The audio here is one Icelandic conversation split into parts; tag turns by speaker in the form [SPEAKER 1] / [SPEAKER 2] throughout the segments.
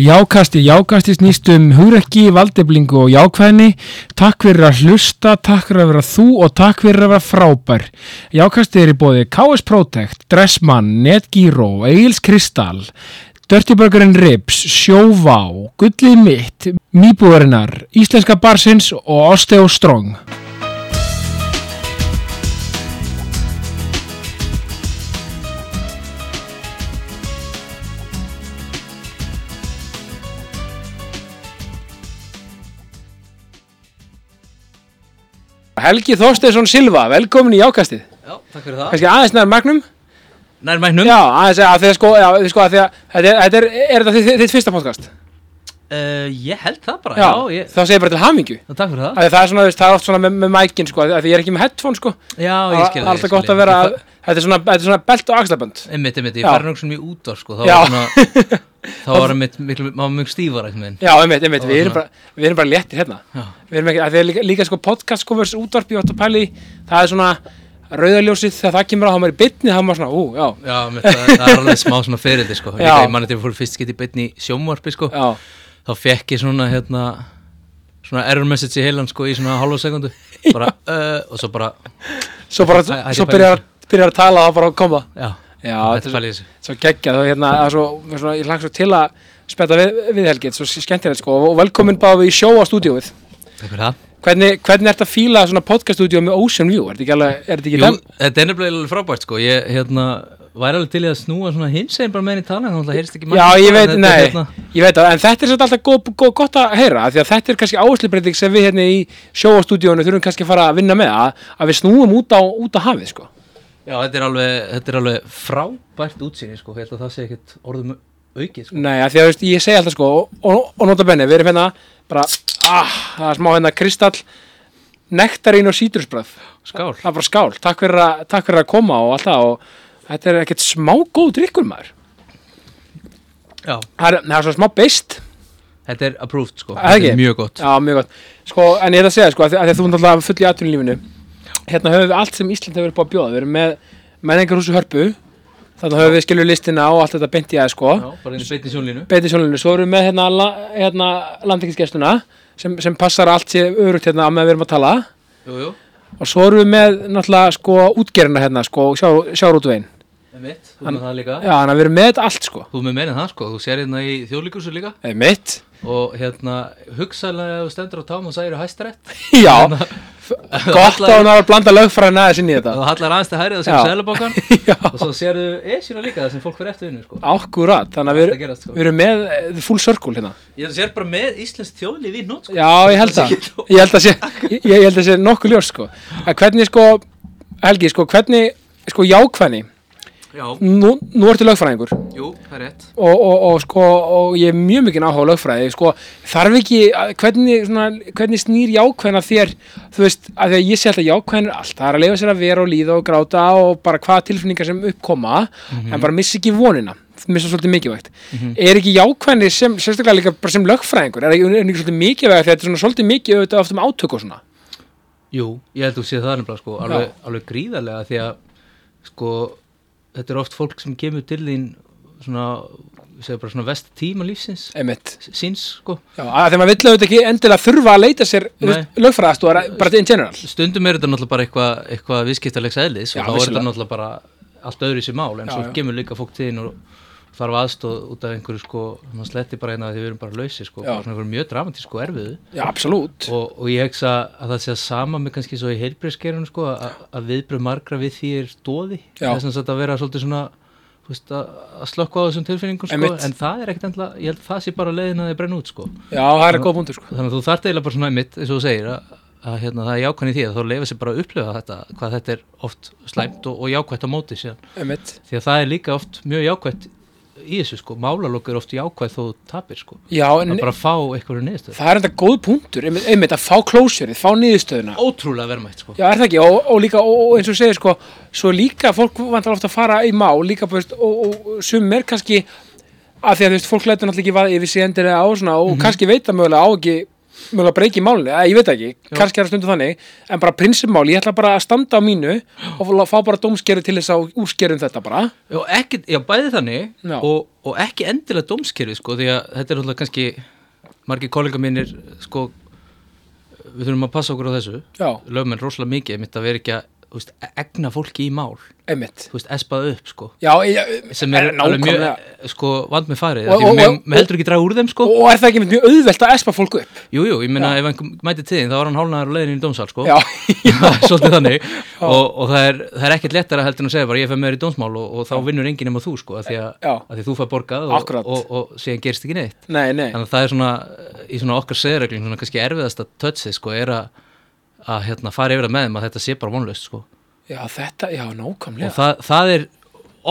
[SPEAKER 1] Jákasti, jákasti snýst um hugrekki, valdeblingu og jákvæðni. Takk fyrir að hlusta, takk fyrir að vera þú og takk fyrir að vera frábær. Jákasti er í bóði KS Protect, Dressmann, Netgyro, Egil's Kristall, Dirty Burgerinn Rips, Sjóvá, Gullið mitt, Mýbúðarinnar, Íslenska Barsins og Osteo Strong. Helgi Þorsteinsson Silva, velkomin í jákastið.
[SPEAKER 2] Já, takk fyrir það.
[SPEAKER 1] Kanski aðeins nær magnum?
[SPEAKER 2] Nær mæknum.
[SPEAKER 1] Já, aðeins að því að sko, já, því sko að því að þetta er, þetta er, er þetta þitt, þitt fyrsta podcast?
[SPEAKER 2] Uh, ég held það bara, já. ég,
[SPEAKER 1] Þá segir bara til hamingju.
[SPEAKER 2] já takk fyrir það.
[SPEAKER 1] Af því Það er svona, þú veist, það er oft svona með, með mækin sko, af því ég er ekki með headphone sko.
[SPEAKER 2] Já,
[SPEAKER 1] Það
[SPEAKER 2] ég
[SPEAKER 1] er
[SPEAKER 2] skil það.
[SPEAKER 1] alltaf gott að vera, að- þetta er svona, þetta er svona belt og axlabönd.
[SPEAKER 2] Einmitt, einmitt, ég
[SPEAKER 1] Já.
[SPEAKER 2] fær náttúrulega mjög út á sko. Þá
[SPEAKER 1] Já.
[SPEAKER 2] var svona, þá var einmitt, miklu, maður mjög stífar ekki minn.
[SPEAKER 1] Já, einmitt, einmitt,
[SPEAKER 2] Það var
[SPEAKER 1] við erum,
[SPEAKER 2] svona-
[SPEAKER 1] bara, við erum bara léttir hérna.
[SPEAKER 2] Já.
[SPEAKER 1] Við erum ekki, af því að líka, líka sko podcast sko versus útvarp í Óttapæli, það er svona rauðaljósið þegar það kemur á, þá er maður í bytni, þá er maður svona, ú, já,
[SPEAKER 2] Já, mitt, það, það er alveg smá svona ferið, sko. Líka,
[SPEAKER 1] Já.
[SPEAKER 2] ég manni til að fór fyrst getið beinni í sjómvarpi, sko.
[SPEAKER 1] já,
[SPEAKER 2] Þá fekk ég svona, hérna, svona error message í heilan, sko, í svona halva sekundu. Bara, uh, og svo bara,
[SPEAKER 1] svo bara,
[SPEAKER 2] Æ, æ,
[SPEAKER 1] svo
[SPEAKER 2] ég
[SPEAKER 1] byrjar, byrjar að tala og þá bara koma.
[SPEAKER 2] já,
[SPEAKER 1] Já,
[SPEAKER 2] þetta er fælið þessu.
[SPEAKER 1] svo geggjað og hérna, það er svo, svona, ég langt svo til að spetta við, við helgið, svo skemmtilegt sko og velkomin bara við í sjó á stúdíóið
[SPEAKER 2] Takk fyrir það.
[SPEAKER 1] hvernig, hvernig ert að fíla svona podcaststúdíó með Ocean View, er þetta ekki alveg, er þetta ekki
[SPEAKER 2] Jú,
[SPEAKER 1] dem?
[SPEAKER 2] þetta er nefnilega alveg frábært sko Ég hérna, væri alveg til í að snúa svona hins einn bara með henni tala Þannig að heyrist ekki
[SPEAKER 1] Já,
[SPEAKER 2] margt,
[SPEAKER 1] ég
[SPEAKER 2] sko,
[SPEAKER 1] veit,
[SPEAKER 2] en þetta
[SPEAKER 1] nei,
[SPEAKER 2] er hérna,
[SPEAKER 1] ég veit að, en þetta er svolítið alltaf gó, gó, gott að heyra, af því að þetta er kannski áherslubreyting sem við hérna í sjóastúdíónu þurfum kannski að fara að vinna með, að, að við snúum út á, út á hafið, sko.
[SPEAKER 2] Já, þetta er alveg, þetta er alveg frábært útsýni sko Ég held að það sé ekkert orðum aukið sko
[SPEAKER 1] Nei, af því að, veist, ég segi alltaf, sko, og, og, og nota benni, við erum hérna, bara, ah, það er smá hérna kristall, nektarín og sítrusbröð.
[SPEAKER 2] Skál
[SPEAKER 1] það er bara skál, takk fyrir að, takk fyrir að koma og allt það og þetta er ekkert smá góð drikkur maður
[SPEAKER 2] Já,
[SPEAKER 1] það er, það er svona smá beist
[SPEAKER 2] þetta er approved sko
[SPEAKER 1] Það
[SPEAKER 2] Þetta
[SPEAKER 1] ekki?
[SPEAKER 2] er mjög gott
[SPEAKER 1] já, mjög gott, sko, en ég ætla að segja sko, að, að þú er alltaf full í atvinnulífinu hérna höfum við allt sem Ísland hefur búið að bjóða við erum með menningarhúsu hörpu þannig höfum við skilur listina og allt þetta beint í aðeins sko
[SPEAKER 2] Já, bara einu beinti sjónlínu
[SPEAKER 1] beint í sjónlinu, svo erum við með hérna, la, hérna landingisgestuna sem, sem passar allt sér örugt hérna að með við erum að tala
[SPEAKER 2] Jú, jú,
[SPEAKER 1] og svo erum við með náttúrulega sko útgerina hérna sko, sjár, sjárútvegin
[SPEAKER 2] það er mitt, þú með það líka
[SPEAKER 1] já, þannig að við erum með þetta allt sko
[SPEAKER 2] Þú með meina það sko, þú sér hérna í þjóðlíkursu líka
[SPEAKER 1] eða mitt
[SPEAKER 2] Og hérna, hugsaðlega ef þú stendur á tám og særi hæstarætt
[SPEAKER 1] Já,
[SPEAKER 2] Þannig
[SPEAKER 1] gott að hún hafa að blanda lögfræðin aðeins inn í
[SPEAKER 2] að
[SPEAKER 1] þetta
[SPEAKER 2] þú hallar aðeins til hærið og
[SPEAKER 1] Já.
[SPEAKER 2] sem sælubankan
[SPEAKER 1] Já,
[SPEAKER 2] og svo sérðu esjuna líka það sem fólk fyrir eftir vinnu sko.
[SPEAKER 1] akkurat, þannig að við,
[SPEAKER 2] Þetta gerast, sko.
[SPEAKER 1] við erum með eh, the full circle hérna
[SPEAKER 2] ég sér bara með íslensk þjóðlíf í nót sko.
[SPEAKER 1] Já, ég held að, ég held að sé, ég, ég held að sé nokkuð ljós sko að Hvernig sko, Helgi, sko, hvernig, sko, jákvæðni
[SPEAKER 2] já,
[SPEAKER 1] Nú, nú ertu lögfræðingur og,
[SPEAKER 2] jú, það er rétt
[SPEAKER 1] og, og sko, og ég er mjög mikið áhuga á lögfræði sko, þarf ekki, að- hvernig, svona, hvernig snýr jákvæðna þér þú veist, af því að ég sé alltaf jákvæðin er allt það er að leifa sér að vera og líða og gráta og bara hvaða tilfinningar sem uppkoma en bara missa ekki vonina missa svolítið mikilvægt er ekki jákvæðni sem, sérstaklega líka bara sem lögfræðingur er ekki, er ekki svolítið mikilvægt því að þetta er svona svolítið mikið auðvitað oft um átök og svona
[SPEAKER 2] jú, ég held að þú sé það nefnilega sko, alveg, alveg gríðarlega því að sko, þetta er oft fólk sem kemur til þín svona, við segjum bara svona vest tíma lífsins
[SPEAKER 1] einmitt,
[SPEAKER 2] síns sko.
[SPEAKER 1] já, að þegar maður vill auðvitað ekki endilega þurfa að leita sér þú veist, lögfræðastúðar bara in general
[SPEAKER 2] stundum er þetta náttúrulega bara eitthvað eitthva viðskiptalegs eðlis
[SPEAKER 1] Já,
[SPEAKER 2] og þá er
[SPEAKER 1] vissulega.
[SPEAKER 2] þetta náttúrulega bara allt öðru sér mál en
[SPEAKER 1] Já,
[SPEAKER 2] svo
[SPEAKER 1] já.
[SPEAKER 2] kemur líka fólk til þín og þarf aðstóð út af einhverju sko, svona sletti bara hérna því við erum bara lausir sko,
[SPEAKER 1] Já.
[SPEAKER 2] bara svona einhverju mjög dramatísku erfiðu
[SPEAKER 1] já, absolút
[SPEAKER 2] og, og ég hegsa að það sé að sama með kannski svo í heilbreyðskerunum sko að, að viðbröð margra við því er dóði
[SPEAKER 1] Já.
[SPEAKER 2] þess að þetta vera svolítið svona þú veist, að, að slökka á þessum tilfinningum sko
[SPEAKER 1] Einmitt.
[SPEAKER 2] en það er ekkert endla, ég held það sé bara leiðin að þið brenna út sko
[SPEAKER 1] já, það er góð búndur sko
[SPEAKER 2] þannig að þú þarft eiginlega bara svona einmitt eins og þú segir að, að hérna, það er jákvæðan í því að þá leifa sér bara að upplifa þetta hvað þetta er oft slæmt og, og jákvætt á móti síðan
[SPEAKER 1] einmitt.
[SPEAKER 2] því að það er líka oft mjög jákvætt í þessu sko málalokk er oft jákvæð þó þú tapir sko
[SPEAKER 1] já, en
[SPEAKER 2] að bara fá einhverju niðurstöð
[SPEAKER 1] Það er enda góð punktur, einmitt, einmitt að fá klósjörið, fá niðurstöðuna.
[SPEAKER 2] ótrúlega verðmætt sko
[SPEAKER 1] Já, er það ekki? Og, og líka, og, og eins og segir sko, svo líka fólk vantar ofta að fara í má, líka, bara, veist, og, og sum er
[SPEAKER 2] Mhm.
[SPEAKER 1] kannski, að því að þú veist, fólk lætur náttúrulega ekki vaða yfir sig endilega á svona, og kannski veit það mögulega á ekki mjögulega breyki málni, að, ég veit ekki, kannski er það stundu þannig en bara prinsipmál, ég ætla bara að standa á mínu og fá- fá bara dómskerfi til þess að úrskerfum þetta bara
[SPEAKER 2] Já, ekki, já bæði þannig
[SPEAKER 1] Já.
[SPEAKER 2] og, og ekki endilega dómskerfi sko, því að þetta er alltaf kannski margir kollega mínir sko, við þurfum að passa okkur á þessu
[SPEAKER 1] já,
[SPEAKER 2] lögmenn rosalega mikið mitt að vera ekki að þú veist, e- egna fólki í mál þú
[SPEAKER 1] einmitt
[SPEAKER 2] veist, espað upp sko
[SPEAKER 1] já, ég,
[SPEAKER 2] sem er
[SPEAKER 1] eh,
[SPEAKER 2] alveg mjög
[SPEAKER 1] nákvæmlega.
[SPEAKER 2] eh, sko, vand með farið
[SPEAKER 1] Og-
[SPEAKER 2] og, því
[SPEAKER 1] og-
[SPEAKER 2] og,
[SPEAKER 1] og-
[SPEAKER 2] með heldur ekki draga úr þeim sko
[SPEAKER 1] og er það ekki einmitt mjög auðvelt að espa fólk upp
[SPEAKER 2] Jú, jú, ég meina ef hann mæti tíðin þá var hann hálnaður á leiðinu í dómsal sko
[SPEAKER 1] já,
[SPEAKER 2] svolítið þannig og, og það, er, það er ekkert lettara heldur en að segja bara ég fer með þér í dómsmál og, og þá vinnur enginn nema þú sko að því að,
[SPEAKER 1] Já.
[SPEAKER 2] að því þú fær borgað og,
[SPEAKER 1] Akkúrat.
[SPEAKER 2] og, og, og síðan gerist ekki neitt
[SPEAKER 1] nei, nei
[SPEAKER 2] þannig að það er svona í svona okkar seðreglum svona kannski erfiðasta touchið sko er að, að hérna, fara yfir það með þeim að þetta sé bara vonlaust sko
[SPEAKER 1] já, þetta, já, nákvæmlega
[SPEAKER 2] og það, það er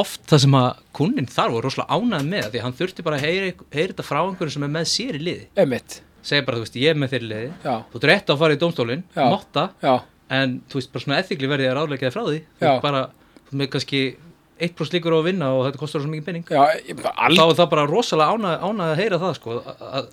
[SPEAKER 2] oft það sem að kunnin þarf og er rosalega ánægð með því að hann þurfti bara að heyri, heyri þetta frá einhverjum sem er með sér í liði
[SPEAKER 1] einmitt,
[SPEAKER 2] segja bara, þú veist, ég er með þér í liði
[SPEAKER 1] Já.
[SPEAKER 2] þú ert rétt á að fara í dómstólinn,
[SPEAKER 1] Já.
[SPEAKER 2] motta
[SPEAKER 1] já,
[SPEAKER 2] en þú veist, bara svona ethikli verði að ráðleika þér frá því þú
[SPEAKER 1] Já.
[SPEAKER 2] ert bara, þú með kannski 1% líkur á að vinna og þetta kostar svo mikið penning
[SPEAKER 1] já ég- bara
[SPEAKER 2] Al... þá
[SPEAKER 1] alg,
[SPEAKER 2] er það bara rosalega ánægð ánægð að heyra það sko,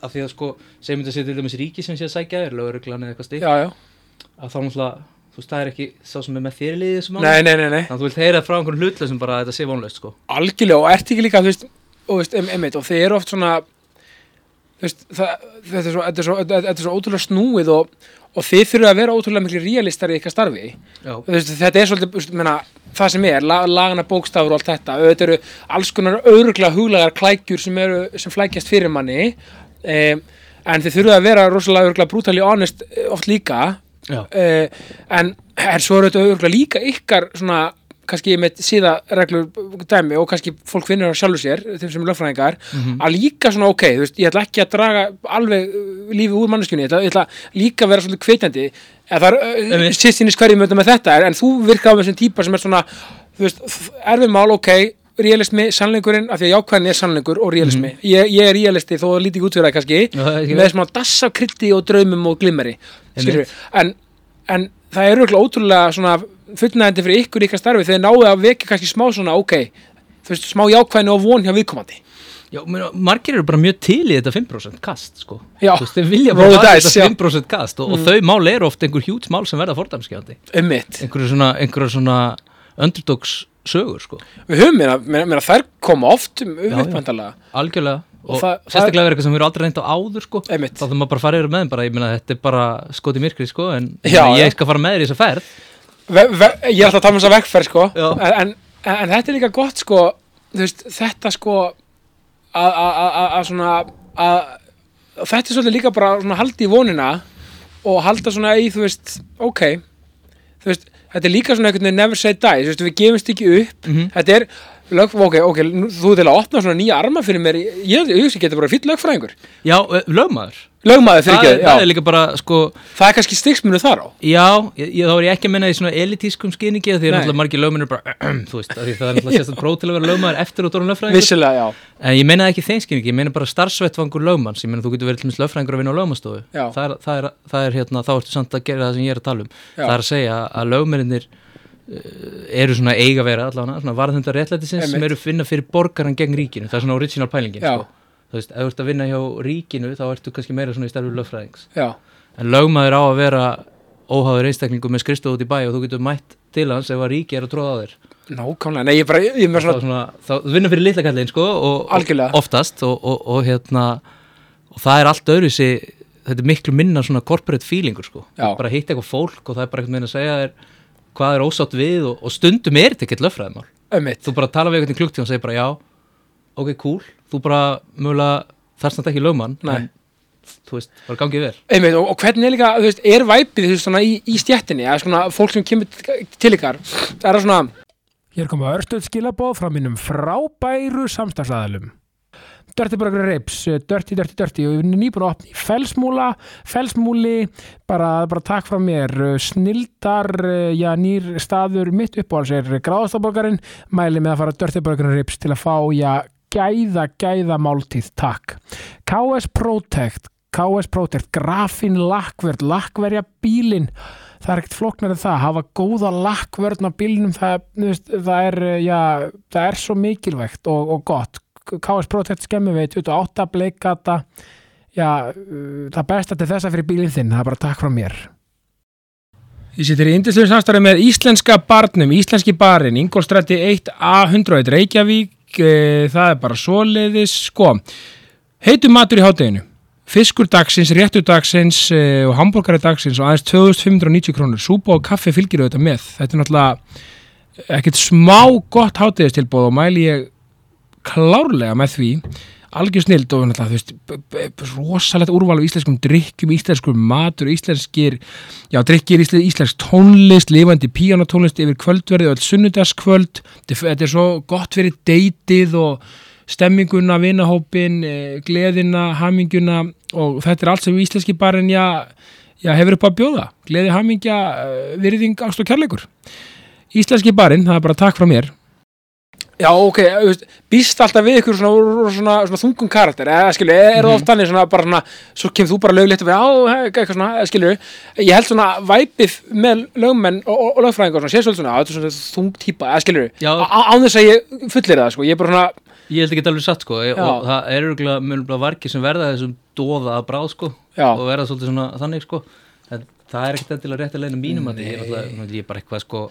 [SPEAKER 2] af því að sko segjum þetta sér til dæmis ríki sem sé að sækja er lögreglan eða eitthvað stík,
[SPEAKER 1] já, já,
[SPEAKER 2] að þá náttúrulega, þú veist, það er ekki sá sem er með þér í liði þessum máli.
[SPEAKER 1] nei, nei, nei, nei
[SPEAKER 2] þannig að þú vilt heyra frá einhverjum hlutlösum bara að þetta sé vonlaust sko.
[SPEAKER 1] algjörlega og ert ekki líka þú veist, og, veist, em, einmitt, og þeir eru oft svona þú veist, það, þetta, er svo, þetta, er svo, þetta þetta er svo ótrúlega snúið og, og þið þurfið að vera ótrúlega miklu realistar í ykkar starfi
[SPEAKER 2] Já,
[SPEAKER 1] Þú veist, þetta er svolítið þú veist, menna, það sem er, la, lagana bókstafur og allt þetta auðvitað eru alls konar öruglega huglegar klækjur sem, eru, sem flækjast fyrir manni um, en þið þurfið að vera rosalega öruglega brutally honest eh, oft líka
[SPEAKER 2] já,
[SPEAKER 1] uh, en, en svo eru þetta auðvitað líka ykkar svona kannski með síðareglur dæmi og kannski fólk finnur á sjálfu sér þeim sem er lögfræðingar
[SPEAKER 2] Mhm.
[SPEAKER 1] að líka svona ok, þú veist, ég ætla ekki að draga alveg uh, lífið úr manneskjunni ég ætla, ég ætla líka að vera svolítið kveitandi eða það er uh,
[SPEAKER 2] Einmitt.
[SPEAKER 1] sitt sinni skverjum með þetta en, en þú virkar á með þessum típa sem er svona þú veist, erfið mál ok realismi, sannleikurinn, af því að jákvæðin er sannleikur og realismi, ég, ég er realisti þó að lítið útfyrir það kannski,
[SPEAKER 2] Mhm. Já, það er ekki
[SPEAKER 1] með smá dass af krytti og draumum og glimmeri skilur en, en það er auðvitað ótrúlega svona fullnægandi fyrir ykkur í ykkar starfi þegar náðu að vekja kannski smá svona ok þú veist, smá jákvæðinu og von hjá viðkomandi
[SPEAKER 2] já meina, margir eru bara mjög til í þetta 5% kast sko.
[SPEAKER 1] Já.
[SPEAKER 2] Þú veist, þeir vilja
[SPEAKER 1] Roll
[SPEAKER 2] bara
[SPEAKER 1] the
[SPEAKER 2] hafa
[SPEAKER 1] dice, já. Mm.
[SPEAKER 2] þetta 5% kast og, og þau mál eru oft einhver hjúts mál sem verða fordæmskjandi
[SPEAKER 1] ummitt,
[SPEAKER 2] einhverju svona, einhverju svona underdogs sögur sko.
[SPEAKER 1] við höfum meina, meina, meina þær koma oft um
[SPEAKER 2] Já, já.
[SPEAKER 1] ummitt vandalega
[SPEAKER 2] algjörlega og,
[SPEAKER 1] Og það-
[SPEAKER 2] sérstaklega verður eitthvað sem við erum aldrei reynd á áður sko. þá
[SPEAKER 1] Einmitt.
[SPEAKER 2] þurfum maður bara að fara yfir með þeim bara, ég meina þetta er bara skoti myrkri sko, en ég
[SPEAKER 1] Já,
[SPEAKER 2] meina,
[SPEAKER 1] já.
[SPEAKER 2] ég skal fara með þér í þess að ferð
[SPEAKER 1] ve, ve, ég er alltaf að tala um þess að vegferð sko
[SPEAKER 2] Já.
[SPEAKER 1] en, en, en þetta er líka gott sko þú veist, þetta sko að- að að- að- að svona að þetta er svolítið líka bara svona haldi í vonina og halda svona í þú veist, ok þú veist, þetta er líka svona einhvern veginn never say die, þú veist, við gefumst ekki upp
[SPEAKER 2] Mhm.
[SPEAKER 1] þetta er, lög, ok, ok nú- þú til að opna svona nýja arma fyrir mér ég, ég, ég, ég geti bara fýtt lögfræðingur
[SPEAKER 2] já, eh, lögmaður
[SPEAKER 1] lögmaður fyrir
[SPEAKER 2] það, er-
[SPEAKER 1] ekki,
[SPEAKER 2] það er
[SPEAKER 1] já,
[SPEAKER 2] líka bara sko,
[SPEAKER 1] það er kannski stigsmunu þar á
[SPEAKER 2] Já, ég, ég, þá er ég ekki að menna í svona elitískum skýningi af því að
[SPEAKER 1] Nei.
[SPEAKER 2] náttúrulega margir lögmennir bara þú veist, af því það er náttúrulega sérstætt próf til að vera lögmaður eftir og dórun lögfræðingur
[SPEAKER 1] vissilega, já,
[SPEAKER 2] en ég meina það ekki í þeim skýningi, ég meina bara starfsvettvangur lögmanns, ég meina þú getur verið til minnst lögfræðingur að vinna á lögmannstofu
[SPEAKER 1] Já.
[SPEAKER 2] það er, það, er, það er hérna, þá ertu samt að gera það sem ég er að tala um
[SPEAKER 1] Já.
[SPEAKER 2] það er að segja að lögmennir eru svona eiga vera allavega svona varðhundar réttlætisins sem
[SPEAKER 1] Einmitt.
[SPEAKER 2] eru að finna fyrir borgaran gegn ríkinu, það er svona original pælingin
[SPEAKER 1] Já.
[SPEAKER 2] sko. þú veist, ef þú ert að vinna hjá ríkinu þá ertu kannski meira svona í starfi lögfræðings
[SPEAKER 1] já,
[SPEAKER 2] En lögmaður á að vera óháður einstaklingu með skrifstof út í bæ og þú getur mætt til hans ef að ríki er að tróða á þér.
[SPEAKER 1] nákvæmlega nei, ég bara, ég, ég er með
[SPEAKER 2] Þá,
[SPEAKER 1] svona
[SPEAKER 2] svona, þá þú vinnur fyrir litla kallin sko og
[SPEAKER 1] Algjörlega.
[SPEAKER 2] og oftast og, og, og hérna og það er allt öðru þetta er miklu minna svona corporate feelingur sko.
[SPEAKER 1] Já.
[SPEAKER 2] Þú Bara hitt eitthvað fólk og það er bara eitthvað meina að segja þér hvað er ósátt við og, og stundum er þetta ekkert löffræðumál.
[SPEAKER 1] ömmit
[SPEAKER 2] Þú bara tala við eitthvað klukkt og segir bara já, ok cool, þú bara mögulega þarst þetta ekki lögmann
[SPEAKER 1] Nei.
[SPEAKER 2] en þú veist, bara gangið vel.
[SPEAKER 1] Einmitt, og, og hvernig er líka, þú veist, er væpið þú veist, svona, í, í stjættinni, að svona fólk sem kemur til- til ykkar, það er það svona Hér koma örstuð skilabóð frá mínum frábæru samstagsæðalum Dörti Burger eh, Rips, Dörti, Dörti, Dörti og við erum nýbúin að opna í felsmúla felsmúli, bara, bara takk frá mér, Eh, snildar já, nýr staður mitt uppáhals er gráðastaborgarinn, mæli með að fara Dörti Burger Rips til að fá já, gæða, gæða máltíð, takk KS Protect KS Protect, grafin lakkverð lakkverja bílinn það er ekkert flóknar en það, hafa góða lakkvörn á bílnum, það, þú veist, það er eh, já, það er svo mikilvægt og, og gott KS Protect skemmi við 28 bleikata
[SPEAKER 3] já,
[SPEAKER 1] eh,
[SPEAKER 3] uh, það besta til þessa fyrir bílinn þinn, það er bara takk frá mér
[SPEAKER 1] Ég sittir í indislegum samstarfi með íslenska barnum, íslenski barinn, Ingolstræti 1A101 Reykjavík, e, það er bara svoleiðis, sko. Heitum matur í hátteginu, fiskur dagsins, réttur dagsins e, og hambúrgari dagsins og aðeins 2590 krónur, súpa og kaffi fylgir auðvitað með. Þetta er náttúrulega ekkert smá gott háttegistilbóð og mæli ég klárlega með því algjör snild og náttúrulega, þú veist, b- b- b- rosalegt úrval af íslenskum drikkjum, íslenskum matur, íslenskir, já, drikkjir íslensk, íslensk tónlist, lifandi píanotónlist yfir kvöldverði og öll sunnudagskvöld, Þetta er- þetta er svo gott fyrir deytið og stemminguna, vinahópin, eh, gleðina, haminguna og þetta er allt sem íslenski barinn, já, já, hefur upp á að bjóða, gleði, hamingja, eh, virðing, ást og kærleikur. Íslenski barinn, það er bara takk frá mér. Já, ok, þú veist, býst alltaf við ykkur svona, svona, svona þungum karakter, eða skilju, er það oft þannig svona bara svona, svo kemur þú bara lögleitt og við, á, he- eitthvað svona, eða skilju, ég held svona væpið með lögmenn og, og, og lögfræðingar og svona, sé svolítið svona, á, þetta er svona þung típa, eða skilju,
[SPEAKER 2] Já.
[SPEAKER 1] án þess að ég fullir það, sko, ég er bara svona,
[SPEAKER 2] Ég held ekki alveg satt sko ég,
[SPEAKER 1] Já.
[SPEAKER 2] og það er örgulega mjög vargir sem verða þessum doða að bráð sko
[SPEAKER 1] Já.
[SPEAKER 2] og verða svolítið svona þannig sko en það er ekkert endilega rétt að leina mínum að ég, er náttúrulega- nú er ég er bara eitthvað sko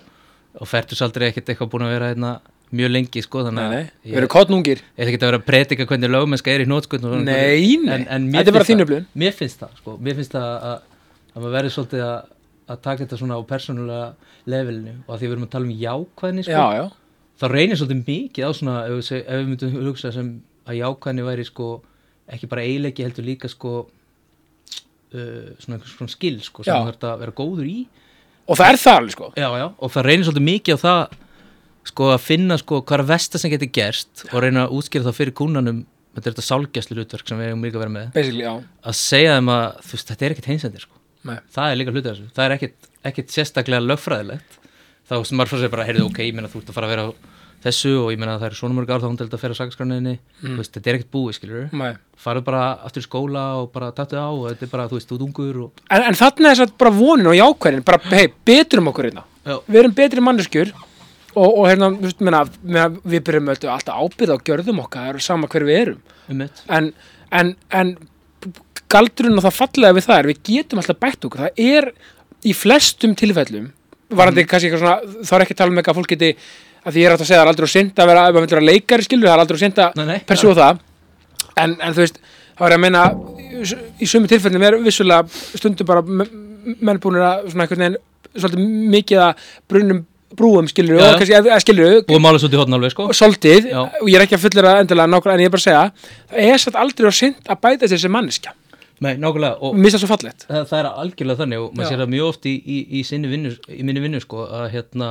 [SPEAKER 2] og ferðusaldri ekkert eitthvað búin að vera hérna mjög lengi sko þannig
[SPEAKER 1] nei,
[SPEAKER 2] að
[SPEAKER 1] nei,
[SPEAKER 2] ég
[SPEAKER 1] við erum kottnungir,
[SPEAKER 2] ég ætla ekki að vera að predika hvernig lögmennska er í nótskvöld
[SPEAKER 1] Nei, nei. Þetta er bara þín upplifun.
[SPEAKER 2] Mér finnst það, sko, mér finnst það að, að maður verður svolítið að, að taka þetta svona á persónulega levelinu og að því við erum að tala um jákvæðni sko,
[SPEAKER 1] já, já,
[SPEAKER 2] þá reynir svolítið mikið á svona ef við, seg, ef við myndum hugsa sem að jákvæðni væri sko ekki bara eiginleiki heldur líka sko uh, svona einhvers svona skil sko sem
[SPEAKER 1] Já.
[SPEAKER 2] þú þarf að vera góður í
[SPEAKER 1] og það er það alveg, sko,
[SPEAKER 2] já, já, og það reynir svolítið mikið á það sko að finna sko hvað er að versta sem getur gerst og reyna að útskýra það fyrir kúnanum þetta er þetta sálgjæslu hlutverk sem við eigum líka að vera með
[SPEAKER 1] basically, já,
[SPEAKER 2] að segja þeim að þú veist, þetta er ekkit heinsendir sko.
[SPEAKER 1] Nei.
[SPEAKER 2] það er líka hluti af þessu, það er ekkit, ekkit sérstaklega lögfræðilegt þá sem maður fyrir sér bara, heyrðu, ok, ég meina þú ert að fara að vera á þessu og ég meina það er svona mörg ár þá hún delt að fyrir sakaskræninni, mm. veist, þetta er ekkit búið skilur,
[SPEAKER 1] mæ.
[SPEAKER 2] farðu bara aftur í skóla og bara tattu á og þetta er bara, þú veist, þú ert ungur og
[SPEAKER 1] En, en þarna er satt bara vonin og jákvæðin, bara, hei, betrum okkur hérna.
[SPEAKER 2] Já.
[SPEAKER 1] Við erum betri manneskjur og, og hérna, þú veist, menna, menna, við byrjum öll alltaf ábyrð á gjörðum okkar, það er sama hver við erum.
[SPEAKER 2] um mitt
[SPEAKER 1] En, en, en galdurinn og það fallega við það er, við getum alltaf bætt okkur. Það er í flestum tilfellum, varandi
[SPEAKER 2] Mhm.
[SPEAKER 1] kannski eitthvað svona, þá er ekki að tala um eitthvað að fólk geti, að því ég er átt að segja það er aldrei og synd að vera, ef maður vildur að leikari skilur, það er aldrei og synd að
[SPEAKER 2] Nei, nei,
[SPEAKER 1] persóð það en, en þú veist, þá er ég að meina í s- í sömu tilfellin er vissulega stundum bara m- menn búinir að svona einhvern veginn, svolítið mikið að brunnum brúum skilur
[SPEAKER 2] Já,
[SPEAKER 1] og
[SPEAKER 2] já.
[SPEAKER 1] kannski að, að skilur
[SPEAKER 2] búið mála svolítið hóttan alveg, sko
[SPEAKER 1] svolítið,
[SPEAKER 2] Já.
[SPEAKER 1] og ég er ekki að fullera endilega nákvæmlega en ég er bara að segja, það er satt aldrei og synd að bæta þessi manneskja,
[SPEAKER 2] Nei, nákvæmlega, og
[SPEAKER 1] mista svo fallegt
[SPEAKER 2] það, það er algjörlega þannig og maður
[SPEAKER 1] Mm. Já.
[SPEAKER 2] sér það mjög oft í, í, í, sinni vinnu, í minni vinnu sko að hérna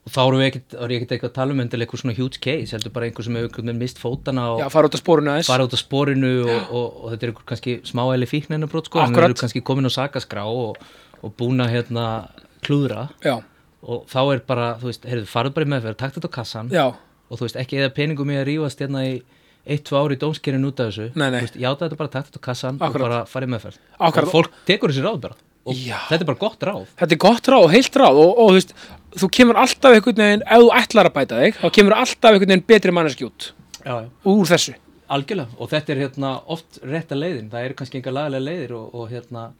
[SPEAKER 2] og þá erum við ekkert, þá er ég ekkert eitthvað að tala um endilega eitthvað svona huge case, heldur bara einhver sem hefur einhvern veginn mist fótana og
[SPEAKER 1] já, fara út af spórinu aðeins
[SPEAKER 2] fara út af sporinu og, og, og, þetta er einhver kannski smáæli fíknina brot sko, en
[SPEAKER 1] Akkurat.
[SPEAKER 2] eru kannski komin á sakaskrá og, og búin að hérna klúðra
[SPEAKER 1] já,
[SPEAKER 2] og þá er bara, þú veist, heyrðu, farðu bara í meðferð, takt þetta á kassan
[SPEAKER 1] já,
[SPEAKER 2] og þú veist, ekki eða peningum í að rífast hérna í eitt, tvo ári í dómskerinn út af þessu
[SPEAKER 1] Nei, nei.
[SPEAKER 2] Þú veist, játa þetta bara, takt þetta á kassan
[SPEAKER 1] Akkurat.
[SPEAKER 2] og bara farið meðferð
[SPEAKER 1] Akkurat.
[SPEAKER 2] og fólk tekur þessi ráð bara og
[SPEAKER 1] Já.
[SPEAKER 2] þetta er bara gott ráð
[SPEAKER 1] þetta er gott ráð, heilt ráð og, og þú veist, þú kemur alltaf einhvern veginn, ef þú ætlar að bæta þig þá kemur alltaf einhvern veginn betri manneskja út
[SPEAKER 2] já, já.
[SPEAKER 1] úr þessu
[SPEAKER 2] algjörlega, og þetta er hérna oft rétta leiðin, það eru kannski engar lagalega leiðir og, og hérna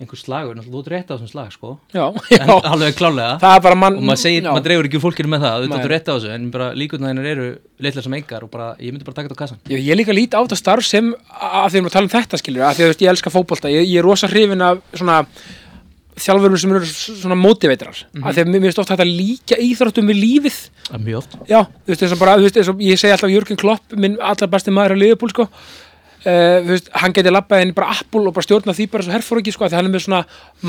[SPEAKER 2] einhver slagur, náttúrulega þú ert rétt á þessum slag sko
[SPEAKER 1] já, já,
[SPEAKER 2] en alveg klálega
[SPEAKER 1] það er bara mann
[SPEAKER 2] og maður segir,
[SPEAKER 1] já,
[SPEAKER 2] maður dreifur ekki úr fólkinu með það
[SPEAKER 1] Nei.
[SPEAKER 2] auðvitað þú rétt á þessu, en bara líkurnar eru litlar sem engar og bara, ég myndi bara taka þetta á kassan
[SPEAKER 1] ég, ég líka lít á þetta starf sem að því við erum að tala um þetta skilur að því að þú veist, ég elska fótbolta ég, ég er rosa hrifin af svona þjálfurum sem eru svona mótiveitrar mm að því að mér finnst oft hægt að líka íþróttum við lífið
[SPEAKER 2] það er mjög oft
[SPEAKER 1] Já, þú veist, eins og bara, þú veist, eins og ég segi alltaf Jörgen Klopp, minn allar besti maður á Liverpool, sko, uh, þú veist, hann geti labbað inn í bara Apple og bara stjórna því bara svo herfóringi, sko, af því hann er með svona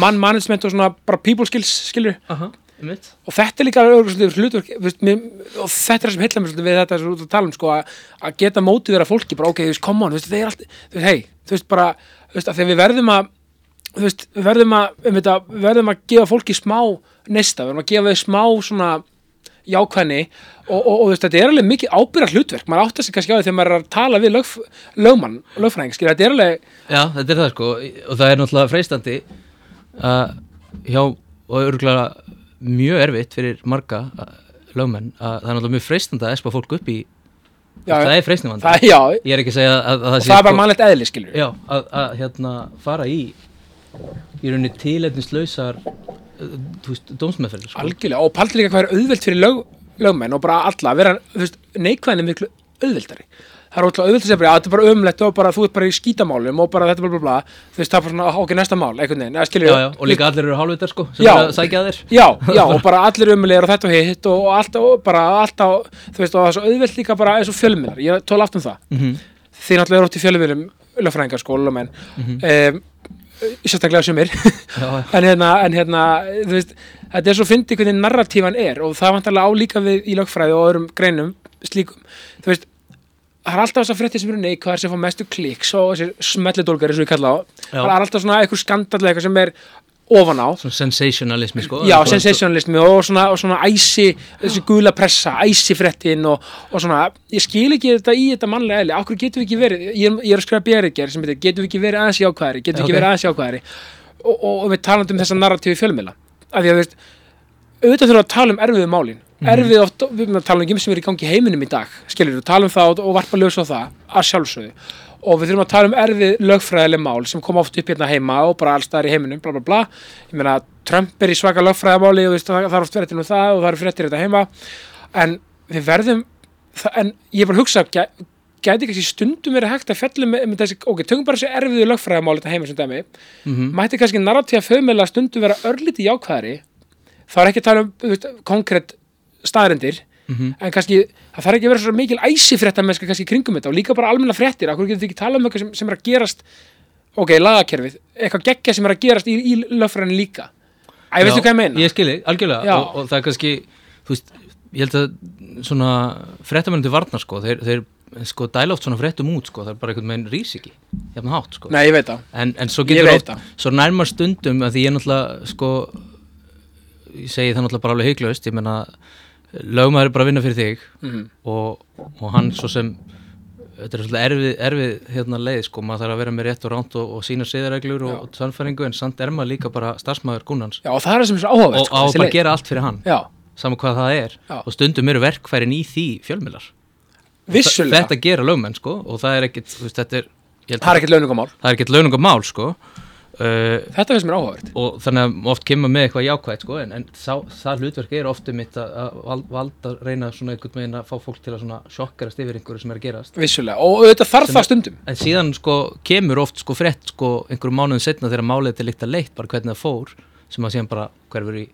[SPEAKER 1] mann management og svona bara people skills, skilur,
[SPEAKER 2] Aha, einmitt.
[SPEAKER 1] og þetta er líka örugglega svolítið hlutverk, þú veist, mér, og þetta er það sem heilla mér svolítið við þetta sem þú ert að tala um, sko, að- að geta mótið vera fólki, bara, ok, þú veist, come on, þú veist, þeir er allt, þú veist, hei, þú veist, bara, þú veist, að þegar við verðum að, þú veist, við verðum að, um þetta, við verðum að gefa fólki smá neista, við verðum að gefa þau smá svona jákvæðni og, og, og þú veist, þetta er alveg mikið ábyrgar hlutverk, maður áttar sig kannski á því þegar maður er að tala við lögf, lögmann, lögfræðing, skilja, þetta er alveg,
[SPEAKER 2] já, þetta er það sko, og það er náttúrulega freistandi uh, hjá, og örgulega mjög erfitt fyrir marga uh, lögmenn, að það er náttúrulega mjög freistandi að espa fólk upp í
[SPEAKER 1] Já,
[SPEAKER 2] það
[SPEAKER 1] já.
[SPEAKER 2] er freysnivandi
[SPEAKER 1] það, já, og
[SPEAKER 2] ég er ekki að segja að, að það
[SPEAKER 1] það er bara
[SPEAKER 2] sko-
[SPEAKER 1] mannlegt eðli, skilur
[SPEAKER 2] já, að, að hérna fara í í rauninni tilefnislausar uh, þú veist, dómsmeðferðir sko.
[SPEAKER 1] algjörlega, og paldur líka hvað er auðvelt fyrir lög, lögmenn og bara alla, að vera, þú veist, neikvæðin er miklu auðveldari það er ótrúlega auðvelt að segja bara, "Já, þetta er bara umlegt og bara þú ert bara í skítamálum og bara þetta bla bla bla þú veist, það er bara svona, ok, næsta mál, einhvern veginn eða skilur,
[SPEAKER 2] já, já, og líka allir eru hálfvitar sko, sem
[SPEAKER 1] Já.
[SPEAKER 2] er að sækja þér
[SPEAKER 1] Já, já, og bara allir umlegir og þetta og hitt og, og allt og bara allt á, þú veist, og það er svo auðvelt líka bara eins og fjölmiðlar, ég tóla allt um það
[SPEAKER 2] mm -hmm.
[SPEAKER 1] þið náttúrulega eru oft í fjölmiðlum, lögfræðingar sko, lögmenn um, sérstaklega sumir
[SPEAKER 2] Mhm. já, já.
[SPEAKER 1] en hérna, en hérna, þú veist þetta er svo fyndið hvernig narratífan er og það vantarlega á líka við í lögfræði og öðrum greinum slíkum, þú veist það er alltaf þess að frétti sem eru neikvæðar sem fá mestu kliks og þessi smellidólgar eins og ég kalla á,
[SPEAKER 2] Já.
[SPEAKER 1] það er alltaf svona einhver skandall eða eitthvað sem er ofan á
[SPEAKER 2] svona sensationalismi sko
[SPEAKER 1] Já,
[SPEAKER 2] en svo-
[SPEAKER 1] sensationalismi og svona, og svona æsi, þessi gula pressa, æsi fréttin og, og svona, ég skil ekki þetta í þetta mannlega eðli, okkur getum við ekki verið ég er, ég er að skrifa björgir sem heitir, getum við ekki verið aðeins jákvæðari, getum við
[SPEAKER 2] Ok.
[SPEAKER 1] ekki verið aðeins jákvæðari og, og, og við talandi um þessa narratífi fjölmiðla, af því að þú veist auðvitað þurfum við að tala um erfiðu málin erfið oft, við erum að tala um gym sem er í gangi í heiminum í dag, skilur við, tala um það og, og varpa ljós á það, að sjálfsögðu og við þurfum að tala um erfið lögfræðileg mál sem koma oft upp hérna heima og bara allstaðar í heiminum bla bla bla, ég meina Trump er í svaka lögfræðamáli og veist, það, það er oft fréttir um það og það eru fréttir þetta heima en við verðum, það, en ég er bara að hugsa gæ, gæti kannski stundum verið hægt að fellum með, með þessi, ok, tökum bara þessi erfiðu lögfræðamál þetta heima sem dæmi,
[SPEAKER 2] Mhm.
[SPEAKER 1] mætti kannski narratíða fjöðmjöla stundum vera örlítið jákvæðari þá er ekki að tala um þú veist, konkrétt staðrendir
[SPEAKER 2] Mhm.
[SPEAKER 1] en kannski, það þarf ekki að vera svo mikil æsifrétta mennska kannski í kringum þetta og líka bara almenna fréttir akkur getur þið ekki talað um eitthvað sem, sem er að gerast ok, lagakerfið, eitthvað geggja sem er að gerast í, í löffræðinu líka Æ,
[SPEAKER 2] Já,
[SPEAKER 1] veistu hvað ég meina?
[SPEAKER 2] ég skil þig, algjörlega
[SPEAKER 1] Já.
[SPEAKER 2] og, og það er kannski, þú veist ég held að svona fréttamennin til varnar sko, þeir, þeir sko dæla oft svona fréttum út sko, það er bara einhvern veginn rís ekki jafn hátt sko,
[SPEAKER 1] Nei, ég veit það
[SPEAKER 2] en, en svo
[SPEAKER 1] Ég
[SPEAKER 2] getur
[SPEAKER 1] veit
[SPEAKER 2] oft,
[SPEAKER 1] það.
[SPEAKER 2] svo nærmar stundum að því ég náttúrulega sko ég segi það náttúrulega bara alveg heiklaust, ég menna lögmaður er bara að vinna fyrir þig
[SPEAKER 1] Mhm.
[SPEAKER 2] og, og hann svo sem þetta er svolítið erfið, erfið hérna leið sko, maður þarf að vera með rétt og ránt og, og sína siðareglur og, og sannfæringu en samt er maður líka bara starfsmæður gunnans
[SPEAKER 1] Já, og það er það sem er svo
[SPEAKER 2] og
[SPEAKER 1] áhugavert sko,
[SPEAKER 2] á
[SPEAKER 1] þessi
[SPEAKER 2] bara að
[SPEAKER 1] leið.
[SPEAKER 2] gera allt fyrir hann
[SPEAKER 1] Já,
[SPEAKER 2] saman hvað það er
[SPEAKER 1] Já.
[SPEAKER 2] og stundum eru verkfærin í því fjölmiðlar
[SPEAKER 1] vissulega
[SPEAKER 2] þetta gera lögmenn sko og það er ekkit þú veist, þetta er, ég held
[SPEAKER 1] Það er
[SPEAKER 2] að-
[SPEAKER 1] ekkert launungamál
[SPEAKER 2] það er ekkit launungamál sko uh,
[SPEAKER 1] Þetta finnst mér áhugavert
[SPEAKER 2] og þannig að oft kemur með eitthvað jákvægt sko en, en sá, það hlutverk er ofta mitt að, að val- valda reyna svona einhvern veginn að fá fólk til að svona sjokkarast yfir einhverju sem er að gerast
[SPEAKER 1] Vissulega, og auðvitað þarf
[SPEAKER 2] Sem-
[SPEAKER 1] það stundum
[SPEAKER 2] en síðan sko kemur oft sko frett sko einhverjum mánuðum setna þegar málið er til líkt að leitt bara hvernig það fór sem að síðan bara hverfur í,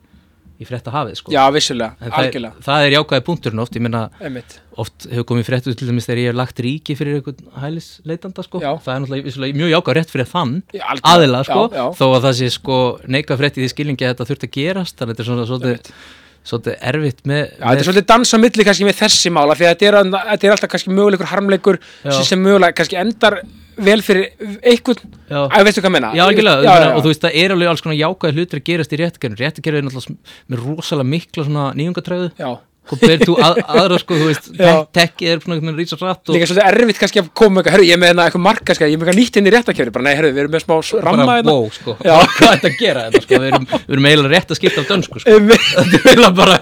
[SPEAKER 2] í frett hafið sko
[SPEAKER 1] Já, vissulega,
[SPEAKER 2] En það,
[SPEAKER 1] algjörlega
[SPEAKER 2] það er jákvæði punkturinn oft, ég meina
[SPEAKER 1] Einmitt.
[SPEAKER 2] oft hefur komið fréttu til dæmis þegar ég er lagt ríki fyrir einhvern hælisleitanda sko,
[SPEAKER 1] Já.
[SPEAKER 2] það er náttúrulega vissulega mjög jákvæð rétt fyrir þann
[SPEAKER 1] Já, algjörlega.
[SPEAKER 2] aðila sko,
[SPEAKER 1] Já, já.
[SPEAKER 2] þó að það sé sko neika frétt í því skilningi að þetta þurft að gerast þannig að þetta er svona svolítið, svolítið erfitt með,
[SPEAKER 1] Já, þetta
[SPEAKER 2] með
[SPEAKER 1] er svolítið dans á milli kannski með þessi mála því að þetta er, að- þetta er alltaf kannski möguleikur harmleikur
[SPEAKER 2] Já.
[SPEAKER 1] sem, sem mögulega kannski endar vel fyrir einhvern
[SPEAKER 2] Já.
[SPEAKER 1] Æ, veistu hvað ég meina?
[SPEAKER 2] Já, algjörlega,
[SPEAKER 1] já,
[SPEAKER 2] já,
[SPEAKER 1] já.
[SPEAKER 2] og þú veist, það er alveg alls konar jákvæði hlutir að gerast í réttakerfinu, réttakerfinu er náttúrulega sm- með rosalega mikla svona nýjungatræðu
[SPEAKER 1] Já.
[SPEAKER 2] hvað þú að, aðra sko, þú veist,
[SPEAKER 1] Já.
[SPEAKER 2] tekki er svona einhvern veginn rísa rætt og
[SPEAKER 1] Líka svolítið erfitt kannski að koma með eitthvað, herru, ég er með hérna eitthvað marka, ég er með eitthvað nýtt inn í réttakefri, bara nei, herru, við erum með smá s- ramma
[SPEAKER 2] bara
[SPEAKER 1] hérna.
[SPEAKER 2] wow, sko,
[SPEAKER 1] Já.
[SPEAKER 2] hvað er þetta að gera þetta, sko, við erum, við erum eiginlega rétt að skipta af dönsku, sko,
[SPEAKER 1] Einmitt.
[SPEAKER 2] þetta er eiginlega bara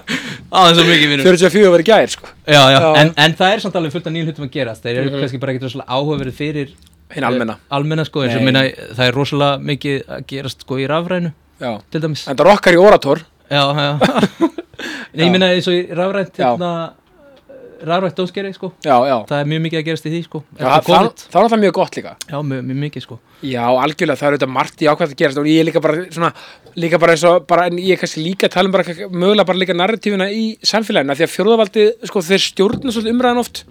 [SPEAKER 2] aðeins og mikið vinur,
[SPEAKER 1] 44 verið gær, sko.
[SPEAKER 2] já, já,
[SPEAKER 1] Já. Mhm.
[SPEAKER 2] En, en það er samt alveg fullt af nýjum hlutum að gera, þeir eru kannski bara ekkert rosalega áhugaverið fyrir
[SPEAKER 1] Hinn almenna.
[SPEAKER 2] eh, almenna, sko, eins og
[SPEAKER 1] Nei.
[SPEAKER 2] minna, það er rosalega mikið að gerast, sko, í rafrænu,
[SPEAKER 1] Já.
[SPEAKER 2] til dæmis,
[SPEAKER 1] En það rokkar í orator.
[SPEAKER 2] já, já, nei, ég minna eins og í rafrænt,
[SPEAKER 1] Já.
[SPEAKER 2] hérna, rafrænt dómskeri, sko,
[SPEAKER 1] Já, já.
[SPEAKER 2] það er mjög mikið að gerast í því, sko,
[SPEAKER 1] já það,
[SPEAKER 2] eftir
[SPEAKER 1] það,
[SPEAKER 2] COVID,
[SPEAKER 1] það er alltaf mjög gott líka.
[SPEAKER 2] já, mjög, mjög mikið, sko,
[SPEAKER 1] Já, algjörlega, það er auðvitað margt í ákvæmt að gerast og ég er líka bara svona, líka bara eins og bara, en ég er kannski líka að tala um bara kak- mögulega bara líka narratífina í samfélaginu af því að fjórðavaldi, sko, þeir stjórna svolítið umræðan oft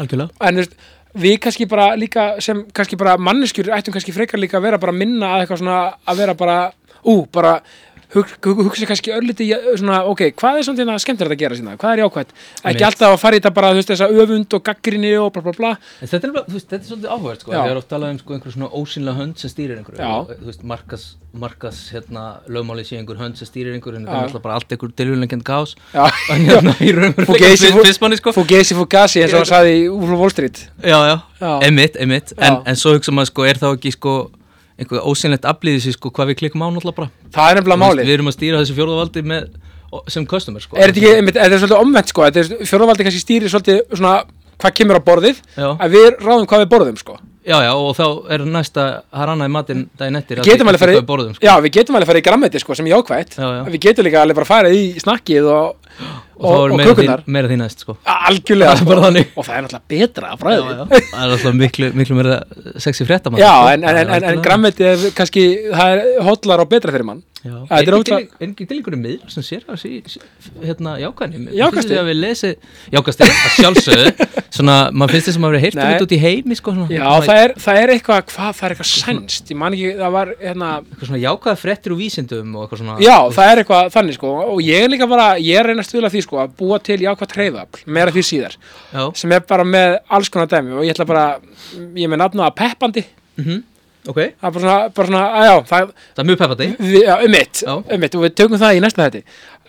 [SPEAKER 2] algjörlega,
[SPEAKER 1] en þú veist, við kannski bara líka sem kannski bara manneskjur ættum kannski frekar líka að vera bara minna að eitthvað svona að vera bara, ú, bara hug, hug, hugsa kannski örlítið ja, svona, ok, hvað er svona skemmtir að gera sína, hvað er jákvæmt
[SPEAKER 2] Einmitt.
[SPEAKER 1] ekki alltaf að fara í þetta bara, þú veist, þessa öfund og gaggrinni og bla bla bla,
[SPEAKER 2] En þetta er, alveg- þú veist, þetta er svolítið áhugavert sko,
[SPEAKER 1] Já.
[SPEAKER 2] það er oft talað um sko, einhver svona ósynlega hönd sem stýrir einhverju,
[SPEAKER 1] Já.
[SPEAKER 2] Og, þú veist, markas, markas hérna, lögmáli sé einhver hönd sem stýrir einhverju, en
[SPEAKER 1] Já.
[SPEAKER 2] þetta er náttúrulega bara allt einhver tilvíðlengend gás,
[SPEAKER 1] Já.
[SPEAKER 2] en hérna
[SPEAKER 1] Fugasi,
[SPEAKER 2] í raunveruleika fyrst manni sko,
[SPEAKER 1] Fugasi Fugasi eins og hann saði í Úlf Wall Street
[SPEAKER 2] já, já,
[SPEAKER 1] Já.
[SPEAKER 2] emitt, emitt, en,
[SPEAKER 1] Já.
[SPEAKER 2] en svo hugsa maður sko, er þá ekki sko, einhver ósynlegt aflýðis í sko, hvað við klikkum á náttúrulega bara,
[SPEAKER 1] Það er nefnilega
[SPEAKER 2] Þú veist,
[SPEAKER 1] málið.
[SPEAKER 2] við erum að stýra þessu fjórðavaldi með, sem customer sko,
[SPEAKER 1] Er þetta ekki, einmitt, þetta er svolítið omvendt sko, þetta er fjórðavaldi kannski stýrir svolítið svona hvað kemur á borðið
[SPEAKER 2] já,
[SPEAKER 1] að við ráðum hvað við borðum sko.
[SPEAKER 2] já, já, og þá er næsta það er annað í matinn daginn eftir
[SPEAKER 1] Við getum alveg farið-
[SPEAKER 2] að borðum, sko.
[SPEAKER 1] já, við getum alveg að fara í grammeti sko, sem er jákvætt
[SPEAKER 2] Já, já.
[SPEAKER 1] við getum líka alveg bara að fara í snakkið og,
[SPEAKER 2] og, þá er
[SPEAKER 1] og
[SPEAKER 2] meira,
[SPEAKER 1] kökurnar.
[SPEAKER 2] því, meira því næst sko.
[SPEAKER 1] algjörlega
[SPEAKER 2] Það er bara þannig.
[SPEAKER 1] og það er náttúrulega betra að
[SPEAKER 2] já,
[SPEAKER 1] fræði
[SPEAKER 2] já. það er alltaf miklu, miklu meira sexy sko. frétta
[SPEAKER 1] já, en, en, en, en grammeti er kannski það er hotlar og betra fyrir mann þetta er ótrúlega-
[SPEAKER 2] en ekki til einhverju miður sem sér að sí, sí, hérna jákvæðni Mér
[SPEAKER 1] Jákvæðstig.
[SPEAKER 2] finnst því að við lesi jákvæðstig að sjálfsögðu svona, maður finnst þess að maður hefur heyrt
[SPEAKER 1] Nei.
[SPEAKER 2] það út út í heimi sko, svona,
[SPEAKER 1] já,
[SPEAKER 2] svona,
[SPEAKER 1] það er, það er eitthvað hvað, það er
[SPEAKER 2] Mhm.
[SPEAKER 1] eitthvað sænst ég man ekki, það var hérna
[SPEAKER 2] eitthvað svona jákvæða fréttir úr vísindum og eitthvað svona
[SPEAKER 1] já, það er eitthvað þannig sko og ég er líka bara, ég er að reyna að stuðla að því sko að búa til jákvæð treyðafl, meira því síðar
[SPEAKER 2] já.
[SPEAKER 1] sem er bara með alls konar dæmi og ég ætla bara, ég er með nafnaða peppandi
[SPEAKER 2] ok,
[SPEAKER 1] það er bara svona, bara svona að já, það,
[SPEAKER 2] það er mjög peppandi
[SPEAKER 1] við, já, um mitt,
[SPEAKER 2] Já.
[SPEAKER 1] um mitt og við tökum það í næsta þetti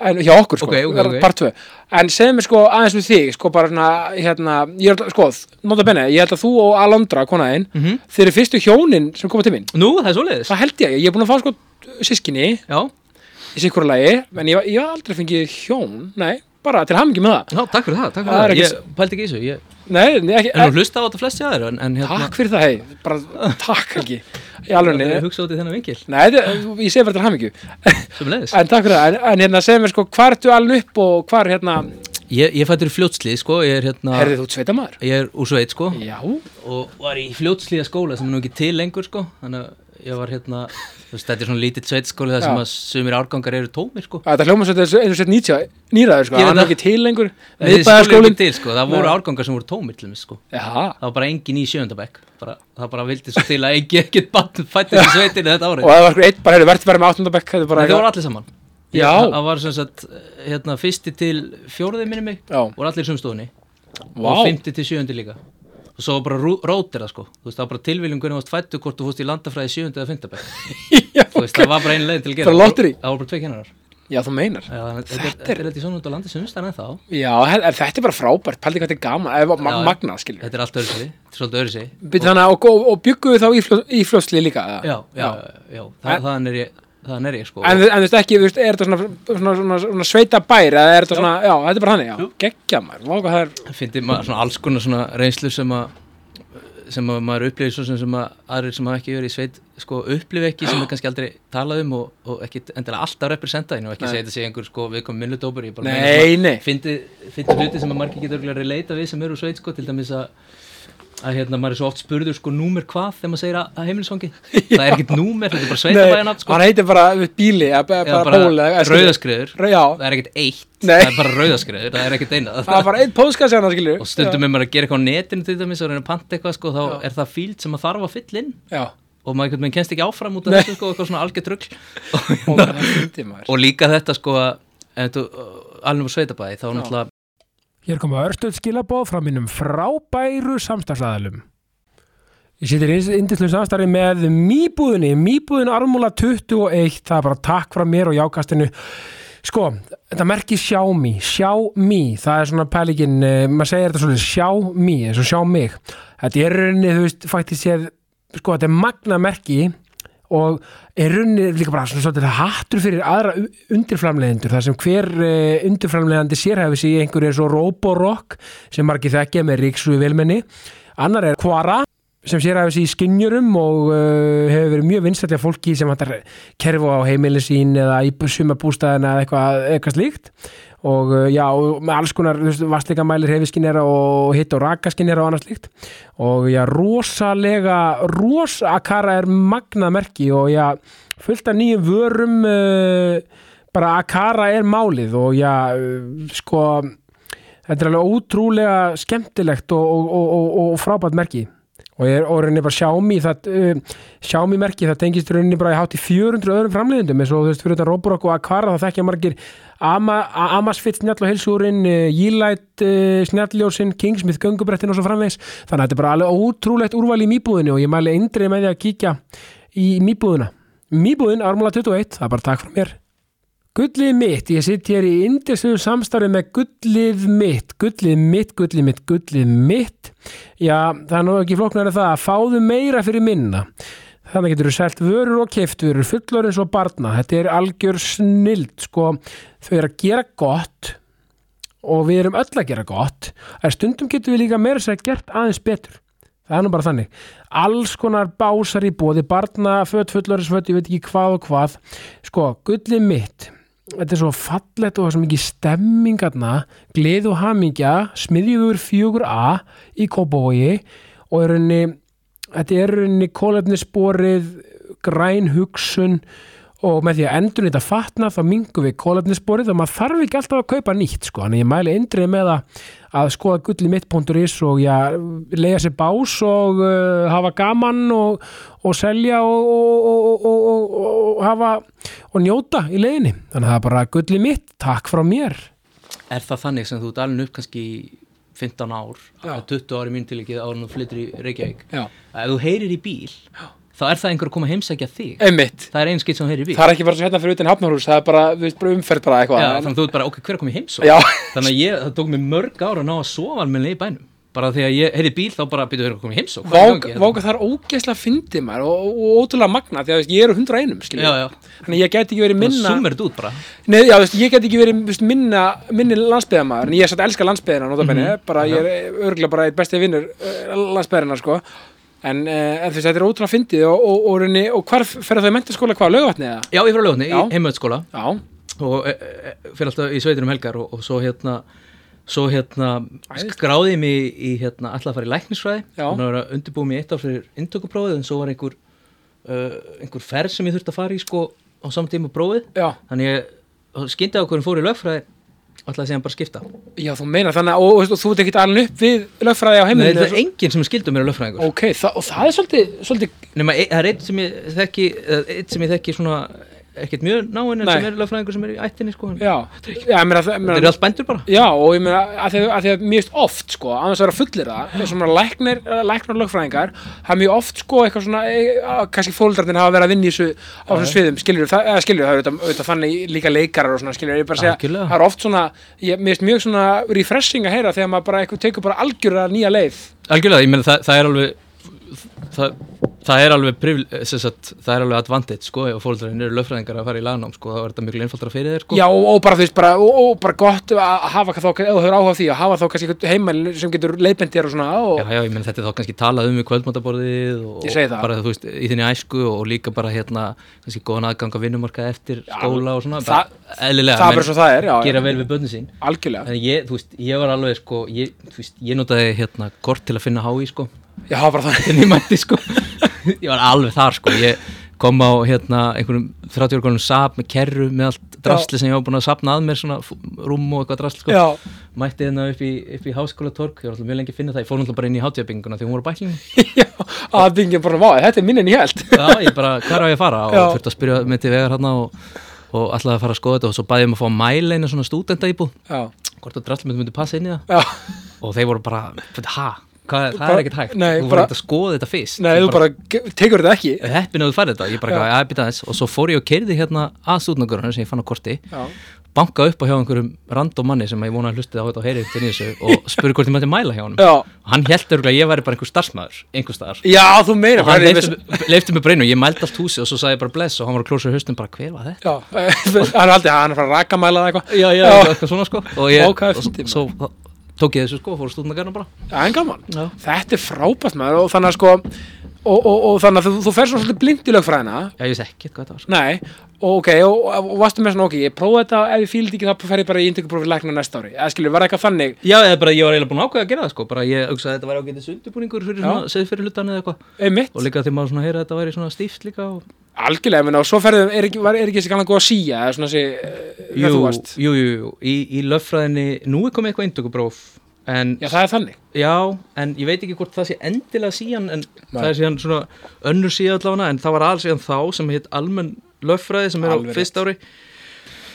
[SPEAKER 1] en, hjá okkur sko,
[SPEAKER 2] Ok, ok, ok.
[SPEAKER 1] part 2 en segðu mér sko aðeins við þig sko bara svona, hérna, ég er sko nota benni, ég held að þú og Alondra konaðinn, mm
[SPEAKER 2] Mhm.
[SPEAKER 1] þeir eru fyrstu hjónin sem koma til mín,
[SPEAKER 2] nú, það er svoleiðis
[SPEAKER 1] það held ég ég er búin að fá sko sískinni
[SPEAKER 2] já,
[SPEAKER 1] í sikkur lagi, en ég, ég hef aldrei fengið hjón, nei, bara til hamingi með það
[SPEAKER 2] já, takk fyrir það, takk
[SPEAKER 1] Það er
[SPEAKER 2] fyrir það
[SPEAKER 1] ekki
[SPEAKER 2] ég pældi ekki í þessu, ég
[SPEAKER 1] nei, nei, ekki,
[SPEAKER 2] en nú hlusta á þetta flesti aðeir en, en hérna,
[SPEAKER 1] takk fyrir það, hei, bara takk ekki, í alveg
[SPEAKER 2] ég
[SPEAKER 1] nei,
[SPEAKER 2] hugsa út í þennan vinkil
[SPEAKER 1] þetta- ég segi bara til hamingi
[SPEAKER 2] sem leiðis
[SPEAKER 1] En takk fyrir það, en, en hérna segðu mér sko hvar ertu alveg upp og hvar hérna
[SPEAKER 2] ég, ég fættur í fljótslið, sko, ég er hérna
[SPEAKER 1] Herðið þú sveitamæður?
[SPEAKER 2] ég er úr sveit, sko
[SPEAKER 1] Já,
[SPEAKER 2] og var í fljótslíða skóla sem er nú ekki til lengur sko þannig að ég var hérna þú veist þetta er svona lítill sveitskóli þar sem
[SPEAKER 1] Já.
[SPEAKER 2] að sumir árgangar eru tómir sko
[SPEAKER 1] þetta hljóma svo eins og sett 90 nýraður sko,
[SPEAKER 2] Ég veit
[SPEAKER 1] hann er
[SPEAKER 2] það.
[SPEAKER 1] ekki til lengur
[SPEAKER 2] Þessi skóli er ekki
[SPEAKER 1] Miðbæðarskólinn
[SPEAKER 2] til, sko. það voru
[SPEAKER 1] Nei.
[SPEAKER 2] árgangar sem voru tómir til mig sko
[SPEAKER 1] Já,
[SPEAKER 2] það var bara engin í sjöndabæk bara, það bara vildi svo til að engin ekkert bann fætti í sveitinu þetta
[SPEAKER 1] og
[SPEAKER 2] árið
[SPEAKER 1] það var sko eitt bara hefur verðt verið með 8. bekk þetta er bara
[SPEAKER 2] en þau voru allir saman
[SPEAKER 1] Já.
[SPEAKER 2] Ég- það var sem sagt hérna fyrsti til fjóruði minni mig
[SPEAKER 1] Já.
[SPEAKER 2] voru allir í sumstofunni og
[SPEAKER 1] Vá.
[SPEAKER 2] 50 til 7. líka og svo var bara rú- rótir það sko þú veist það var bara tilviljum hvernig varst fættu hvort þú fórst í landafræði 7. eða 5. bekk
[SPEAKER 1] Já,
[SPEAKER 2] þú veist,
[SPEAKER 1] ok.
[SPEAKER 2] það var bara einu leiðin til að gera
[SPEAKER 1] Bara lottery?
[SPEAKER 2] það voru bara tvei kennarar
[SPEAKER 1] Já, þú meinar
[SPEAKER 2] Já, þannig að þetta er- þetta er þetta í svona út á landi sumstæðan en þá
[SPEAKER 1] Já, he- en þetta er bara frábært, pældi hvað þetta er gaman eða ma
[SPEAKER 2] Já.
[SPEAKER 1] magnað, skiljum
[SPEAKER 2] þetta er allt öðru sig, þetta er svolítið öðru sig
[SPEAKER 1] Býtt þannig að, og, og, og bygguðu þá í, fljóð, í fljóðsli líka eða?
[SPEAKER 2] já, já, já, já
[SPEAKER 1] En-
[SPEAKER 2] það, þann er ég þann er ég sko
[SPEAKER 1] En, þú- en þú veist ekki, þú veist, er þetta svona, svona, svona, svona sveita bær eða er þetta svona, já, þetta er bara þannig, já, geggja maður, vá hvað það er,
[SPEAKER 2] finnst ég maður svona alls konar svona reynslu sem að sem að maður upplifir svo sem, sem að aðrir sem hafa ekki verið í sveit sko upplifi ekki sem er kannski aldrei talað um og, og ekki endilega alltaf representa þínu og ekki
[SPEAKER 1] Nei.
[SPEAKER 2] segja þetta sé einhver sko viðkomum minnudópur ég bara
[SPEAKER 1] nei, nei,
[SPEAKER 2] fyndi hluti sem að margir getur örugglega releita við sem eru úr sveit sko, til dæmis að að hérna, maður er svo oft spurður sko númer hvað þegar maður segir að, að heimilisfangi það er ekkert númer, þetta er bara sveitabæðan sko.
[SPEAKER 1] hann heitir bara við bíli eða bara,
[SPEAKER 2] Eða
[SPEAKER 1] bara ból eða- eða skilur.
[SPEAKER 2] rauðaskriður,
[SPEAKER 1] Ra- já,
[SPEAKER 2] það er ekkert eitt
[SPEAKER 1] Nei.
[SPEAKER 2] það er bara rauðaskriður, það er ekkert eina
[SPEAKER 1] það er bara einn póskast hérna skilur
[SPEAKER 2] og stundum er maður að gera eitthvað á netinu til dæmis og reyna að panta eitthvað sko, þá er það fíld sem maður þarf að fylla inn
[SPEAKER 1] já,
[SPEAKER 2] og maður einhvern veginn kennst ekki áfram út af þessu sko, eitthvað svona algjört rugl og,
[SPEAKER 1] og
[SPEAKER 2] hérna,
[SPEAKER 1] það er fyndið maður
[SPEAKER 2] og líka þetta sko að ef þú, uh, alveg úr sveitabæði þá náttúrulega
[SPEAKER 3] Hér koma örstuð skilabóð frá mínum frábæru samstagsæðalum. Ég sittir indislu samstarfi með Mýbúðinni, Mýbúðin Armúla 21, það er bara takk frá mér og jákastinu. Sko, þetta merkir Xiaomi, Xiaomi, það er svona pælingin, eh, maður segir þetta svona Xiaomi, eins og sjá mig. Þetta er í rauninni, þú veist, faktist séð, sko, þetta er magna merki og er runni líka bara svona svolítið hattur fyrir aðra u- undirframleiðendur þar sem hver uh, undirframleiðandi sérhæfi sig í einhverju eins og Roborock sem margir þekkja með ríksu í velmenni annar er Quara sem sérhæfi sig í skinjurum og uh, hefur verið mjög vinstætlega fólki sem hættar kerfu á heimilin sín eða í sumabústæðina eða eitthvað, eitthvað slíkt og uh, já, og með alls konar vastleikamælir hefiskinnera og hitt og rakaskinnera og annað slíkt og já, rosalega rosakara er magna merki og já, fullt af nýjum vörum uh, bara akara er málið og já, uh, sko þetta er alveg ótrúlega skemmtilegt og, og, og, og, og frábært merki og ég er og rauninni bara Xiaomi það, uh, Xiaomi merki, það tengist í rauninni bara í hátt í 400 öðrum framleiðendum eins og þú veist fyrir þetta Roborock og Aquara þá þekkja margir Ama, A- Amazfit snjall og heilsúrin uh, Yeelight uh, snjallljósin Kingsmith göngubrettin og svo framvegs þannig að þetta er bara alveg ótrúlegt úrval í mýbúðinu og ég mæli eindrið með því að kíkja í mýbúðina mýbúðin, ármúla 21, það er bara takk frá mér Gullið mitt, ég sitt hér í indisöðu samstarfi með gullið mitt, gullið mitt, gullið mitt, gullið mitt. Já, það er nú ekki flóknar en það að fáðu meira fyrir minna. Þannig getur þú selt vörur og keftvörur, fullorins og barna. Þetta er algjör snild, sko. Þau eru að gera gott og við erum öll að gera gott en stundum getum við líka meira sér gert aðeins betur það er nú bara þannig alls konar básar í bóði barna, fött, fullorðisfött, ég veit ekki hvað og hvað sko, gullið mitt þetta er svo fallett og það er svo mikið stemmingarna, gleð og hamingja smiðjugur 4A í Kópavogi og er henni þetta er henni kólefnisborið græn hugsun og með því að endur nýtt að fatna þá mingum við kólefnisborið og maður þarf ekki alltaf að kaupa nýtt sko, þannig að ég mæli indrið með að, að skoða gullimitt.is og já, leiða sér bás og uh, hafa gaman og, og selja og, og, og, og, og, og, og hafa og njóta í leiðinni, þannig að það er bara gullimitt, takk frá mér
[SPEAKER 2] Er það þannig sem þú ert alveg upp kannski í 15 ár,
[SPEAKER 1] Já.
[SPEAKER 2] 20 ári mín tilíkið árun og flyttir í Reykjavík
[SPEAKER 1] Já.
[SPEAKER 2] að ef þú heyrir í bíl þá er það einhver að koma að heimsækja þig
[SPEAKER 1] einmitt,
[SPEAKER 2] það er einu skeitt sem þú heyrir í bíl
[SPEAKER 1] það er ekki bara svo hérna fyrir utan hafnarhús það er bara, við veist, bara umferð bara
[SPEAKER 2] Já,
[SPEAKER 1] eitthvað
[SPEAKER 2] þannig að þú ert bara, ok, hver er komið heimsók
[SPEAKER 1] Já.
[SPEAKER 2] þannig að ég, það tók mér mörg ára að ná að sofa almennilega í bænum bara því að ég heyri bíl þá bara byrjuðu að koma heimsók Hvað er
[SPEAKER 1] Vák,
[SPEAKER 2] í gangi hérna?
[SPEAKER 1] vák, það er ógeðslega fyndið maður og, og, og ótrúlega magna því að þú veist, ég er hundra einum skilur
[SPEAKER 2] Já, já.
[SPEAKER 1] þannig að ég gæti ekki verið
[SPEAKER 2] Þannig að
[SPEAKER 1] minna
[SPEAKER 2] zoomar þetta út bara
[SPEAKER 1] Nei, já, þú veist, ég gæti ekki verið þú veist, minna, minni landsbyðamaður en ég er satt að elska landsbyðina, notabenni
[SPEAKER 2] Mhm.
[SPEAKER 1] bara ég er örgulega bara eitt besti vinnur landsbyðina, sko en, eh, en þú veist, þetta er ótrúlega fyndið og, og, og, og, og hvar fer það í mentaskóla, hvað, lögvatni eða?
[SPEAKER 2] Já, ég fyrir að lögni,
[SPEAKER 1] Já.
[SPEAKER 2] heimöðskóla
[SPEAKER 1] Já,
[SPEAKER 2] og e, e, fyrir alltaf í sveitunum helgar og, og svo hérna svo hérna skráði ég mig í hérna, alltaf að fara í læknisfræði
[SPEAKER 1] Já.
[SPEAKER 2] þannig að vera undirbúið mig eitt ár fyrir inntökuprófið en svo var einhver uh, einhver ferð sem ég þurfti að fara í sko á samtíma prófið
[SPEAKER 1] já,
[SPEAKER 2] þannig ég skyndi á hverjum fór í lögfræði alltaf sem bara að skipta
[SPEAKER 1] já, þú meinar þannig að, og, og, og þú ert ekkert alveg upp við lögfræði á
[SPEAKER 2] Nei,
[SPEAKER 1] heimilinu
[SPEAKER 2] það
[SPEAKER 1] eða
[SPEAKER 2] er enginn sem skildur mér að lögfræðingur
[SPEAKER 1] Ok, það, og það er svolítið, svolítið
[SPEAKER 2] nema e, það er eitt sem ég þekki eða eitt sem ég þekki svona ekkert mjög náinn en
[SPEAKER 1] Nei.
[SPEAKER 2] sem er lögfræðingur sem er í ættinni sko
[SPEAKER 1] já, já, ég meina, það- ég
[SPEAKER 2] þetta
[SPEAKER 1] meina
[SPEAKER 2] eru allt bændur bara
[SPEAKER 1] Já, og ég meina, að því að, að, því að mjög oft, sko, annars að vera fullir það, eins og maður læknir, læknar og lögfræðingar, það er mjög oft, sko, eitthvað svona, e, að, kannski fóldrarnir hafa verið að vinna í þessu, á þessum sviðum, skiljur, það, eða skiljur, það er auðvitað, auðvitað þannig líka leikarar og svona, skiljur, ég bara segja,
[SPEAKER 2] Algjörlega.
[SPEAKER 1] það er oft svona, ég mér finnst mjög svona refreshing að heyra þegar maður bara, eitthvað tekur bara algjörða nýja leið.
[SPEAKER 2] Algjörlega, ég meina það, það er alveg það, það er alveg privil, sagt, það er alveg advantage sko ef fólkarinn eru lögfræðingar að fara í lagnám sko þá er þetta miklu einfaldara fyrir þér sko
[SPEAKER 1] Já, og, og bara, þú veist, bara, og, og bara gott að hafa þá, ef þú hefur áhuga á því, að hafa þá kannski einhvern heimæl sem getur leiðbent þér og svona, og,
[SPEAKER 2] Já, já, ég meina þetta er þá kannski talað um í kvöldmáttaborðið og
[SPEAKER 1] Ég segi það.
[SPEAKER 2] bara þú veist, í þinni æsku og líka bara hérna, kannski góðan aðgang að vinnumarka eftir skóla og svona,
[SPEAKER 1] það-
[SPEAKER 2] bara eðlilega
[SPEAKER 1] það er
[SPEAKER 2] menn
[SPEAKER 1] bara svo það er, já, já.
[SPEAKER 2] gera vel við börnin sín
[SPEAKER 1] algjörlega.
[SPEAKER 2] En ég, þú veist, ég var alveg sko, ég, þú veist, ég notaði hérna kort til að finna hái sko,
[SPEAKER 1] Já, bara það.
[SPEAKER 2] en ég mætti sko, ég var alveg þar sko, ég kom á hérna einhverjum 30 orgunum sap með kerru með allt drastli sem ég var búin að sapna að mér svona f- rúm og eitthvað drastli sko,
[SPEAKER 1] Já.
[SPEAKER 2] mætti hérna upp í, upp í háskóla tork, ég var alltaf mjög lengi að finna það, ég fór alltaf bara inn í hátíðabinguna því hún voru bæklingum,
[SPEAKER 1] Já, að bingin bara, vá, þetta er minn en ég held
[SPEAKER 2] já ég bara, hvað á ég að fara og
[SPEAKER 1] Já.
[SPEAKER 2] þurfti að spyrja mig til vegar hérna og, og alltaf að fara að skoða þetta og svo bæði ég um að fá mæleina svona stúdentaíbúð,
[SPEAKER 1] Já,
[SPEAKER 2] hvort að drastli myndi passa inn í það
[SPEAKER 1] já,
[SPEAKER 2] og þeir voru bara, hæ, það
[SPEAKER 1] Bara-
[SPEAKER 2] er ekkert hægt
[SPEAKER 1] nei,
[SPEAKER 2] þú
[SPEAKER 1] bara-
[SPEAKER 2] voru ekkert að skoða þetta fyrst
[SPEAKER 1] nei,
[SPEAKER 2] Ég
[SPEAKER 1] þú bara ge- tekur þetta ekki
[SPEAKER 2] bara heppin að þú færði þetta, ég bara, já, býta þess og svo fór ég og keirði hérna að stúdnagörunum sem ég fann á korti
[SPEAKER 1] Já,
[SPEAKER 2] banka upp á hjá einhverjum random manni sem ég vona að hlusti á þetta og heyri til þessu og spurði hvort ég mætti mæla hjá honum
[SPEAKER 1] já,
[SPEAKER 2] og hann held örgulega að ég væri bara einhver starfsmæður einhver staðar
[SPEAKER 1] já þú meina
[SPEAKER 2] og hann
[SPEAKER 1] bara, ég veist-
[SPEAKER 2] leifti mig bara inn og ég mældi allt húsi og svo sagði ég bara bless og hann var að klósa í haustum bara hver var þetta
[SPEAKER 1] Já, hann er aldrei, hann er frá rakamæla eða eitthvað
[SPEAKER 2] já, já, eitthvað svona sko og ég,
[SPEAKER 1] Vá, hvað er
[SPEAKER 2] og
[SPEAKER 1] fyndið,
[SPEAKER 2] svo, svo tók ég þessu sko og fór stúdnagörunum bara
[SPEAKER 1] Já, en gaman,
[SPEAKER 2] Já.
[SPEAKER 1] þetta er frábært maður og þannig að sko og, og, og þannig að þú, þú fer svona svolítið blind í lögfræðina
[SPEAKER 2] já, ég veist ekkert hvað þetta var sko.
[SPEAKER 1] Nei, og ok, og, og, og varstu með svona ok, ég prófa þetta, ef ég fíl þetta ekki þá fer ég bara í inntökuprófið lækna næsta ári eða skilur, var það eitthvað þannig
[SPEAKER 2] Já, eða bara ég var eiginlega búin að ákveða að gera það sko, bara ég hugsaði að þetta væri ágætis undirbúningur fyrir svona segð fyrir hlutan eða eitthvað
[SPEAKER 1] einmitt,
[SPEAKER 2] og líka því maður svona heyra að þetta væri svona stíft líka og...
[SPEAKER 1] algjörlega, ég meina, og svo ferðum, er ekki, var, er ekki þessi kannan góð að síja, eða svona þessi, eh, þegar
[SPEAKER 2] jú,
[SPEAKER 1] þú varst
[SPEAKER 2] jú, jú, jú, í, í löffræðinni, nú er komið eitthvað eindökupróf en,
[SPEAKER 1] Já, það er þannig
[SPEAKER 2] já, en ég veit ekki hvort það sé endilega síðan en það er síðan svona önnur síðan allavega en það var alls síðan þá sem hitt almenn löffræði sem er
[SPEAKER 1] Alveg rétt.
[SPEAKER 2] á fyrst ári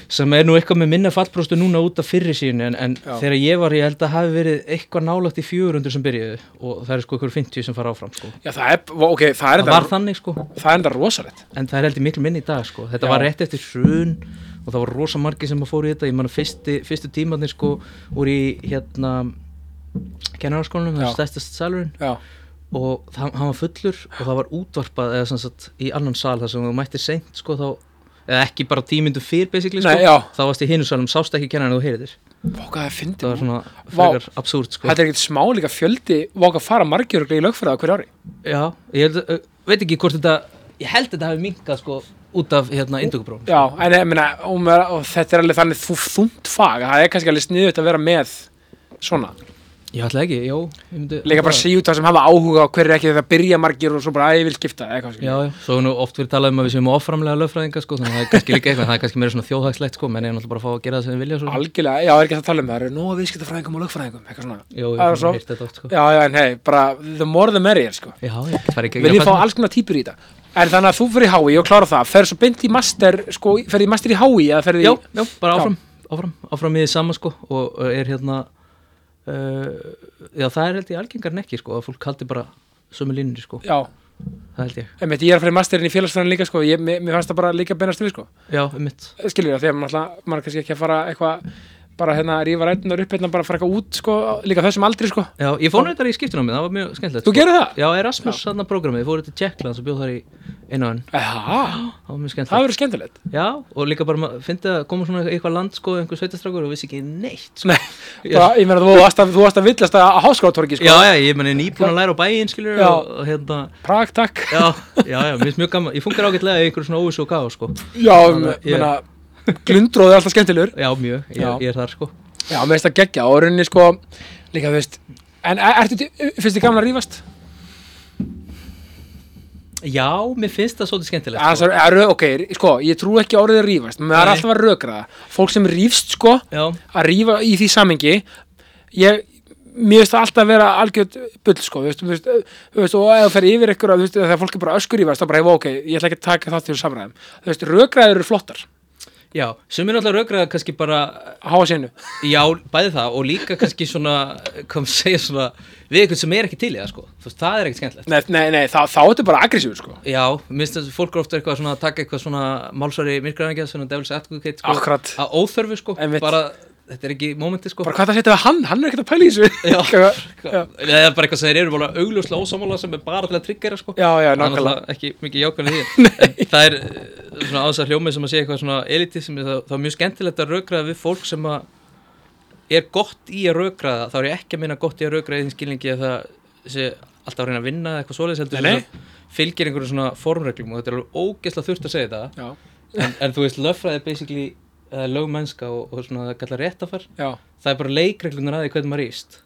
[SPEAKER 2] sem er nú eitthvað með minna fallbróstu núna út af fyrri síðan en, en
[SPEAKER 1] Já.
[SPEAKER 2] þegar ég var ég held að hafi verið eitthvað nálægt í 400 sem byrjuðu og það er sko ykkur 50 sem fara áfram sko.
[SPEAKER 1] Já, það er, ok, það er
[SPEAKER 2] það var
[SPEAKER 1] enda,
[SPEAKER 2] þannig sko
[SPEAKER 1] það er enda rosalegt
[SPEAKER 2] en það er heldur miklu minni í dag sko þetta
[SPEAKER 1] Já.
[SPEAKER 2] var rétt eftir hrun og það var rosa margi sem að fóru í þetta ég manna fyrsti, fyrstu tímanir sko voru í hérna kennararskólanum, það
[SPEAKER 1] Já.
[SPEAKER 2] er stæstast salurinn
[SPEAKER 1] Já,
[SPEAKER 2] og það, hann var fullur og það var útvarpað eða sem sagt í annan sal þar sem þú mættir seint sko þá eða ekki bara tímyndu fyrr basically sko,
[SPEAKER 1] Nei, já.
[SPEAKER 2] þá varst í hinu salum, sást ekki kennan þú heyrir þér,
[SPEAKER 1] Váka, það er
[SPEAKER 2] það var
[SPEAKER 1] fyndið.
[SPEAKER 2] svona frekar absúrt sko,
[SPEAKER 1] Þetta er ekkert smá líka fjöldi Váka fara margir örugglega í lögfræði á hverju ári.
[SPEAKER 2] já, ég held, uh, veit ekki hvort þetta, ég held þetta hafi minkað sko út af hérna indugubrófum,
[SPEAKER 1] Já, en ég meina, og, maður- og þetta er alveg þannig þú þungt fag, að það er kannski alveg sniðut að vera með svona.
[SPEAKER 2] ég ætla ekki, já, ég myndi,
[SPEAKER 1] Líka bara að segja út það sem hafa áhuga á hverju ekki þetta byrja margir og svo bara að ég vil skipta, eða eitthvað skilja.
[SPEAKER 2] Já, já, svo hefur nú oft verið talað um að við séum oframlega lögfræðinga sko, þannig að það er kannski líka eitthvað, það er kannski meira svona þjóðhagslegt sko, menn er náttúrulega bara að fá að gera það sem við vilja svo.
[SPEAKER 1] Algjörlega, já, er ekki hægt að tala um það, það eru nóg að viðskiptafræðingum og lögfræðingum, eitthvað svona.
[SPEAKER 2] Jó, ég
[SPEAKER 1] Það er
[SPEAKER 2] hef
[SPEAKER 1] svo-
[SPEAKER 2] heyrt þetta oft sko. Já,
[SPEAKER 1] Já, já, en hei, bara the more the merrier, sko.
[SPEAKER 2] já, það er ekki
[SPEAKER 1] Vil ég fá alls konar típur í þetta? En þannig að þú fyrir í HÍ og klára það, fer svo beint í master, sko, fer í master í HÍ eða fer í...
[SPEAKER 2] Já, já, bara
[SPEAKER 1] Já.
[SPEAKER 2] áfram, áfram, áfram í því sama sko og uh, er hérna, uh, já það er held ég algengar en ekki sko að fólk haldi bara sömu línur sko,
[SPEAKER 1] Já,
[SPEAKER 2] það held ég,
[SPEAKER 1] einmitt, ég er að fara í masterinn í félagsfræðin líka, sko, ég, mér, mér fannst það bara líka beinast við, sko.
[SPEAKER 2] já, um mitt,
[SPEAKER 1] skilur það, því að maður náttúrulega- maður er kannski ekki að fara eitthvað bara hérna rífa rætunar upp hérna bara fara eitthvað út sko, líka á þessum aldri sko
[SPEAKER 2] já, ég fór neitt þar í skiptunum það var mjög skemmtilegt sko.
[SPEAKER 1] Þú gerir það?
[SPEAKER 2] Já, Erasmus hann að programmið, fór þetta Tjekkland og bjóð þar í einu hann,
[SPEAKER 1] Eha,
[SPEAKER 2] það var mjög
[SPEAKER 1] það
[SPEAKER 2] skemmtilegt
[SPEAKER 1] verður skemmtilegt
[SPEAKER 2] Já, og líka bara maður fyndi að koma svona eitthvað land sko, einhver sveitastrákur og vissi ekki neitt sko.
[SPEAKER 1] Nei, bara, ég meina þú varst að, þú varst að villast að, að háskólatorgi sko
[SPEAKER 2] Já, já, ég meni nýbúin að læra á bæinn skilur
[SPEAKER 1] Já.
[SPEAKER 2] og, og hérna,
[SPEAKER 1] Prag, takk
[SPEAKER 2] já, já, já, mér finnst mjög gaman, ég fungar ágætlega í einhverju svona óvissu og gáð sko
[SPEAKER 1] Já, ég
[SPEAKER 2] Þannig að ég-
[SPEAKER 1] meina glundróð er alltaf skemmtilegur
[SPEAKER 2] Já, mjög, ég,
[SPEAKER 1] Já.
[SPEAKER 2] ég er þar sko
[SPEAKER 1] Já, mér finnst það geggja og í rauninni sko líka þú veist En er, ertu, til- finnst þið gaman að rífast?
[SPEAKER 2] Já, mér finnst það svolítið skemmtilegt
[SPEAKER 1] Ja,
[SPEAKER 2] sko.
[SPEAKER 1] það er, ok, sko, ég trú ekki orðið að rífast Mér er
[SPEAKER 2] Nei.
[SPEAKER 1] alltaf að rökra það Fólk sem rífst sko,
[SPEAKER 2] Já,
[SPEAKER 1] að rífa í því samengi ég, mér finnst það alltaf að vera algjörð bull sko, þú veist, þú veist, þú veist og ef það fer yfir ykkur að, þú veist, þegar fólk er bara öskur í vast, þá bara, "Ef, ok, ég ætla ekki að taka það til samræðum, þú veist, rökræður eru flottar
[SPEAKER 2] já, sem er náttúrulega raukraða kannski bara
[SPEAKER 1] að háa sénu,
[SPEAKER 2] Já, bæði það og líka kannski svona kom að segja svona við eitthvað sem er ekki til í það sko Þú veist, það er ekkert skemmtilegt
[SPEAKER 1] nei, nei, nei, þá, þá er þetta bara aggressífur sko,
[SPEAKER 2] Já, mér finnst þess að fólk er ofta eitthvað svona að taka eitthvað svona málsværi myrkraðingja svona devil's advocate sko
[SPEAKER 1] Akkurat.
[SPEAKER 2] Að óþörfu sko
[SPEAKER 1] Einmitt.
[SPEAKER 2] Bara, þetta er ekki mómenti sko
[SPEAKER 1] bara hvað það setja við hann hann er ekkert að pæla í þessu
[SPEAKER 2] Já.
[SPEAKER 1] já,
[SPEAKER 2] Það er bara eitthvað sem þeir eru bara augljóslega ósamála sem er bara til að tryggera sko
[SPEAKER 1] já, já,
[SPEAKER 2] Það er
[SPEAKER 1] nákvæmlega
[SPEAKER 2] náttúrulega ekki mikið jákvæðan í því En það er eh, svona á þess að hljómið sem að sé eitthvað svona elitism það, það er mjög skemmtilegt að rökraða við fólk sem að er gott í að rökraða þá er ég ekki að minna gott í að rökraða í því skilningi að það sé alltaf að reyna að vinna eða eitthvað svoleiðis
[SPEAKER 1] Nei,
[SPEAKER 2] heldur
[SPEAKER 1] nei.
[SPEAKER 2] svona fylgir einhverjum svona formreglum og þetta er alveg ógeðslega þurft að segja þetta
[SPEAKER 1] já,
[SPEAKER 2] en, en þú veist löffræði basically uh, lögmennska og, og svona það kallar réttafar
[SPEAKER 1] já,
[SPEAKER 2] það er bara leikreglunar aðeins hvernig maður íst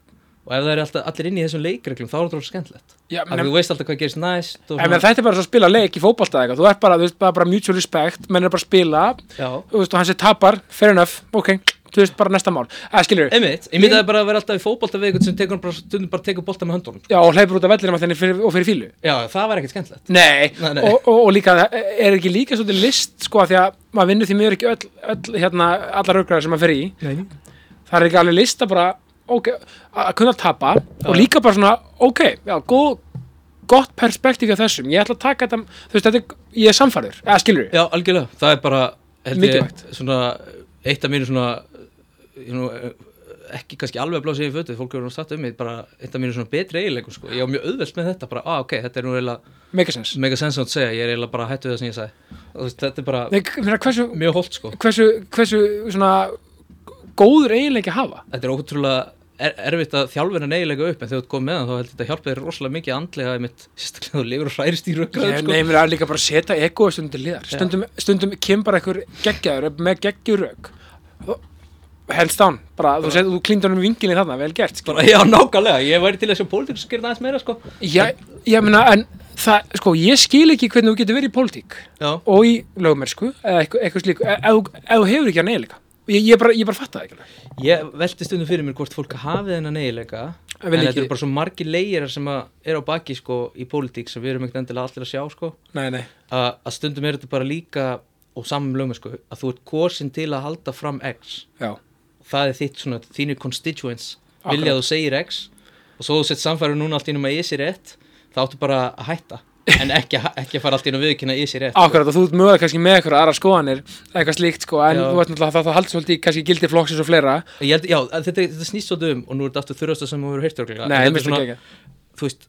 [SPEAKER 2] og ef það er alltaf allir inn í þessum leikreglum þá er það alveg skemmtilegt
[SPEAKER 1] já
[SPEAKER 2] að þú veist alltaf hvað gerist næst
[SPEAKER 1] En
[SPEAKER 2] og svona-
[SPEAKER 1] menn, þetta er bara svo að spila leik í fótbolta eða eitthvað, þú ert bara, þú veist, bara, bara mutual respect, menn er bara að spila,
[SPEAKER 2] Já,
[SPEAKER 1] þú veist, og hann sé tapar, fair enough, ok, þú veist, bara næsta mál. Eða skilur,
[SPEAKER 2] einmitt, ég myndi að það bara að vera alltaf í fótbolta við eitthvað sem tekur bara stundum bara tekur bolta með höndunum
[SPEAKER 1] Já, og hleypur út af vellinum að þenni fyrir, og fyrir fílu.
[SPEAKER 2] Já, það var ekkert skemmtilegt
[SPEAKER 1] Nei,
[SPEAKER 2] Nei, nei.
[SPEAKER 1] Og, og, og líka, það er ekki líka svolítið list, sko, af því að maður vinnur því mjög ekki öll, öll hérna, allar aukraðar sem maður fer í.
[SPEAKER 2] Nei.
[SPEAKER 1] Það er ekki alveg list að bara, ok, að að kunna tapa og líka bara svona, ok, já, góð, gott perspektífi á þessum. Ég ætla að taka þetta, þú veist, þetta er, ég er samfæður, eða skilur við.
[SPEAKER 2] Já, algjörlega, það er bara held ég,
[SPEAKER 1] Mikilvægt.
[SPEAKER 2] svona, eitt af mínu svona ég nú, eh, ekki kannski alveg að blása í fötu, fólk eru nú satt um mig bara eitt af mínu svona betri eiginleikum sko. ég á mjög auðvelt með þetta, bara, ah, ok, þetta er nú eiginlega
[SPEAKER 1] Megasens.
[SPEAKER 2] mega sensant að segja, ég er eiginlega bara hættu við það sem ég sagði Og þú veist, þetta er bara
[SPEAKER 1] Nei, hérna, hversu,
[SPEAKER 2] mjög holt sko
[SPEAKER 1] hversu, hversu, svona, góður eiginleiki að hafa?
[SPEAKER 2] þetta er ótrúlega er, erfitt að þjálfina neilega upp en þegar þú ert komið með hann þá held ég þetta hjálpa þér rosalega mikið andlega einmitt, sérstaklega þú lifur og hrærist í rökkröðum
[SPEAKER 1] Nei,
[SPEAKER 2] sko.
[SPEAKER 1] nei, mér er líka bara að setja ego stundum til liðar. Stundum, stundum kem bara einhver geggjaður upp með geggjurök. Hands down, bara, þú, set, þú klíndur hann um vingilin þarna, vel gert. skilur.
[SPEAKER 2] bara, já, nákvæmlega, ég væri til að sjá pólitík sem gerir það aðeins meira, sko
[SPEAKER 1] Já, ég meina, en það, sko, ég skil ekki hvernig þú getur verið í pólitík
[SPEAKER 2] já,
[SPEAKER 1] og í lögmersku eða eitthvað, eitthvað slíku, e, ef þú- ef þú hefur ekki að neyja líka. Ég, ég, bara, ég bara fatta það ekki. alveg.
[SPEAKER 2] ég velti stundum fyrir mér hvort fólk hafi þennan eiginleika
[SPEAKER 1] En
[SPEAKER 2] en
[SPEAKER 1] vil ekki-
[SPEAKER 2] þetta eru bara svo margi leigir sem að er á baki, sko, í pólitík sem við erum ekkert endilega allir að sjá, sko
[SPEAKER 1] Nei, nei.
[SPEAKER 2] að, að stundum er þetta bara líka og saman lögum, sko, að þú ert kosin til að halda fram X
[SPEAKER 1] Já,
[SPEAKER 2] það er þitt svona, þínu constituents vilja að þú segir X og svo þú sett samfæru núna allt innum að ég sé rétt þá áttu bara að hætta en ekki, ekki að fara allt innum viðkynna ég sé rétt
[SPEAKER 1] akkurat og þú ert mögulega kannski með eitthvað aðra skoðanir, eitthvað slíkt, sko, en
[SPEAKER 2] Já.
[SPEAKER 1] þú veist náttúrulega það, það haldur svolítið í kannski gildi flokksins og fleira.
[SPEAKER 2] Ég held, já, að þetta, þetta snýst svolítið um og nú er þetta aftur þurrasta sem þú hefur heyrt örglega
[SPEAKER 1] Nei, mér finnst það geggjað.
[SPEAKER 2] þú veist,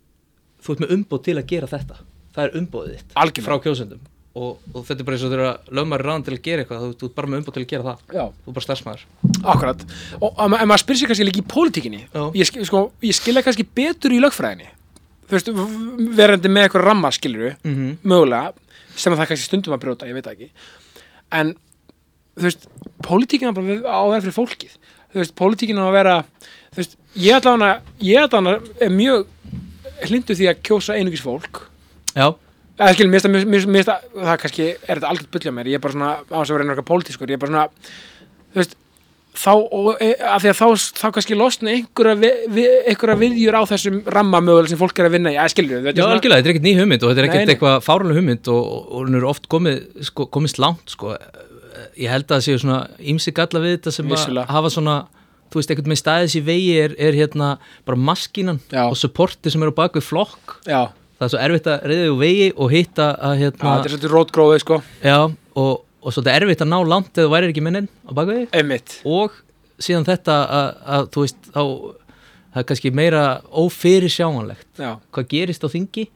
[SPEAKER 2] þú ert með umbóð til að gera þetta það er umbóðið þitt
[SPEAKER 1] Algjörlega.
[SPEAKER 2] frá kjósendum og, og þetta er bara eins og þú eru að lögmaður ráðan til að gera eitthvað, þú, þú ert bara með umbúð til að gera það
[SPEAKER 1] Já.
[SPEAKER 2] þú er bara starfsmæður
[SPEAKER 1] Akkurat, og að ma- en maður spyrir sér kannski líka í pólitíkinni
[SPEAKER 2] Já.
[SPEAKER 1] ég, sk- sko, ég skilja kannski betur í lögfræðinni þú veist, v- verandi með eitthvað ramma skilur
[SPEAKER 2] mm -hmm.
[SPEAKER 1] mögulega, sem að það kannski stundum að brjóta ég veit það ekki en, þú veist, pólitíkin á bara á að vera fyrir fólkið þú veist, pólitíkin á að vera þú veist, ég ætla hana ég ætla hana er mjög hlindu því að kjósa einungis fólk
[SPEAKER 2] Já,
[SPEAKER 1] eða skilur, mér finnst það- mér finnst- mér finnst það það kannski, er þetta algjörð byllja mér ég er bara svona, á þess að vera einhverja pólitískur ég er bara svona, þú veist þá, og, e, af því að þá, þá kannski losna einhverja, vi, vi, einhverja viðjur á þessum ramma mögulega sem fólk er að vinna í, eða skilur þetta er
[SPEAKER 2] Já
[SPEAKER 1] svona-
[SPEAKER 2] algjörlega, þetta er ekkert ný hugmynd og þetta er
[SPEAKER 1] Nei,
[SPEAKER 2] ekkert
[SPEAKER 1] nei.
[SPEAKER 2] eitthvað fárunlega hugmynd og, og, og hún er oft komið, sko, komist langt sko. ég held að það séu svona ímsi galla við þetta sem
[SPEAKER 1] Vissulega.
[SPEAKER 2] að hafa svona þú veist, ekkert með staðis í vegi er, er hérna bara maskínan
[SPEAKER 1] Já.
[SPEAKER 2] og supporti sem eru á bak við flokk
[SPEAKER 1] já,
[SPEAKER 2] það er svo erfitt að reyða úr vegi og hitta að
[SPEAKER 1] já, þetta er
[SPEAKER 2] hérna,
[SPEAKER 1] svolítið rótgrófið sko,
[SPEAKER 2] já, og, og svo þetta er erfitt að ná langt eða þú værir ekki minnin á bakvegi
[SPEAKER 1] einmitt
[SPEAKER 2] og síðan þetta að, að þú veist, þá það er kannski meira ófyrir sjáanlegt
[SPEAKER 1] já,
[SPEAKER 2] hvað gerist á þingi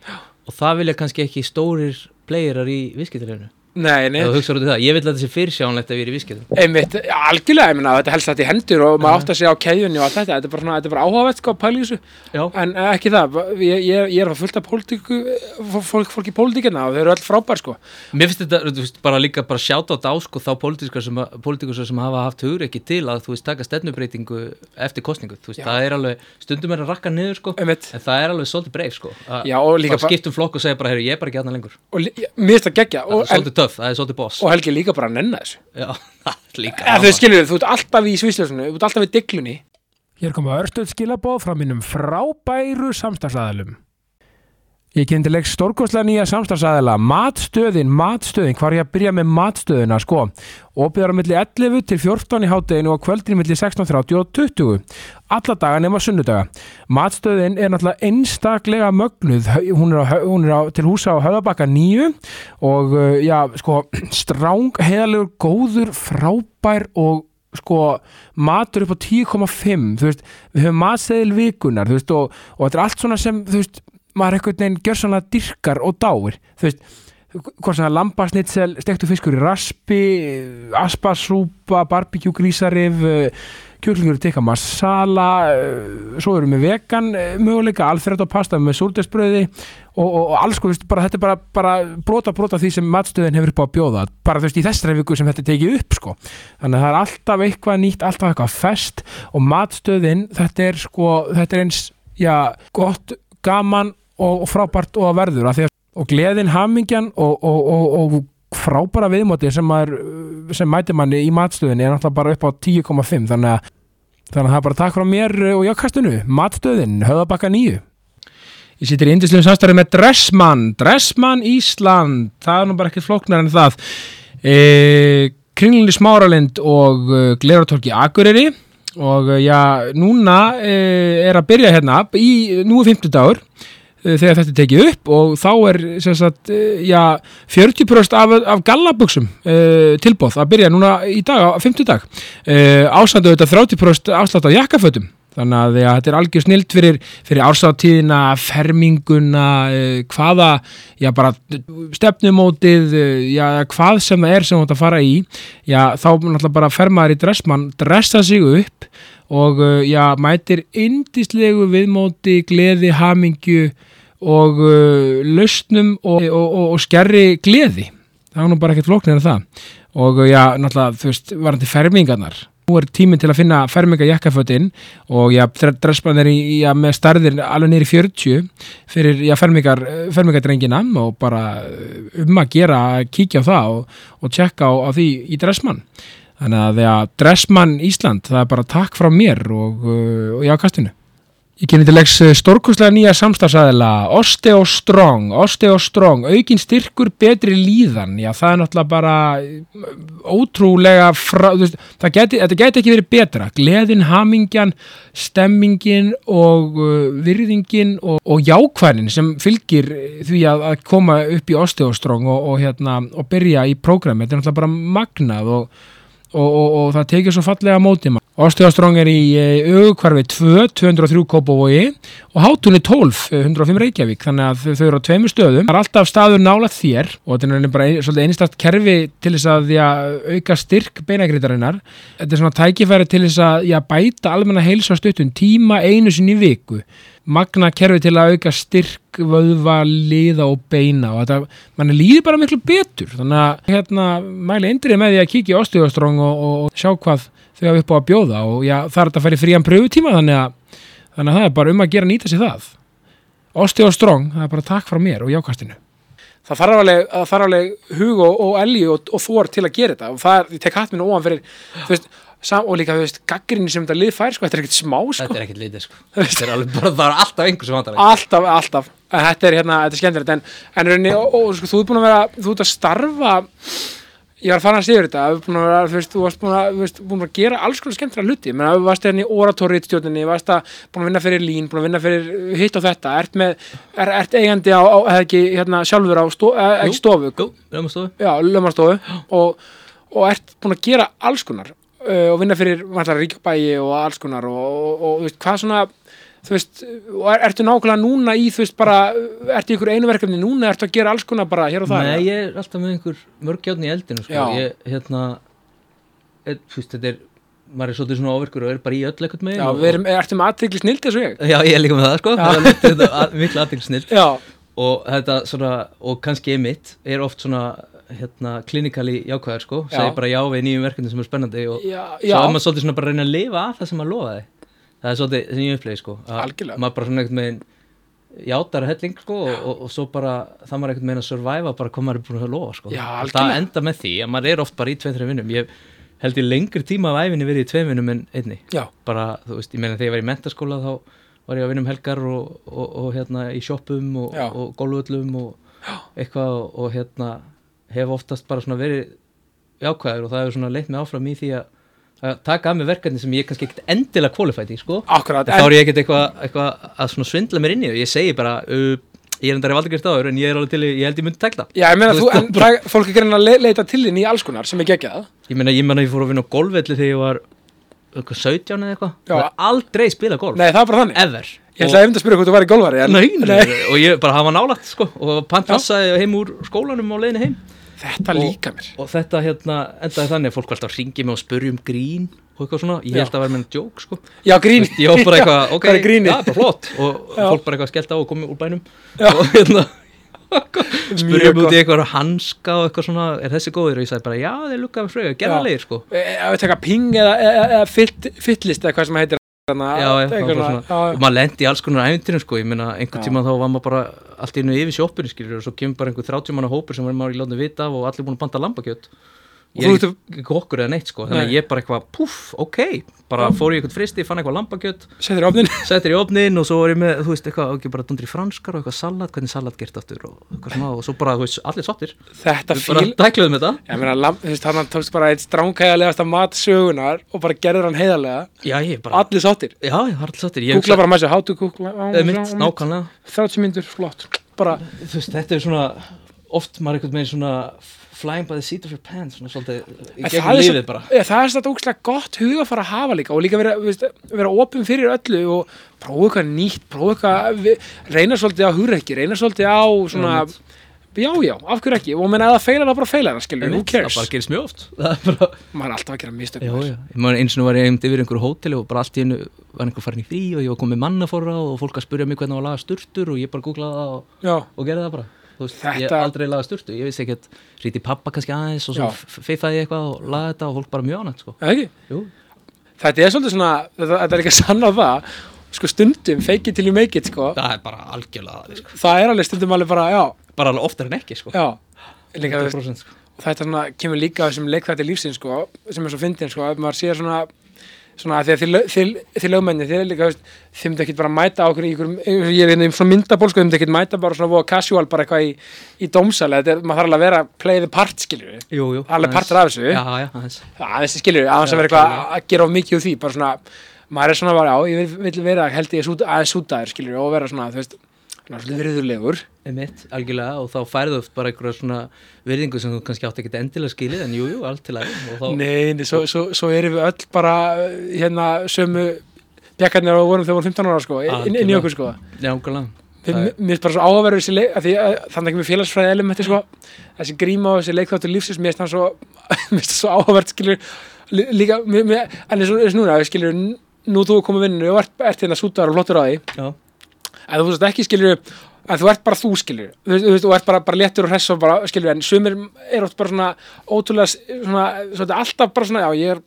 [SPEAKER 2] og það vilja kannski ekki stórir playerar í viðskiptarefinu
[SPEAKER 1] nei, nei
[SPEAKER 2] eða þú hugsaður út í það, ég vil að þetta sé fyrirsjánlegt ef ég er í viðskiptum
[SPEAKER 1] einmitt, algjörlega, ég minna, þetta helst þetta í hendur og maður átt að segja á keðjunni og allt þetta þetta er bara, svona, þetta er bara áhugavert sko, pæli þessu
[SPEAKER 2] Já,
[SPEAKER 1] en eh, ekki það, ég, ég, er- ég er að fá fullt af pólitíku, fólk, fólk í pólitíkina og þau eru öll frábær sko
[SPEAKER 2] mér finnst þetta, þú veist, bara líka bara sjáta á dás og þá pólitískar sem, að- pólitíkusar sem hafa haft hugur ekki til að þú veist taka stefnubreitingu eftir kostningu, þú veist,
[SPEAKER 1] Já.
[SPEAKER 2] það er alveg stundum er að rakka niður sko,
[SPEAKER 1] einmitt,
[SPEAKER 2] en það er alveg svolítið breif sko, að
[SPEAKER 1] já, og líka
[SPEAKER 2] bara
[SPEAKER 1] bara-
[SPEAKER 2] skiptum flokk og segja bara, heyrðu, ég er bara ekki aðna lengur
[SPEAKER 1] og lí- já, mér finnst það geggja
[SPEAKER 2] það
[SPEAKER 1] og,
[SPEAKER 2] er
[SPEAKER 1] en,
[SPEAKER 2] svolítið töff, það er svolítið boss
[SPEAKER 1] og Helgi líka bara að nenna þessu
[SPEAKER 2] Já, það er líka
[SPEAKER 1] eða
[SPEAKER 2] gaman.
[SPEAKER 1] þau skilur, þú ert alltaf í svísljósunni þú ert alltaf í diglunni
[SPEAKER 3] Hér koma örstuð skilabóð frá mínum frábæru samstagsæðalum. Ég kynnti leik stórkoslega nýja samstagsæðala, matstöðin, matstöðin, hvar ég að byrja með matstöðina, sko. Óbyðar á milli 11 til 14 í hádeginu og kvöldin milli 16.30 og 20. Alla daga nema sunnudaga. Matstöðin er náttúrulega einstaklega mögnuð, Hau- hún er, á, Hau- hún er á, til húsa á Höðabakka 9 og, uh, já, sko, stráng, heiðalegur, góður, frábær og sko matur upp á 10,5 þú veist, við höfum matseðil vikunar þú veist, og, og þetta er allt svona sem þú veist, maður einhvern veginn gjör svona dyrkar og dáir, þú veist hvort sem það er lambasnitsel, stektu fiskur í raspi aspasúpa barbecue grísarif kjúklingur tikka masala eh, svo erum við vegan eh, möguleika alþrætt og pasta með súrdesbröði og, og, og alls sko, þú veist, bara, þetta er bara, bara brota brota því sem matstöðin hefur upp á að bjóða bara þú veist í þessari viku sem þetta er tekið upp sko. þannig að það er alltaf eitthvað nýtt alltaf eitthvað fest og matstöðin þetta er sko, þetta er eins já, gott, gaman og, og frábært og að verður að að, og gleðin, hamingjan og, og, og, og frábæra viðmóti sem, maður, uh, sem mæti manni í matstöðinni er náttúrulega bara upp á 10,5 þannig að Þannig að það er bara takk frá mér uh, og jákastinu, matstöðin, höðabakka nýju. Ég sittir í indislegum samstarfi með Dressmann, Dressmann Ísland, það er nú bara ekkert flóknar en það. E, Kringlinni Smáralind og uh, Glerartorki Akureyri og uh, já, núna uh, er að byrja hérna, í, nú er 50 dagur eh, þegar þetta er tekið upp og þá er sem sagt, eh, já, 40% af, af gallabuxum uh, tilbóð að byrja núna í dag, á 50 dag uh, ásandu auðvitað 30% afslátt af jakkafötum þannig að ja, þetta er algjör snilt fyrir, fyrir ársáttíðina, ferminguna uh, hvaða já, bara stefnumótið uh, já, hvað sem það er sem þú átt að fara í já, þá náttúrulega bara fer maður í dressmann dressa sig upp og uh, já, mætir indislegu viðmóti, gleði, hamingju og uh, lausnum og, og, og, og skerri gleði það er nú bara ekkert flóknir en það og uh, já, náttúrulega, þú veist, varandi fermingarnar nú er tíminn til að finna ferminga jakkafötin og já, dressmann er í, í- já, með starðir alveg niður í 40 fyrir já, fermingar, fermingardrengina og bara uh, um að gera að kíkja á það og, og tjekka á, á því í dressmann Þannig að þegar Dressmann Ísland, það er bara takk frá mér og, uh, og jákastinu. Ég kynni til leiks stórkustlega nýja samstagsæðila, Osteo Strong, Osteo Strong, aukin styrkur betri líðan, já það er náttúrulega bara eh, ótrúlega, frá, þú veist, það geti, þetta geti ekki verið betra, gleðin, hamingjan, stemmingin og uh, virðingin og, og jákvænin sem fylgir eh, því að, að koma upp í Osteo Strong og, og, hérna, og byrja í prógrami, þetta er náttúrulega bara magnað og
[SPEAKER 1] og, og, og það tekið svo fallega á móti mann. Osteostrong er í e, augukvarfi 2, 203 Kópavogi og hátunni 12, eh, 105 Reykjavík þannig að þau- þau eru á tveimur stöðum það er alltaf staður nála þér og þetta er rauninni bara ein, svolítið einstakt kerfi til þess að já, auka styrk beinagreitarinnar þetta er svona tækifæri til þess að já, bæta almenna heilsa á stuttum tíma einu sinni í viku magna kerfi til að auka styrk vöðva, liða og beina og þetta, mann líður bara miklu betur þannig að hérna mæli endrið með því að kíkja í Osteostrong og, og, og sjá hvað þau hafa upp á að bjóða og já, það er þetta að fara í frían pröfutíma þannig að Þannig að það er bara um að gera að nýta sér það. Osti og strong, það er bara takk frá mér og jákastinu. Það þarf alveg, það þarf alveg hug og, og elgi og, og þor til að gera þetta og það er, ég tek hatt minn ofan fyrir, þú veist, sam, og líka, þú veist, gaggrinni sem þetta lið fær, sko, þetta er ekkert smá, sko. Ah.
[SPEAKER 2] Þetta er ekkert lítið sko Þetta er alveg bara, það er alltaf einhver sem vantar
[SPEAKER 1] Alltaf, alltaf. En Þetta er hérna, þetta er skemmtilegt, en, en rauninni, og, og sko, þú ert búin að vera, þú ert að starfa, ég var farin að segja þetta, þú ert búin að vera, þú veist, þú varst búin að, þú veist, búin að vera að gera alls konar skemmtilega hluti, menn að þú varst hérna í oratorið stjórninni, varst að búin að vinna fyrir lín, búin að vinna fyrir hitt og þetta, ert með, er, ert eigandi á, á eða ekki, hérna, sjálfur á, sto, eða
[SPEAKER 2] Jú.
[SPEAKER 1] ekki stofu,
[SPEAKER 2] Jú, lögum að stofu
[SPEAKER 1] já, lögmanstofu og, og ert búin að gera alls konar uh, og vinna fyrir vantar ríkjabæi og alls konar og, og, og þú veist, hvað svona þú veist, og er, ertu nákvæmlega núna í þú veist bara, uh, ertu í ykkur einu verkefni núna, ertu að gera alls konar bara hér og það
[SPEAKER 2] Nei, ég er alltaf með einhver mörgjáðn í eldinu sko.
[SPEAKER 1] Já.
[SPEAKER 2] ég, hérna, et, fyrst, þetta er maður er svolítið svona áverkur og er bara í öll ekkert með
[SPEAKER 1] já, við erum, ertu með aðtrykli snild þessu ég
[SPEAKER 2] Já, ég er líka með það sko Það er mikil- þetta er að- mikil aðtilsnill
[SPEAKER 1] já,
[SPEAKER 2] og þetta svona, og kannski ég mitt er oft svona, hérna, klinikali jákvæðar sko,
[SPEAKER 1] Já.
[SPEAKER 2] segir bara já við nýjum verkefni sem er spennandi og
[SPEAKER 1] já, já,
[SPEAKER 2] svo er maður svolítið svona bara að reyna að lifa að það sem maður lofaði það er svolítið sem ég upplegi sko að
[SPEAKER 1] Algjörlega.
[SPEAKER 2] maður bara svona einhvern veginn játar að helling sko og, og, og svo bara það maður einhvern veginn að survive bara hvað maður er búin að lofa sko
[SPEAKER 1] Já,
[SPEAKER 2] Og það
[SPEAKER 1] algjörlega.
[SPEAKER 2] enda með því að maður er oft bara í tveim, þreim vinnum ég held í lengri tíma af æfinni verið í tveim vinnum en einni
[SPEAKER 1] já,
[SPEAKER 2] bara þú veist, ég meina þegar ég var í mentaskóla þá var ég að vinna um helgar og, og, og hérna í sjoppum og,
[SPEAKER 1] Já.
[SPEAKER 2] og gólvöllum og eitthvað og, og hérna hef oftast bara svona verið jákvæður og það hefur svona leitt mig áfram í því að að taka af mig verkefni sem ég kannski ekkert endilega qualified í sko
[SPEAKER 1] akkurat
[SPEAKER 2] En þá er ég ekkert eitthvað eitthva að svona svindla mér inn í og ég segi bara uh, ég er endar ef aldrei gert áður en ég er alveg til í, ég held ég myndi tekla
[SPEAKER 1] já, ég meina
[SPEAKER 2] Þú
[SPEAKER 1] þú,
[SPEAKER 2] veist,
[SPEAKER 1] en það, fólk er greina að le- leita til þín í alls konar sem er geggjað
[SPEAKER 2] ég meina ég, meina, ég fór að vinna á golfvelli þegar ég var eitthvað 17 eða eitthvað
[SPEAKER 1] Já.
[SPEAKER 2] Það er aldrei spila golf
[SPEAKER 1] nei, það er bara þannig,
[SPEAKER 2] ever
[SPEAKER 1] ég ætlaði einmitt að spyrja hvort þú væri gólfari en,
[SPEAKER 2] Nei, og ég bara hafa nálat sko, og pantassaði heim úr skólanum á leiðinu heim
[SPEAKER 1] þetta
[SPEAKER 2] Og-
[SPEAKER 1] líka mér
[SPEAKER 2] og þetta hérna endaði þannig að fólk var alltaf að ringi mig og spurja um grín og eitthvað svona, ég held að vera með enn djók sko.
[SPEAKER 1] já, grín,
[SPEAKER 2] ég var bara eitthvað,
[SPEAKER 1] Já,
[SPEAKER 2] ok,
[SPEAKER 1] hvað er grínið?
[SPEAKER 2] það er bara flott og
[SPEAKER 1] Já.
[SPEAKER 2] fólk bara eitthvað skellt á og komið úr bænum og hérna spurja
[SPEAKER 1] Mjög
[SPEAKER 2] mig um út
[SPEAKER 1] gott.
[SPEAKER 2] í eitthvað hanska og eitthvað svona, er þessi góður og ég sagði bara, já, þeir lukkaði fröga, gerðarlegir sko
[SPEAKER 1] E- ef við taka ping eða, eh, eða, eða fit, fitlist eða hvað sem heitir þarna,
[SPEAKER 2] já, já, það var
[SPEAKER 1] eitthvað
[SPEAKER 2] bara
[SPEAKER 1] svona.
[SPEAKER 2] svona, og maður lendi í alls konar æfintirum sko, ég meina einhvern
[SPEAKER 1] Já.
[SPEAKER 2] tíma þá var maður bara allt í einu yfir sjóppinu skilur og svo kemur bara einhver 30 manna hópur sem var maður í látni vita af og allir búin að banta lambakjöt
[SPEAKER 1] Og
[SPEAKER 2] ég er
[SPEAKER 1] þú
[SPEAKER 2] ekki, ekki okkur eða neitt sko þannig
[SPEAKER 1] Nei.
[SPEAKER 2] að ég bara eitthvað, púff, ok bara fór ég eitthvað fristi, fann eitthvað lambakjöt
[SPEAKER 1] já, setur í ofnin
[SPEAKER 2] settir í ofnin og svo var ég með, þú veist, eitthvað ekki bara dundri franskar og eitthvað salat, hvernig salat gert aftur og eitthvað svona og svo bara, þú veist, allir sáttir
[SPEAKER 1] þetta
[SPEAKER 2] við bara
[SPEAKER 1] fíl
[SPEAKER 2] dækluðum þetta
[SPEAKER 1] ég meina, lamb- þú veist, hann tókst bara eitt stránkæðalegasta mat sögunar og bara gerður hann heiðarlega
[SPEAKER 2] já, ég bara,
[SPEAKER 1] allir sáttir,
[SPEAKER 2] já, ég var allir sáttir ég
[SPEAKER 1] googla bara með þessu how to google
[SPEAKER 2] Eða mitt, nákvæmlega
[SPEAKER 1] 30 myndur, flott bara,
[SPEAKER 2] þú veist, þetta er svona oft maður einhvern veginn svona flying by the seat of your pants svona svolítið í
[SPEAKER 1] En
[SPEAKER 2] gegnum
[SPEAKER 1] svo-
[SPEAKER 2] lífið bara
[SPEAKER 1] Já, það er þetta ógslag gott huga að fara að hafa líka og líka vera, veist, vera opum fyrir öllu og prófa eitthvað nýtt, prófa eitthvað við- reyna svolítið á hugreikki, reyna svolítið á svona, já, já, af hverju ekki og menna að það feilar það bara feilar það skilur, who
[SPEAKER 2] það
[SPEAKER 1] cares
[SPEAKER 2] bara gerist mjög oft það er bara
[SPEAKER 1] maður er alltaf að gera mistökum
[SPEAKER 2] já, já. ég maður eins og var ég einmitt yfir einhverju hóteli og bara allt í einu var einhver farin í frí og ég var komið mannaforra og fólk að spurja mig hvernig það var að laga sturtur og ég bara googlaði það og,
[SPEAKER 1] já,
[SPEAKER 2] og gerði það bara þú veist, ég
[SPEAKER 1] Þetta-
[SPEAKER 2] aldrei laga sturtu, ég vissi ekkert ríti pappa kannski aðeins og svo
[SPEAKER 1] Já.
[SPEAKER 2] f- feifaði ég eitthvað og laga þetta og fólk bara mjög ánætt sko.
[SPEAKER 1] eða ekki
[SPEAKER 2] Jú.
[SPEAKER 1] þetta er svolítið svona, þetta, þetta er ekki að sanna það sko stundum, fake it till you make it sko.
[SPEAKER 2] það er bara algjörlega það, sko.
[SPEAKER 1] það er alveg stundum alveg bara, já,
[SPEAKER 2] bara alveg oftar en ekki sko.
[SPEAKER 1] já líka, þú veist,
[SPEAKER 2] 100% sko.
[SPEAKER 1] og þetta svona, kemur líka að þessum leikþætti lífsins sko, sem er svo fyndin sko, ef maður sér svona svona að því að þið lög- þið- þið lögmenni þið er líka, þú veist, þið myndi ekkit bara mæta okkur í ykkur, ég er hérna í svona myndaból sko, þið myndi ekkit mæta bara svona voða casual bara eitthvað í, í dómsal, þetta er, maður þarf alveg að vera play the part skiljur við,
[SPEAKER 2] jú, jú,
[SPEAKER 1] alveg
[SPEAKER 2] aðeins.
[SPEAKER 1] partur af þessu
[SPEAKER 2] já, sko. já, aðeins
[SPEAKER 1] aðeins skiljur við, aðeins að vera eitthvað að gera of mikið úr því, bara svona maður er svona bara, já, ég vil, vil vera held ég sút, aðeins sútaður skiljur og vera svona, þú veist hann er svolítið virðulegur
[SPEAKER 2] Emitt, algjörlega og þá færðu oft bara einhverja svona virðingu sem þú kannski átt ekki endilega skilið en jújú, jú, allt til að og þá,
[SPEAKER 1] Nei, nei, svo, svo, svo erum við öll bara uh, hérna sömu bjakkarnir á vorum þegar við vorum 15 ára sko, inn, inn í okkur sko
[SPEAKER 2] já, nákvæmlega
[SPEAKER 1] Við-
[SPEAKER 2] Það er-
[SPEAKER 1] Mér finnst bara svo áverður þessi leik, af því að þannig ekki með félagsfræði elementi sko, þessi gríma og þessi leikþáttur lífsins, mér finnst hann svo, mér finnst það svo áverð skilur, lí- líka, mér, mér, en eins og eins og núna, skilur, nú þú komið vinninu og ert, ert hérna sútar og flottur á því,
[SPEAKER 2] já,
[SPEAKER 1] en þú veist ekki skilur, en þú ert bara þú skilur, þú veist, þú veist, og ert bara, bara léttur og hress og bara skilur, en sumir er oft bara svona ótrúlega, s- svona, svona alltaf bara svona, já, ég er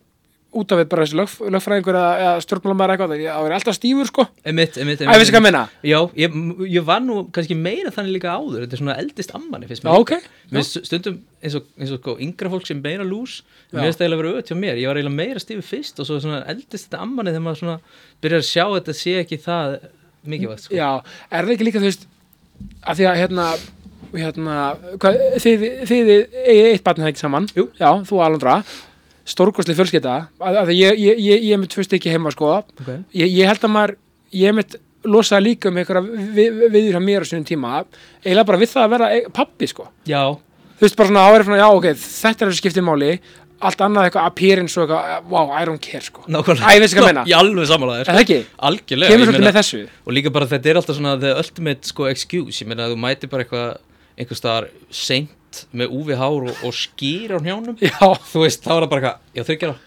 [SPEAKER 1] út af við bara þessi lögf, lögfræðingur eða, eða stjórnmálamæður eitthvað, ég, ég er alltaf stífur sko,
[SPEAKER 2] emitt, emitt,
[SPEAKER 1] að ég veist hvað að minna,
[SPEAKER 2] Já, ég, ég var nú kannski meira þannig líka áður, þetta er svona eldist ammanni finnst
[SPEAKER 1] já,
[SPEAKER 2] mér
[SPEAKER 1] Ah, ok,
[SPEAKER 2] Mér finnst stundum eins og, eins og sko, yngra fólk sem meina lús mér finnst það eiginlega verið öðt hjá mér, ég var eiginlega meira stífi fyrst og svo svona eldist þetta ammanni þegar maður svona byrjar að sjá að þetta sé ekki það mikilvægt sko.
[SPEAKER 1] Já, er það ekki líka þú veist að því að hérna, hérna hvað, þið, þið eigið eitt barn það ekki saman,
[SPEAKER 2] Jú.
[SPEAKER 1] já, þú og Alondra stórkostli fjölskylda að, að því ég, ég, ég, ég er með tvö stykki heima sko
[SPEAKER 2] okay.
[SPEAKER 1] ég, ég held að maður ég er með losaði líka um einhverja við, viður hjá mér á sinni tíma eiginlega bara við það að vera e- pabbi sko
[SPEAKER 2] Já,
[SPEAKER 1] þú veist bara svona áverið svona, já ok, þetta er þessu skiptið máli allt annað eitthvað appearance og eitthvað, eh, wow, I don't care sko
[SPEAKER 2] nákvæmlega
[SPEAKER 1] Æ, ég veist hvað ég meina.
[SPEAKER 2] Ég alveg samanlega
[SPEAKER 1] Er það ekki,
[SPEAKER 2] sko. Algjörlega
[SPEAKER 1] kemur
[SPEAKER 2] ég
[SPEAKER 1] svolítið
[SPEAKER 2] meina-
[SPEAKER 1] með þessu
[SPEAKER 2] Og líka bara þetta er alltaf svona the ultimate sko, excuse, ég meina að þú mæti bara eitthvað einhver staðar seint með úfi hár og, og skýr á hnjánum
[SPEAKER 1] Já,
[SPEAKER 2] þú veist, þá er það bara eitthvað, já þryggjara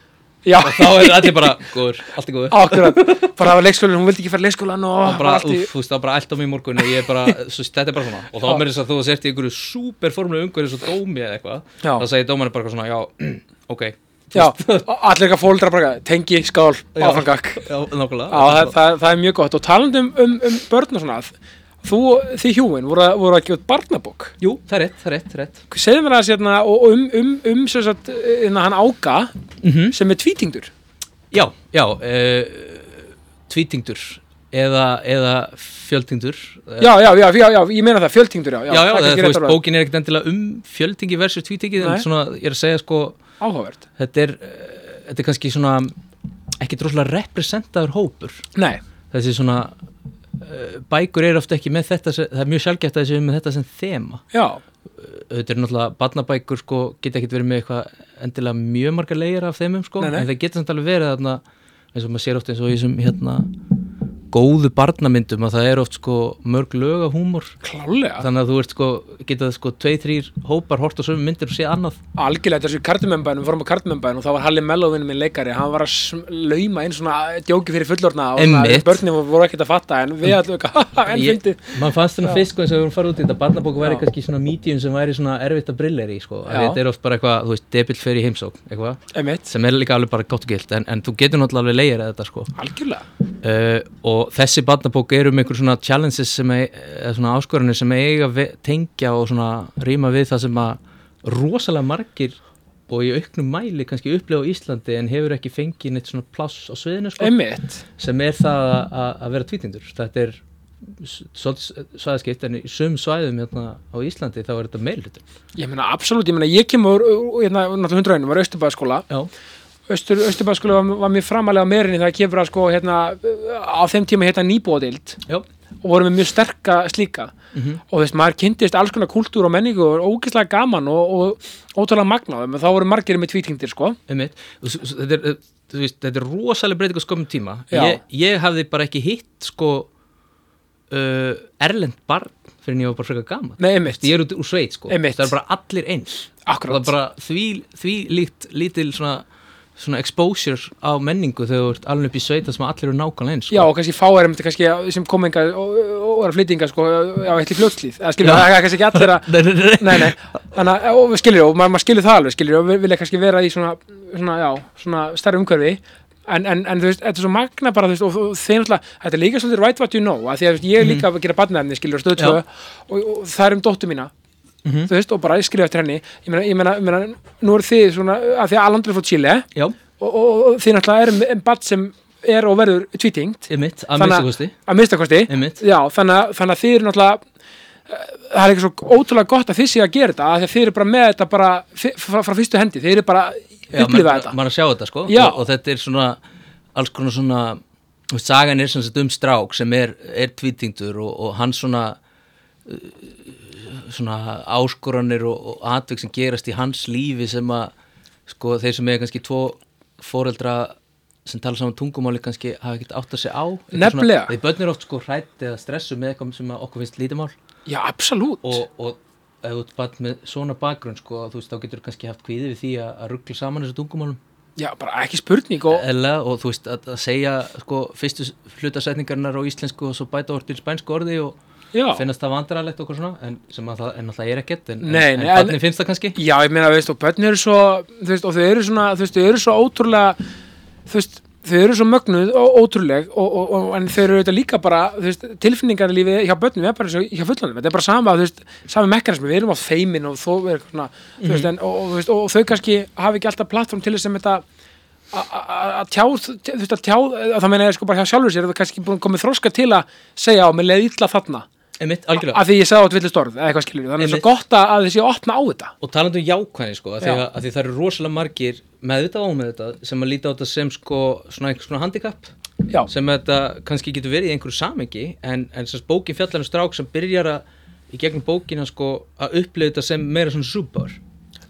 [SPEAKER 1] já
[SPEAKER 2] og þá er allir bara, góður, allt er góður
[SPEAKER 1] Akkurat, bara hafa leikskólan, hún vildi ekki fara leikskólan og
[SPEAKER 2] og bara,
[SPEAKER 1] allt í
[SPEAKER 2] úff, þú veist, það er bara allt á mig í morgun og ég er bara, svo, þetta er bara svona og þá
[SPEAKER 1] Já.
[SPEAKER 2] meira þess að þú sért í einhverju superformulegu umhverju svo dómi eða eitthvað,
[SPEAKER 1] Já.
[SPEAKER 2] þá segir dómarinn bara eitthvað svona, já, ok
[SPEAKER 1] Já, og allir eitthvað fólkdra bara, tengi, skál,
[SPEAKER 2] Já.
[SPEAKER 1] áframgak Já,
[SPEAKER 2] Já, nákvæmlega
[SPEAKER 1] það, það, það er mjög gott og talandi um, um, um börn og svona þú, þið hjúin, voru, að- voru að gefa út barnabók
[SPEAKER 2] Jú, það er rétt, það er rétt, það er rétt
[SPEAKER 1] segðu mér aðeins hérna og og um, um, um sem sagt, hérna, hann áka sem er tvítingdur
[SPEAKER 2] Já, já, uh, tvítingdur eða, eða fjöldingdur
[SPEAKER 1] já, já, já, já, já, ég meina það, fjöltingdur, já
[SPEAKER 2] já, já,
[SPEAKER 1] það er
[SPEAKER 2] það, þú
[SPEAKER 1] ekki rétt
[SPEAKER 2] veist,
[SPEAKER 1] að
[SPEAKER 2] bókin er ekkert endilega um fjöldingi versus tvítingið,
[SPEAKER 1] Nei.
[SPEAKER 2] en svona, ég er að segja sko,
[SPEAKER 1] áhugavert
[SPEAKER 2] þetta er, uh, þetta er kannski svona ekki droslega representaður hópur
[SPEAKER 1] Nei,
[SPEAKER 2] þessi svona uh, bækur eru ofta ekki með þetta sem, það er mjög sjálfgæft að þessi með þetta sem þema
[SPEAKER 1] já,
[SPEAKER 2] auðvitað er náttúrulega barnabækur sko, geta ekkert verið með eitthvað endilega mjög margar leigir af þeimum sko,
[SPEAKER 1] Nei, nei.
[SPEAKER 2] en það geta samt alveg verið þarna, eins og maður sér oft eins og í þessum hérna, góðu barnamyndum að það er oft sko, mörg lög af húmor
[SPEAKER 1] klálega
[SPEAKER 2] þannig að þú ert sko, geta sko, tvei, þrýr hópar hort á sömu myndir og sé annað
[SPEAKER 1] algjörlega þetta er svo í kardumembæðinu, við fórum á kardumembæðinu og þá var Halli Mellóvinn minn leikari, hann var að sm- lauma inn svona djóki fyrir fullorna og svona,
[SPEAKER 2] Einmitt.
[SPEAKER 1] börnum voru ekkert að fatta en við allum ekki, haha, enn
[SPEAKER 2] Ég-
[SPEAKER 1] fyndið
[SPEAKER 2] mann fannst þannig fyrst sko eins og við vorum farið út í þetta barnabók væri
[SPEAKER 1] Já.
[SPEAKER 2] kannski svona medium sem væri svona erfitt að brillera í sko, Af því
[SPEAKER 1] Já.
[SPEAKER 2] þetta er oft bara eitthvað, þú veist, debill fer í heimsók eitthvað,
[SPEAKER 1] emitt,
[SPEAKER 2] sem er líka alveg bara gátt og gilt en, en þú getur náttúrulega alveg leiðir að þetta sko
[SPEAKER 1] algjörlega
[SPEAKER 2] uh, og þessi barnabók er um einhver svona challenges sem ei- eða svona áskoranir sem eiga ve- tengja og svona rýma við það sem að rosalega margir og í auknum mæli kannski upplega á Íslandi en hefur ekki fengið neitt svona pláss á sviðinu sko
[SPEAKER 1] emitt,
[SPEAKER 2] sem er það að- að að vera tvítindur þetta er s- svolítið svæðaskipt en í sum svæðum hérna á Íslandi þá er þetta meilhutur
[SPEAKER 1] ég meina absolutt, ég meina ég kemur, hérna, náttúrulega hundraunum var Östurbæðaskóla,
[SPEAKER 2] já,
[SPEAKER 1] Östur, Östurbæðaskóla var, var mér framalega meirinni það kemur að sko, hérna, á þeim tíma hérna nýbóðild
[SPEAKER 2] já,
[SPEAKER 1] og vorum við mjög sterka slíka og þú veist, maður kynntist alls konar kultúr og menningu og var ógeðslega gaman og, og ótrúlega magnað, þá voru margir með tvítingdir sko,
[SPEAKER 2] einmitt Og s- s- þetta er, eh, þú veist, þetta er rosalega breyting á skömmum tíma
[SPEAKER 1] Já.
[SPEAKER 2] ég, ég hafði bara ekki hitt sko uh, erlend barn fyrir en ég var bara frekar gaman
[SPEAKER 1] nei emitt
[SPEAKER 2] ég er út úr sveit sko,
[SPEAKER 1] Einmitt.
[SPEAKER 2] það er bara allir eins
[SPEAKER 1] Akkurat.
[SPEAKER 2] það er bara því, því líkt, lítil svona, svona exposure á menningu þegar þú ert alveg upp í sveit þar sem allir eru nákvæmlega eins sko.
[SPEAKER 1] Já, og kannski fáir einmitt kannski sem kom enga og, og og eru flytinga sko, já, eitthvað fljótslíð, eða skilur,
[SPEAKER 2] Já.
[SPEAKER 1] það er kannski ekki allir að,
[SPEAKER 2] Nei, nei, nei.
[SPEAKER 1] nei, nei, þannig að, og við skilur, og maður, maður skilur það alveg, skilur, og við vilja kannski vera í svona, svona, já, svona stærri umhverfi, en, en, en þú veist, þetta er svo magna bara, þú veist, og, og þeir náttúrulega, þetta er líka svolítið right what you know, að því að þú veist, ég er líka að gera badnefni, skilur, stöðu tvö,
[SPEAKER 2] Mhm. Já. Mhm.
[SPEAKER 1] og, og það er um dóttu mína, þú veist, og bara ég skrifa eftir henni, ég meina, ég meina, ég meina nú eru þið svona, að því að Alandri frá Chile,
[SPEAKER 2] Já,
[SPEAKER 1] og, og, og þið náttúrulega erum en bad sem er og verður tvítingt,
[SPEAKER 2] einmitt,
[SPEAKER 1] Þannig
[SPEAKER 2] að minnsta
[SPEAKER 1] að-
[SPEAKER 2] kosti
[SPEAKER 1] að minnstakosti
[SPEAKER 2] Einmitt.
[SPEAKER 1] já, þannig, að- þannig að þið eru náttúrulega eh, það er ekki svo ótrúlega gott að þið séu að gera þetta af því að þið eru bara með þetta bara fi- frá, frá fyrstu hendi, þið eru bara að
[SPEAKER 2] Já,
[SPEAKER 1] upplifa
[SPEAKER 2] maður-
[SPEAKER 1] þetta
[SPEAKER 2] maður að sjá þetta sko
[SPEAKER 1] Já.
[SPEAKER 2] og, og þetta er svona alls konar svona Og sagan er sem sagt um strák sem er, er tvítingdur og, og hann svona uh, svona áskoranir og, og atveg sem gerast í hans lífi sem að sko þeir sem er kannski tvo foreldra sem tala saman tungumáli kannski hafa ekkert átt að segja á Eitthvað svona-
[SPEAKER 1] Nefnilega.
[SPEAKER 2] Þeir börnir oft sko hrætt eða stressu með eitthvað sem að okkur finnst lítið mál
[SPEAKER 1] já, absolutt
[SPEAKER 2] og, og ef þú ert bara með svona bakgrunn sko þú veist þá getur þú kannski haft kvíði við því að, að ruggla saman þessu tungumálum
[SPEAKER 1] já, bara ekki spurning og
[SPEAKER 2] Ella, og þú veist að, að segja sko, fyrstu hlutasætningarnar á íslensku og svo bæta orð til spænsku orði og
[SPEAKER 1] já,
[SPEAKER 2] finnast það vandrarlegt okkur svona en, sem að það, en að það er ekkert en,
[SPEAKER 1] Nei,
[SPEAKER 2] en,
[SPEAKER 1] nei,
[SPEAKER 2] en
[SPEAKER 1] en-
[SPEAKER 2] barni finnst það kannski
[SPEAKER 1] já, ég meina, veist, og börn eru svo þú veist, og þau eru svona, þú veist, þau eru svo ótrúlega þú veist, þau eru svo mögnuð og ótrúleg og, og, og en þau eru auðvitað líka bara, þú veist, tilfinningar í lífi hjá börnum er bara eins og hjá fullanum þetta er bara sama, þú veist, sami mekkanismi, við erum á feimin og þó er eitthvað svona, þú veist, en, og, og, þú veist, og þau kannski hafi ekki alltaf plattform til þess sem þetta a- a- að tjá, þú veist, að tjá að það meina ég sko bara hjá sjálfur sér, það er kannski búin komið þroska til að segja á, mér leið illa þarna
[SPEAKER 2] Einmitt, algjörlega
[SPEAKER 1] af því ég sagði átt villist orð, eða eitthvað skilur þannig er svo
[SPEAKER 2] Einmitt.
[SPEAKER 1] gott að að þessi opna á þetta
[SPEAKER 2] og talandi um jákvæðni sko, að því,
[SPEAKER 1] Já.
[SPEAKER 2] að, að því það eru rosalega margir meðvitað og meðvitað sem að líta á þetta sem sko, svona einhvers konar handicap
[SPEAKER 1] já,
[SPEAKER 2] sem að þetta kannski getur verið í einhverju samengi en, en sem sagt bókin fjallarinn strák sem byrjar að í gegnum bókina sko að upplifa þetta sem meira svona súpar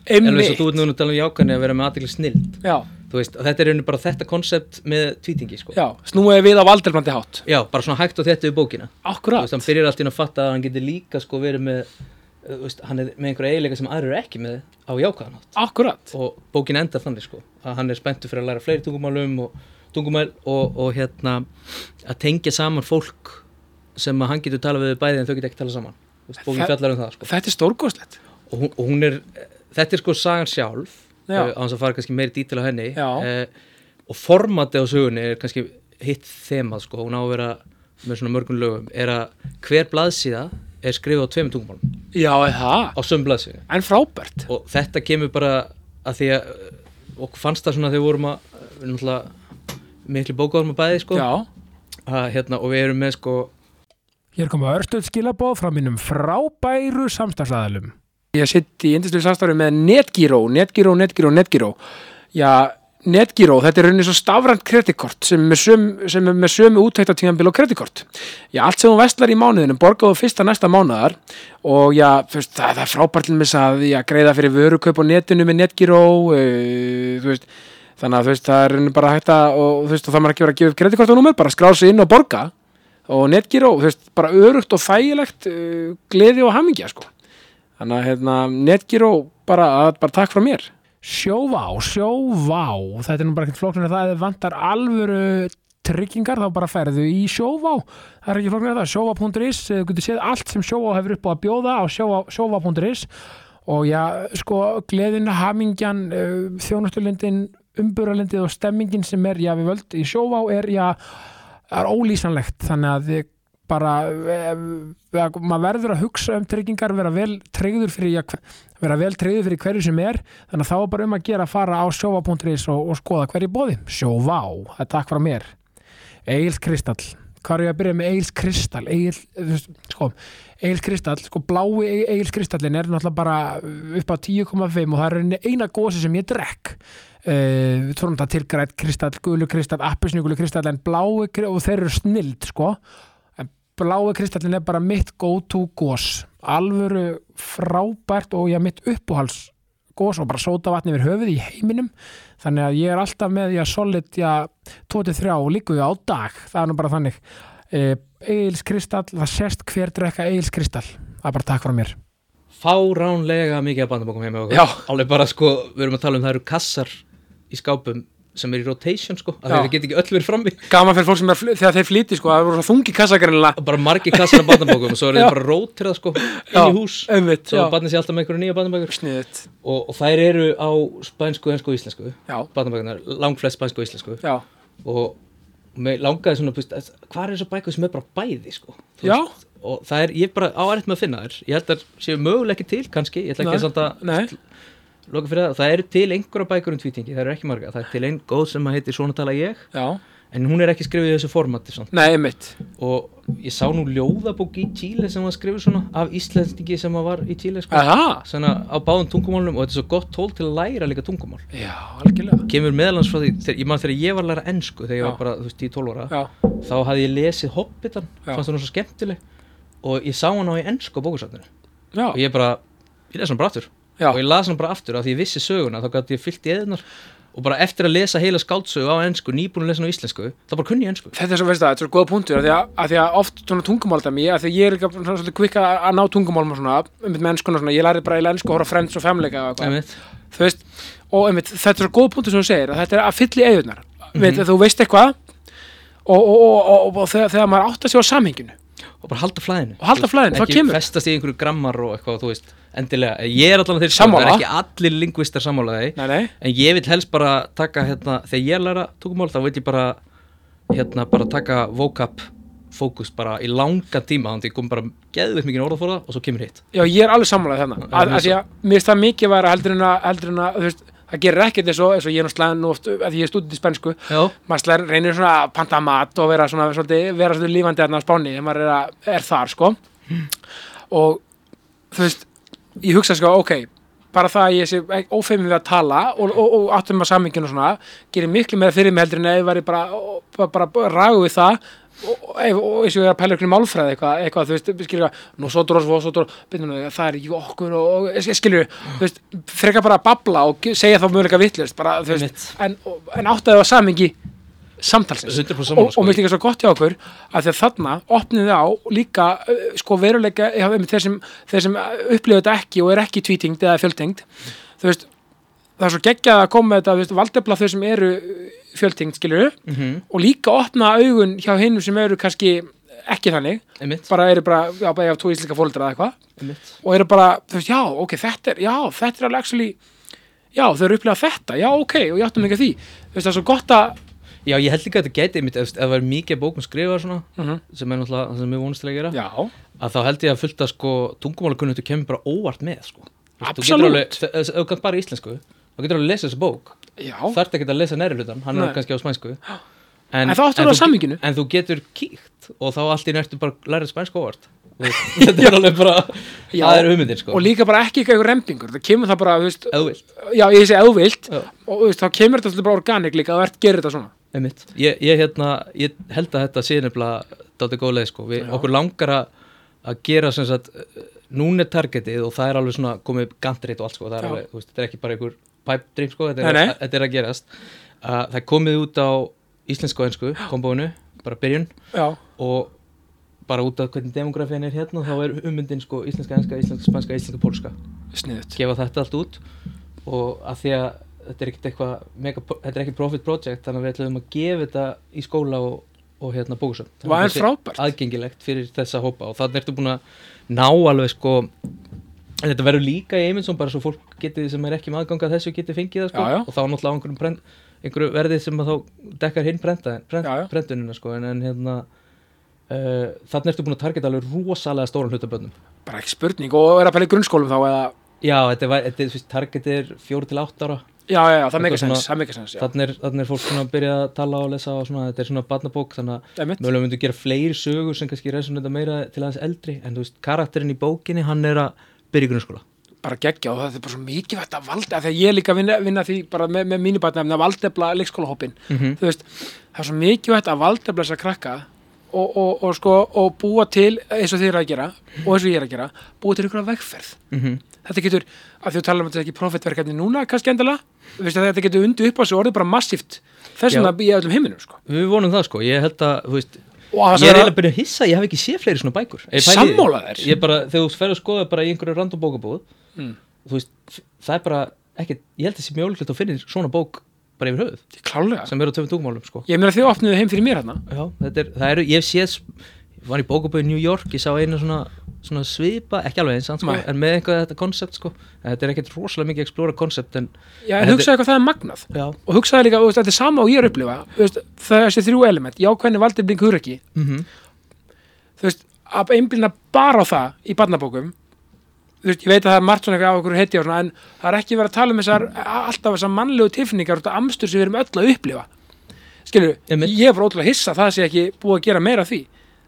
[SPEAKER 2] en
[SPEAKER 1] einmitt
[SPEAKER 2] eins og þú ert núna að tala um jákvæðni að vera með aðtekli snild
[SPEAKER 1] já,
[SPEAKER 2] þú veist, og þetta er einu bara þetta konsept með tvítingi sko
[SPEAKER 1] já, snúið við á valdelmandi hátt
[SPEAKER 2] Já, bara svona hægt og þetta við bókina Þú
[SPEAKER 1] akkurat,
[SPEAKER 2] veist, hann byrjar allt í einu að fatta að hann getur líka sko verið með eh, þú veist, hann er með einhverja eiginleika sem aðrir eru ekki með á jákvæðan hátt
[SPEAKER 1] akkurat
[SPEAKER 2] og bókin endar þannig sko að hann er spenntur fyrir að læra fleiri tungumálum og tungumæl og, og hérna að tengja saman fólk sem að hann getur talað við bæði en þau getur ekki talað saman Þú veist, bókin
[SPEAKER 1] Það-
[SPEAKER 2] fjallar um það sko.
[SPEAKER 1] þetta er stórgóðslegt
[SPEAKER 2] og, hún, og hún er, þetta er sko sagan sjálf
[SPEAKER 1] Já.
[SPEAKER 2] eh, á hans að fara kannski meiri dítil á henni
[SPEAKER 1] Já.
[SPEAKER 2] eh, og formatið á sögunni er kannski hitt þemað sko, hún á að vera með svona mörgum lögum, er að hver blaðsíða er skrifið á tveimur tungumálum
[SPEAKER 1] já, er það,
[SPEAKER 2] á söm blaðsíðu
[SPEAKER 1] en frábært
[SPEAKER 2] og þetta kemur bara að því að uh, okkur fannst það svona þegar við vorum að við erum náttúrulega miklu bókaðum að bæði sko
[SPEAKER 1] já,
[SPEAKER 2] að, hérna, og við erum með sko
[SPEAKER 3] Hér koma örstuð skilabóð frá mínum frábæru samstagsæðalum.
[SPEAKER 1] ég sitt í indislu samstarfi með Netgyro Netgyro, Netgyro, Netgyro já, Netgyro, þetta er rauninni svo stafrænt kreditkort sem er með sömu, sem er með sömu úttæktatíðanbíl og kreditkort já, allt sem hún vestlar í mánuðinu borgaðu fyrsta næsta mánuðar og já, þú veist, það, það er frábært til með að já, greiða fyrir vörukaup á netinu með Netgyro uh, þú veist þannig að þú veist, það er rauninni bara hægt að og þú veist, og það maður ekki verið að gefa upp kreditkort og númer bara skrá sig inn og borga og Netgyro, þú veist, bara örugt og þægilegt uh, gleði og hamingja, sko Þannig að hérna, Netgyro bara, að, bara takk frá mér.
[SPEAKER 3] Sjóvá, sjóvá, þetta er nú bara ekkert flóknir það ef þið vantar alvöru tryggingar þá bara færðu í sjóvá það er ekki flóknir það, sjóvá.is eh, þú getur séð allt sem sjóvá hefur upp á að bjóða á sjóvá- sjóvá.is og já, sko, gleðin, hamingjan eh, þjónustulindin, umburalindið og stemmingin sem er, já, við völd í sjóvá er, já, er ólýsanlegt þannig að þið bara eh, eh, maður verður að hugsa um tryggingar vera vel tryggður fyrir já, hve- vera vel tryggður fyrir hverju sem er þannig að þá er bara um að gera að fara á sjóva.is og, og skoða hverju bóði sjóvá, það er takk frá mér Egil Kristall hvað er ég að byrja með Egil Kristall Egil, sko, Egil Kristall sko, blái E- Egil Kristallin er náttúrulega bara upp á 10,5 og það er rauninni eina gósi sem ég drekk Uh, við tórum þetta til grætt kristall, gulu kristall appisnugulu kristall en blái kri- og þeir eru snild sko en blái kristallin er bara mitt go to gós alvöru frábært og ég mitt uppáhals gós og bara sóta vatni yfir höfuð í heiminum þannig að ég er alltaf með já, solid já, 23 og líku á dag það er nú bara þannig e, Egils kristall, það sést hver drekka Egils kristall, það er bara takk frá mér
[SPEAKER 2] fáránlega mikið af bandabókum heim með okkur
[SPEAKER 1] Já.
[SPEAKER 2] alveg bara sko, við erum að tala um það eru kassar í skápum sem er í rotation sko að
[SPEAKER 1] Já.
[SPEAKER 2] þeir geta ekki öll verið frammi
[SPEAKER 1] Gaman fyrir fólk sem er, að fly- þegar þeir flýti sko, það voru svo þungi kassagrinlega.
[SPEAKER 2] bara margir kassar af bandabókum og svo eru
[SPEAKER 1] Já.
[SPEAKER 2] þeir bara rótirað sko inn í hús
[SPEAKER 1] Einmitt,
[SPEAKER 2] svo
[SPEAKER 1] já.
[SPEAKER 2] að bandin sé alltaf með einhverju nýja bandabókur
[SPEAKER 1] Sniðut.
[SPEAKER 2] og, og þær eru á spænsku, hensku og íslensku
[SPEAKER 1] Já,
[SPEAKER 2] bandabókunar, langflest spænsku og íslensku
[SPEAKER 1] já.
[SPEAKER 2] og mig langaði svona pust, hvað er þessar bækur sem er bara bæði sko? Þú
[SPEAKER 1] Já.
[SPEAKER 2] veist, og það er, ég er bara á aðrætt með að finna þær ég held að þær séu möguleg ekki til kannski ég ætla ekki
[SPEAKER 1] Nei,
[SPEAKER 2] að samt að
[SPEAKER 1] Nei,
[SPEAKER 2] loka fyrir það það eru til einhverja bækur um tvítingi, það eru ekki marga það er til einn góð sem að heiti Svona tala ég
[SPEAKER 1] já,
[SPEAKER 2] en hún er ekki skrifið í þessu formati samt.
[SPEAKER 3] Nei, einmitt
[SPEAKER 2] og ég sá nú ljóðabók í Tíle sem var skrifið svona af íslensningi sem að var í Tíle sko.
[SPEAKER 3] Aha,
[SPEAKER 2] svona á báðum tungumálunum og þetta er svo gott tól til að læra líka tungumál
[SPEAKER 3] já, algjörlega
[SPEAKER 2] kemur meðalans frá því, þegar, ég man þegar ég var að læra ennsku þegar ég
[SPEAKER 3] Já.
[SPEAKER 2] var bara, þú veist, 10-12 ára
[SPEAKER 3] Já,
[SPEAKER 2] þá hafði ég lesið Hobbitan,
[SPEAKER 3] Já.
[SPEAKER 2] fannst hún svo skemmtileg og ég sá hann á í ennsku á bókusafninu
[SPEAKER 3] já,
[SPEAKER 2] og ég bara, ég les hann bara aftur
[SPEAKER 3] já,
[SPEAKER 2] og ég las hann bara aftur af því ég vissi söguna þá gæti ég fyllt í eðinar og bara eftir að lesa heila skáldsögu á ennsku, nýbúin að lesa hann á íslensku þá bara kunni ég ennsku
[SPEAKER 3] Þetta er svo, veist það, þetta er svo góða punktur af því að, að því að oft svona tungumáldæmi af því að ég er líka svona svolítið kvikk að, að ná tungumálum og svona, um með mennskuna svona, ég lærði bara í lensku að horfa á Friends og Family og eitthvað
[SPEAKER 2] Einmitt.
[SPEAKER 3] þú veist, og einmitt, þetta er svo góð punktur sem þú segir, að þetta er að fylla í eigurnar mm
[SPEAKER 2] Mhm.
[SPEAKER 3] -hmm. þú veist eitthvað og, og, og, og, og, þegar, þegar maður átt að sé á samhenginu
[SPEAKER 2] og bara halda flæðinu
[SPEAKER 3] Og halda flæðinu, þá
[SPEAKER 2] ekki
[SPEAKER 3] kemur.
[SPEAKER 2] festast í einhverju grammar og eitthvað þú veist, endilega, ég er allan þeir
[SPEAKER 3] Sammála.
[SPEAKER 2] það er ekki allir lingvistar sammála þeir
[SPEAKER 3] nei, nei,
[SPEAKER 2] en ég vil helst bara taka hérna, þegar ég er að læra tungumál þá vil ég bara hérna, bara taka vocab fókus bara í langa tíma þannig að ég kom bara geðvitt mikið orða fóra og svo kemur hitt
[SPEAKER 3] já, ég er alveg sammálaðið þarna
[SPEAKER 2] Já,
[SPEAKER 3] að,
[SPEAKER 2] ég
[SPEAKER 3] að því að mér finnst það mikið væri heldur en að, heldur en að þú veist, það gerir ekkert eins og, eins og ég er nú slæðan oft, af því ég er stúdið í spensku
[SPEAKER 2] Já,
[SPEAKER 3] maður slær, reynir svona að panta mat og vera svona, svolítið, vera svolítið lífandi þarna á spáni þegar maður er, að, er þar sko og þú veist ég hugsa sko, ok bara það að ég sé ek- ófeimur við að tala og, og, og áttum að saminginu og svona gerir miklu meira fyrir mig heldur en ef ég væri bara, og- bara, bara, bara ragu við það og, og, ef- og eins og ég er að pæla ykkur málfræði eitthvað, eitthvað, þú veist, skilur eitthvað nú svo dróð, svo, svo dróð, byrjum við það er ekki okkur og, og skilur, þú veist frekar bara að babla og ge- segja þá möguleika vittlust, bara, þú veist, en, og- en áttaði á samingi samtalsins
[SPEAKER 2] 100%
[SPEAKER 3] og,
[SPEAKER 2] sammála,
[SPEAKER 3] og
[SPEAKER 2] sko.
[SPEAKER 3] mér finnst líka svo gott hjá okkur að því að þarna opnið á líka uh, sko veruleika, já, einmitt þeir sem, þeir sem uh, upplifa þetta ekki og er ekki tvítingd eða fjöltingd, þú veist það er svo geggjað að koma með þetta, þú veist, valdefla þau sem eru uh, fjöltingd, skilur
[SPEAKER 2] Mhm,
[SPEAKER 3] og líka opna augun hjá hinnum sem eru kannski ekki þannig
[SPEAKER 2] einmitt,
[SPEAKER 3] bara eru bara, já, bara ég hafa tvo íslika fóldra eða eitthvað
[SPEAKER 2] einmitt
[SPEAKER 3] og eru bara, þú veist, já, ok, þetta er, já, þetta er alveg actually, já, þau eru upplegað þetta, já, ok, og ég áttum ekki að því, þú veist, það er svo gott að,
[SPEAKER 2] Já, ég held líka að þetta gæti einmitt, ef ef það var mikið af bókum skrifað svona,
[SPEAKER 3] Mhm.
[SPEAKER 2] sem er náttúrulega það sem ég vonast til að gera,
[SPEAKER 3] já,
[SPEAKER 2] að þá held ég að fullta sko, tungumálakunnáttu kemur bara óvart með sko. Þú veist, þú getur
[SPEAKER 3] Absolutt.
[SPEAKER 2] alveg- þ- þess- Ef þú kannst bara íslensku, þá getur alveg að lesa þessa bók
[SPEAKER 3] já,
[SPEAKER 2] þarft ekki að lesa næri hlutan, hann
[SPEAKER 3] Nei.
[SPEAKER 2] er kannski á spænsku
[SPEAKER 3] En þá áttu að vera á
[SPEAKER 2] þú-
[SPEAKER 3] samhenginu.
[SPEAKER 2] En þú getur kíkt og þá allt í nertu bara lærið spænsku óvart Og Þetta er alveg bara,
[SPEAKER 3] Já.
[SPEAKER 2] það er hugmyndin sko
[SPEAKER 3] og líka bara ekki eitthvað rempingur, það kemur það bara, þú veist,
[SPEAKER 2] Ef þú vilt,
[SPEAKER 3] já, ég sé auðvilt
[SPEAKER 2] Já.
[SPEAKER 3] og þú veist, þá kemur þetta svolítið bara organik líka að verð gerir þetta svona.
[SPEAKER 2] einmitt ég, ég, hérna, ég held að þetta sé nefnilega dátu góð leið sko, við okkur langar að að gera sem sagt eh, núna er targetið og það er alveg svona komið gandrið og allt sko, það er
[SPEAKER 3] Já.
[SPEAKER 2] alveg, þú veist, þetta er ekki bara einhver pipe dream sko, þetta
[SPEAKER 3] Nei,
[SPEAKER 2] er,
[SPEAKER 3] nei.
[SPEAKER 2] Þetta er að gerast uh, það er komið út á íslensku og ensku kombóinu, bara byrjun
[SPEAKER 3] Já,
[SPEAKER 2] og bara út af hvernig demografin er hérna þá er ummyndin sko íslenska, enska, íslenska, spanska, íslenska, pólska
[SPEAKER 3] sniðut.
[SPEAKER 2] gefa þetta allt út og að því að þetta er ekkert eitthvað mega, þetta er ekki profit project þannig að við ætlum að gefa þetta í skóla og, og hérna bókusum
[SPEAKER 3] Vá, en frábært.
[SPEAKER 2] aðgengilegt fyrir þessa hópa og þannig ertu búin að ná alveg sko en þetta verður líka í Eymundsson bara svo fólk geti sem er ekki með aðganga þessu geti fengið það sko
[SPEAKER 3] Já, já.
[SPEAKER 2] og þá náttúrulega á einhverjum, prent, einhverju verði sem að þá dekkar hinn prenta, prent,
[SPEAKER 3] Já, já.
[SPEAKER 2] prentunina sko en, en hérna uh, þannig ertu búin að targeta alveg rosalega stóran hlutaböndum
[SPEAKER 3] Bara ekki spurning og er að pæla í grunnskólum þá eða,
[SPEAKER 2] Já, þetta var, þetta, er, þú veist, targetið er fjóru til átt ára
[SPEAKER 3] já, já, já, það meika
[SPEAKER 2] svona-
[SPEAKER 3] sens, það meika sens, já,
[SPEAKER 2] þannig er, þannig er fólk svona að byrja að tala og lesa og svona, þetta er svona barnabók þannig að
[SPEAKER 3] emitt,
[SPEAKER 2] mögulega myndu gera fleiri sögur sem kannski resonita meira til aðeins eldri en þú veist, karakterinn í bókinni, hann er að byrja í grunnskóla
[SPEAKER 3] bara geggja og það er bara svo mikið þetta valda, þegar ég líka vinna, vinna því bara með, með mínu batnefni að valdefla leikskólahópin,
[SPEAKER 2] Mhm.
[SPEAKER 3] þú veist, það er svo mikið þetta að valdefla þess að krakka og, og, og sko, og búa til eins og þið eru að gera, og eins og ég er að gera, búa til ykkur að vegferð.
[SPEAKER 2] mm -hmm.
[SPEAKER 3] þetta getur, að þú talar um að þetta er ekki profitverkefni núna kannski endala, veist að þetta getur undir upp á sig orðið bara massíft
[SPEAKER 2] Já.
[SPEAKER 3] þessum að í öllum heiminum sko.
[SPEAKER 2] Við vonum það sko, ég held að, þú veist
[SPEAKER 3] og að
[SPEAKER 2] Ég er eiginlega
[SPEAKER 3] það vera,
[SPEAKER 2] að byrja að hissa, ég hef ekki séð fleiri svona bækur Ég pæli í því.
[SPEAKER 3] Sammála þér.
[SPEAKER 2] Ég bara, þegar þú ferð að skoða bara í einhverju random bókabóð
[SPEAKER 3] Mm.
[SPEAKER 2] Þú veist, það er bara ekki, ég held að sé mjög ólíklegt að finna svona bók bara yfir höfuð,
[SPEAKER 3] klálega
[SPEAKER 2] sem eru á töfum tungumálum sko
[SPEAKER 3] ég meina þið opnuðu heim fyrir mér hérna
[SPEAKER 2] Já, þetta er, það eru, ég sé ég var í bókaböðu í New York, ég sá eina svona, svona svipa, ekki alveg eins sko,
[SPEAKER 3] Nei.
[SPEAKER 2] en með eitthvað þetta koncept sko en þetta er ekkert rosalega mikið að explora koncept en
[SPEAKER 3] já, en
[SPEAKER 2] Þetta-
[SPEAKER 3] hugsaðu hvað það er magnað
[SPEAKER 2] já,
[SPEAKER 3] og hugsaðu líka, þú veist, þetta er sama og ég er að upplifa þú veist, þessi þrjú element, já hvernig valdið blink hur ekki,
[SPEAKER 2] mm
[SPEAKER 3] þú veist að einblina bara á það í barnabókum þú veist, ég veit að það er margt svona eitthvað á okkur heiti og svona, en það er ekki verið að tala um þessar alltaf þessar mannlegu tilfinningar og þetta amstur sem við erum öll að upplifa
[SPEAKER 1] skilur,
[SPEAKER 2] Einmitt.
[SPEAKER 1] ég er bara ótrúlega hissa að það sé ekki búið að gera meira af því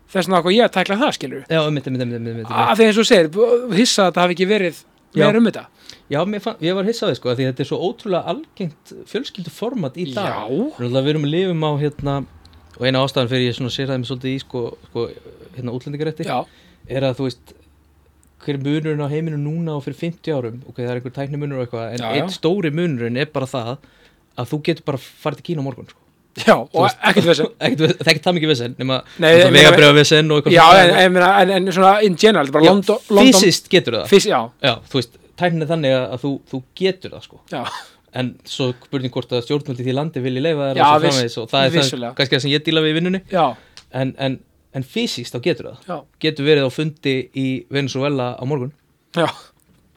[SPEAKER 1] þess vegna hvað ég að tækla það, skilur
[SPEAKER 2] Já, um þetta, um þetta, um
[SPEAKER 3] Ah.
[SPEAKER 2] þetta
[SPEAKER 1] að því eins og þú segir, b- hissa að það hafi ekki verið
[SPEAKER 2] Já.
[SPEAKER 1] meira um þetta
[SPEAKER 2] Já, mér fann, ég var hissað því sko, af því þetta er svo ótrúlega algengt fjölskylduformat í dag
[SPEAKER 1] Já.
[SPEAKER 2] Náttúrulega við erum að lifum á hérna og eina ástæðan fyrir ég svona sérðaði mig svolítið í sko, sko hérna útlendingarétti
[SPEAKER 1] Já,
[SPEAKER 2] er að þú veist hver er munurinn á heiminu núna og fyrir 50 árum ok, það er einhver tækni munur og eitthvað en
[SPEAKER 1] Já, já.
[SPEAKER 2] einn stóri munurinn er bara það að þú getur bara farið til Kína á morgun sko.
[SPEAKER 1] já, og ekkert þess að
[SPEAKER 2] Ekkert ves- það er ekkert það mikið vesen nema
[SPEAKER 1] Nei,
[SPEAKER 2] það
[SPEAKER 1] ég
[SPEAKER 2] vega
[SPEAKER 1] meina-
[SPEAKER 2] breyfa vesen og eitthvað
[SPEAKER 1] Já,
[SPEAKER 2] svona.
[SPEAKER 1] en, en, meina, en, en svona in general, bara
[SPEAKER 2] sko. Já,
[SPEAKER 1] London, London
[SPEAKER 2] fysiskt getur það
[SPEAKER 1] fys, Já,
[SPEAKER 2] já, þú veist, tæknin er þannig að þú, þú getur það sko
[SPEAKER 1] já,
[SPEAKER 2] en svo spurning hvort að stjórnvöld í því landi vilji leifa
[SPEAKER 1] Já,
[SPEAKER 2] þér og svo
[SPEAKER 1] viss-
[SPEAKER 2] framvegis og það er það,
[SPEAKER 1] vissulega.
[SPEAKER 2] kannski það sem ég díla við í vinnunni
[SPEAKER 1] já,
[SPEAKER 2] en, en, en fysiskt þá getur það
[SPEAKER 1] já,
[SPEAKER 2] getur verið á fundi í Venezuela á morgun
[SPEAKER 1] já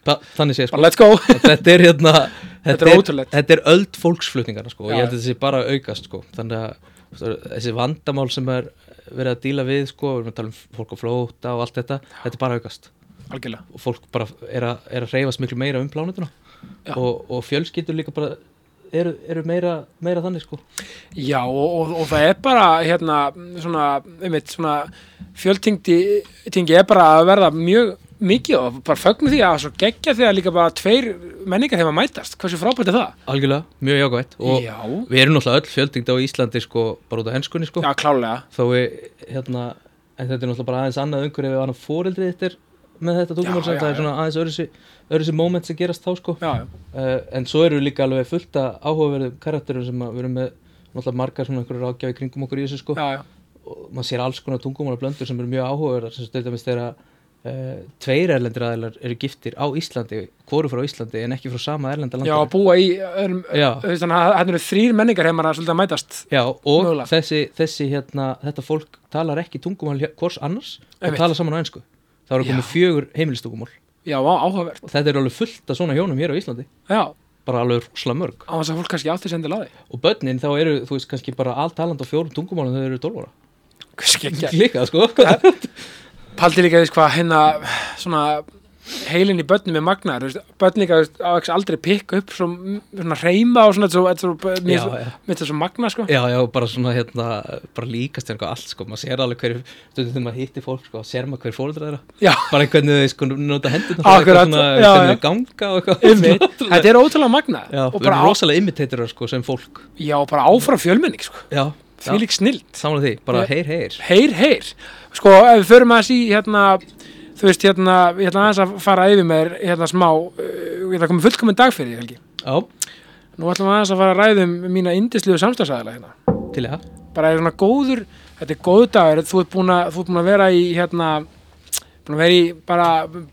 [SPEAKER 2] Þa, þannig segja sko
[SPEAKER 1] Bara let's go
[SPEAKER 2] þetta er hérna
[SPEAKER 1] Þetta
[SPEAKER 2] þetta
[SPEAKER 1] er
[SPEAKER 2] er,
[SPEAKER 1] ótrúlegt.
[SPEAKER 2] þetta er öld fólksflutningarna sko og
[SPEAKER 1] Já.
[SPEAKER 2] ég held að þetta sé bara að aukast sko þannig að þú veist, þessi vandamál sem er verið að díla við sko við erum að tala um fólk á flóta og allt þetta þetta er bara að aukast
[SPEAKER 1] Algjörlega
[SPEAKER 2] og fólk bara er, a, er að reyfast miklu meira um plánutuna
[SPEAKER 1] Já.
[SPEAKER 2] og, og fjölskyldur líka bara eru, eru meira, meira þannig sko
[SPEAKER 1] Já, og, og, og það er bara hérna, svona, einmitt, svona fjöldtingdi tingi er bara að verða mjög mikið og bara fögnum því að svo geggja því að líka bara tveir menningar þeim að mætast, hversu frábært er það?
[SPEAKER 2] Algjörlega, mjög jákvæmt og
[SPEAKER 1] Já,
[SPEAKER 2] við erum náttúrulega öll fjöldingd á Íslandi sko, bara út af henskunni sko
[SPEAKER 1] já, klálega
[SPEAKER 2] þó við, hérna, en þetta er náttúrulega bara aðeins annað umhverju ef annað fóreldrið þitt er með þetta tungumál
[SPEAKER 1] já,
[SPEAKER 2] sem það
[SPEAKER 1] já.
[SPEAKER 2] er svona aðeins öðruðsi, öðruðsi moment sem gerast þá sko uh,
[SPEAKER 1] Já, já,
[SPEAKER 2] en svo eru líka alveg fullt af áhugaverðum karakterum sem að við erum með náttúrulega margar svona einhverju ráðgjafi kringum okkur í þessu sko
[SPEAKER 1] já, já,
[SPEAKER 2] og maður sér alls konar tungumálablöndur sem eru mjög áhugaverðar sem stöldum þess þegar uh, tveir erlendir aðeinar eru giftir á Íslandi hvoru frá Íslandi en ekki frá sama erlenda
[SPEAKER 1] já, að
[SPEAKER 2] landinu
[SPEAKER 1] búa í öðrum,
[SPEAKER 2] Já.
[SPEAKER 1] þú veist þannig að hérna eru þrýr menningar heimar að svolítið að mætast
[SPEAKER 2] Já, og
[SPEAKER 1] Mögulega.
[SPEAKER 2] þessi, þessi hérna, þetta fólk talar ekki tungumál hjá- hvors annars og
[SPEAKER 1] Einmitt.
[SPEAKER 2] talar saman á ennsku þá eru komið fjögur heimilistungumál
[SPEAKER 1] Já, á, áhugavert,
[SPEAKER 2] og þetta er alveg fullt af svona hjónum hér á Íslandi
[SPEAKER 1] já,
[SPEAKER 2] bara alveg rúsla mörg
[SPEAKER 1] á þess að fólk kannski átti sendil á því
[SPEAKER 2] og börnin þá eru, þú veist, kannski bara allt talandi á fjórum tungumálum þau eru 12 ára
[SPEAKER 1] Hversu geggjað
[SPEAKER 2] líka, sko já,
[SPEAKER 1] Paldi líka því hvað hérna svona heilin í börnum er magnaður, þú veist, börn líka þú veist, á ekki aldrei pikka upp svo, m- svona reyma og svona, þetta er svo, þetta er svo, mér
[SPEAKER 2] Já,
[SPEAKER 1] svo-
[SPEAKER 2] já.
[SPEAKER 1] mér þetta er svo magna, sko.
[SPEAKER 2] já, bara svona hérna bara líkast eitthvað allt, sko, maður sér alveg hverju stundum þegar maður hittir fólk, sko, sér maður hverju fóreldra þeirra
[SPEAKER 1] Já,
[SPEAKER 2] bara hvernig þau, sko, nota hendurna
[SPEAKER 1] Akkurat,
[SPEAKER 2] svona,
[SPEAKER 1] já,
[SPEAKER 2] hvernig
[SPEAKER 1] já.
[SPEAKER 2] þau ganga og eitthvað
[SPEAKER 1] ymmið, þetta er ótrúlega magna
[SPEAKER 2] já,
[SPEAKER 1] og
[SPEAKER 2] við
[SPEAKER 1] bara, á,
[SPEAKER 2] erum rosalega imitatorur, sko, sem fólk
[SPEAKER 1] já, og bara áfram fjölmenning, sko.
[SPEAKER 2] já, já.
[SPEAKER 1] Því lík snild.
[SPEAKER 2] Samanlega því, bara
[SPEAKER 1] Já.
[SPEAKER 2] heyr, heyr
[SPEAKER 1] Heyr, heyr. Sko, ef við förum aðeins í, hérna, þú veist, hérna, ég ætla aðeins að fara yfir mér, hérna, smá, uh, ég ætla að koma með fullkominn dag fyrir því, Helgi.
[SPEAKER 2] Já,
[SPEAKER 1] Nú ætlum við aðeins að fara að ræðum mína indisliðu samstagsæðala hérna.
[SPEAKER 2] til það
[SPEAKER 1] bara er svona góður þetta er góður dagur, þú ert búin að, þú ert búin að vera í hérna búin að vera í, bara,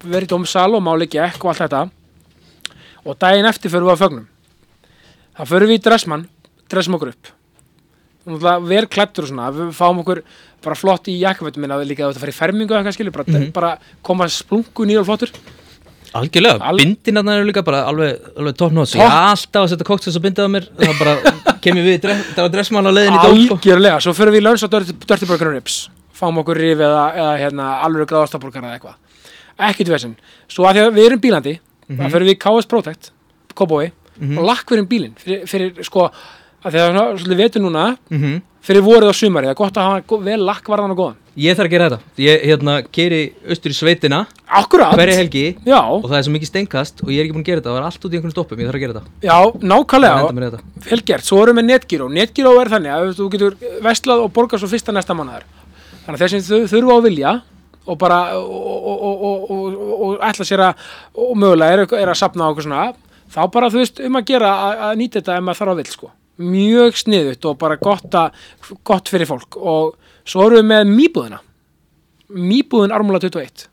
[SPEAKER 1] vera í domsal og máli gekk og allt þetta og daginn eftir förum við að fögnum það förum við í dressmann, dressum okkur upp náttúrulega vel klættur og svona við fáum okkur bara flott í jakkafötum minna líka þú ert að fara í fermingu eða eitthvað skilur bara, bara koma splungu nýr og flottur
[SPEAKER 2] Algjörlega,
[SPEAKER 1] Al-
[SPEAKER 2] Al bindinarna eru líka bara alveg, alveg tóknóts
[SPEAKER 1] Topp.
[SPEAKER 2] Ég er alltaf að setja koktis og bindið á mér Það bara kemur við, í dre- það var dressmann á leiðin í dóm sko.
[SPEAKER 1] algjörlega, svo förum við í lönns á Dirty Burger and Rips fáum okkur rif eða, eða hérna, alveg gráðastaborgar eða eitthvað ekkert vesinn, svo að því að við erum bílandi þá förum við í KS Protect Kobói og lakkverjum bílinn fyrir, fyrir sko, að því að það er svona vetur núna
[SPEAKER 2] Mhm.
[SPEAKER 1] fyrir vorið og sumari, það er gott að hafa go- vel lakkvarðan og góðan
[SPEAKER 2] Ég þarf að gera þetta Ég hérna, keri austur í sveitina
[SPEAKER 1] Akkurat,
[SPEAKER 2] hverja helgi
[SPEAKER 1] já,
[SPEAKER 2] og það er svo mikið steinkast og ég er ekki búin að gera þetta Það var allt út í einhvern stoppum, ég þarf að gera þetta
[SPEAKER 1] já,
[SPEAKER 2] Ég
[SPEAKER 1] nákvæmlega
[SPEAKER 2] henda mér í þetta.
[SPEAKER 1] vel gert, svo erum við netgíró netgíró er þannig að þú getur vestlað og borgað svo fyrsta næsta mannaðar þannig að þeir sem þau þurfa að vilja og bara og, og, og, og, og, og, og ætla sér að og mögulega er, er að sapna á okkur svona þá bara þú veist um að gera að, að nýta þetta ef maður þarf að vil sko mjög sniðut og bara gott, að, gott fyrir fólk og svo erum við með mýbúðina mýbúðin armúla 21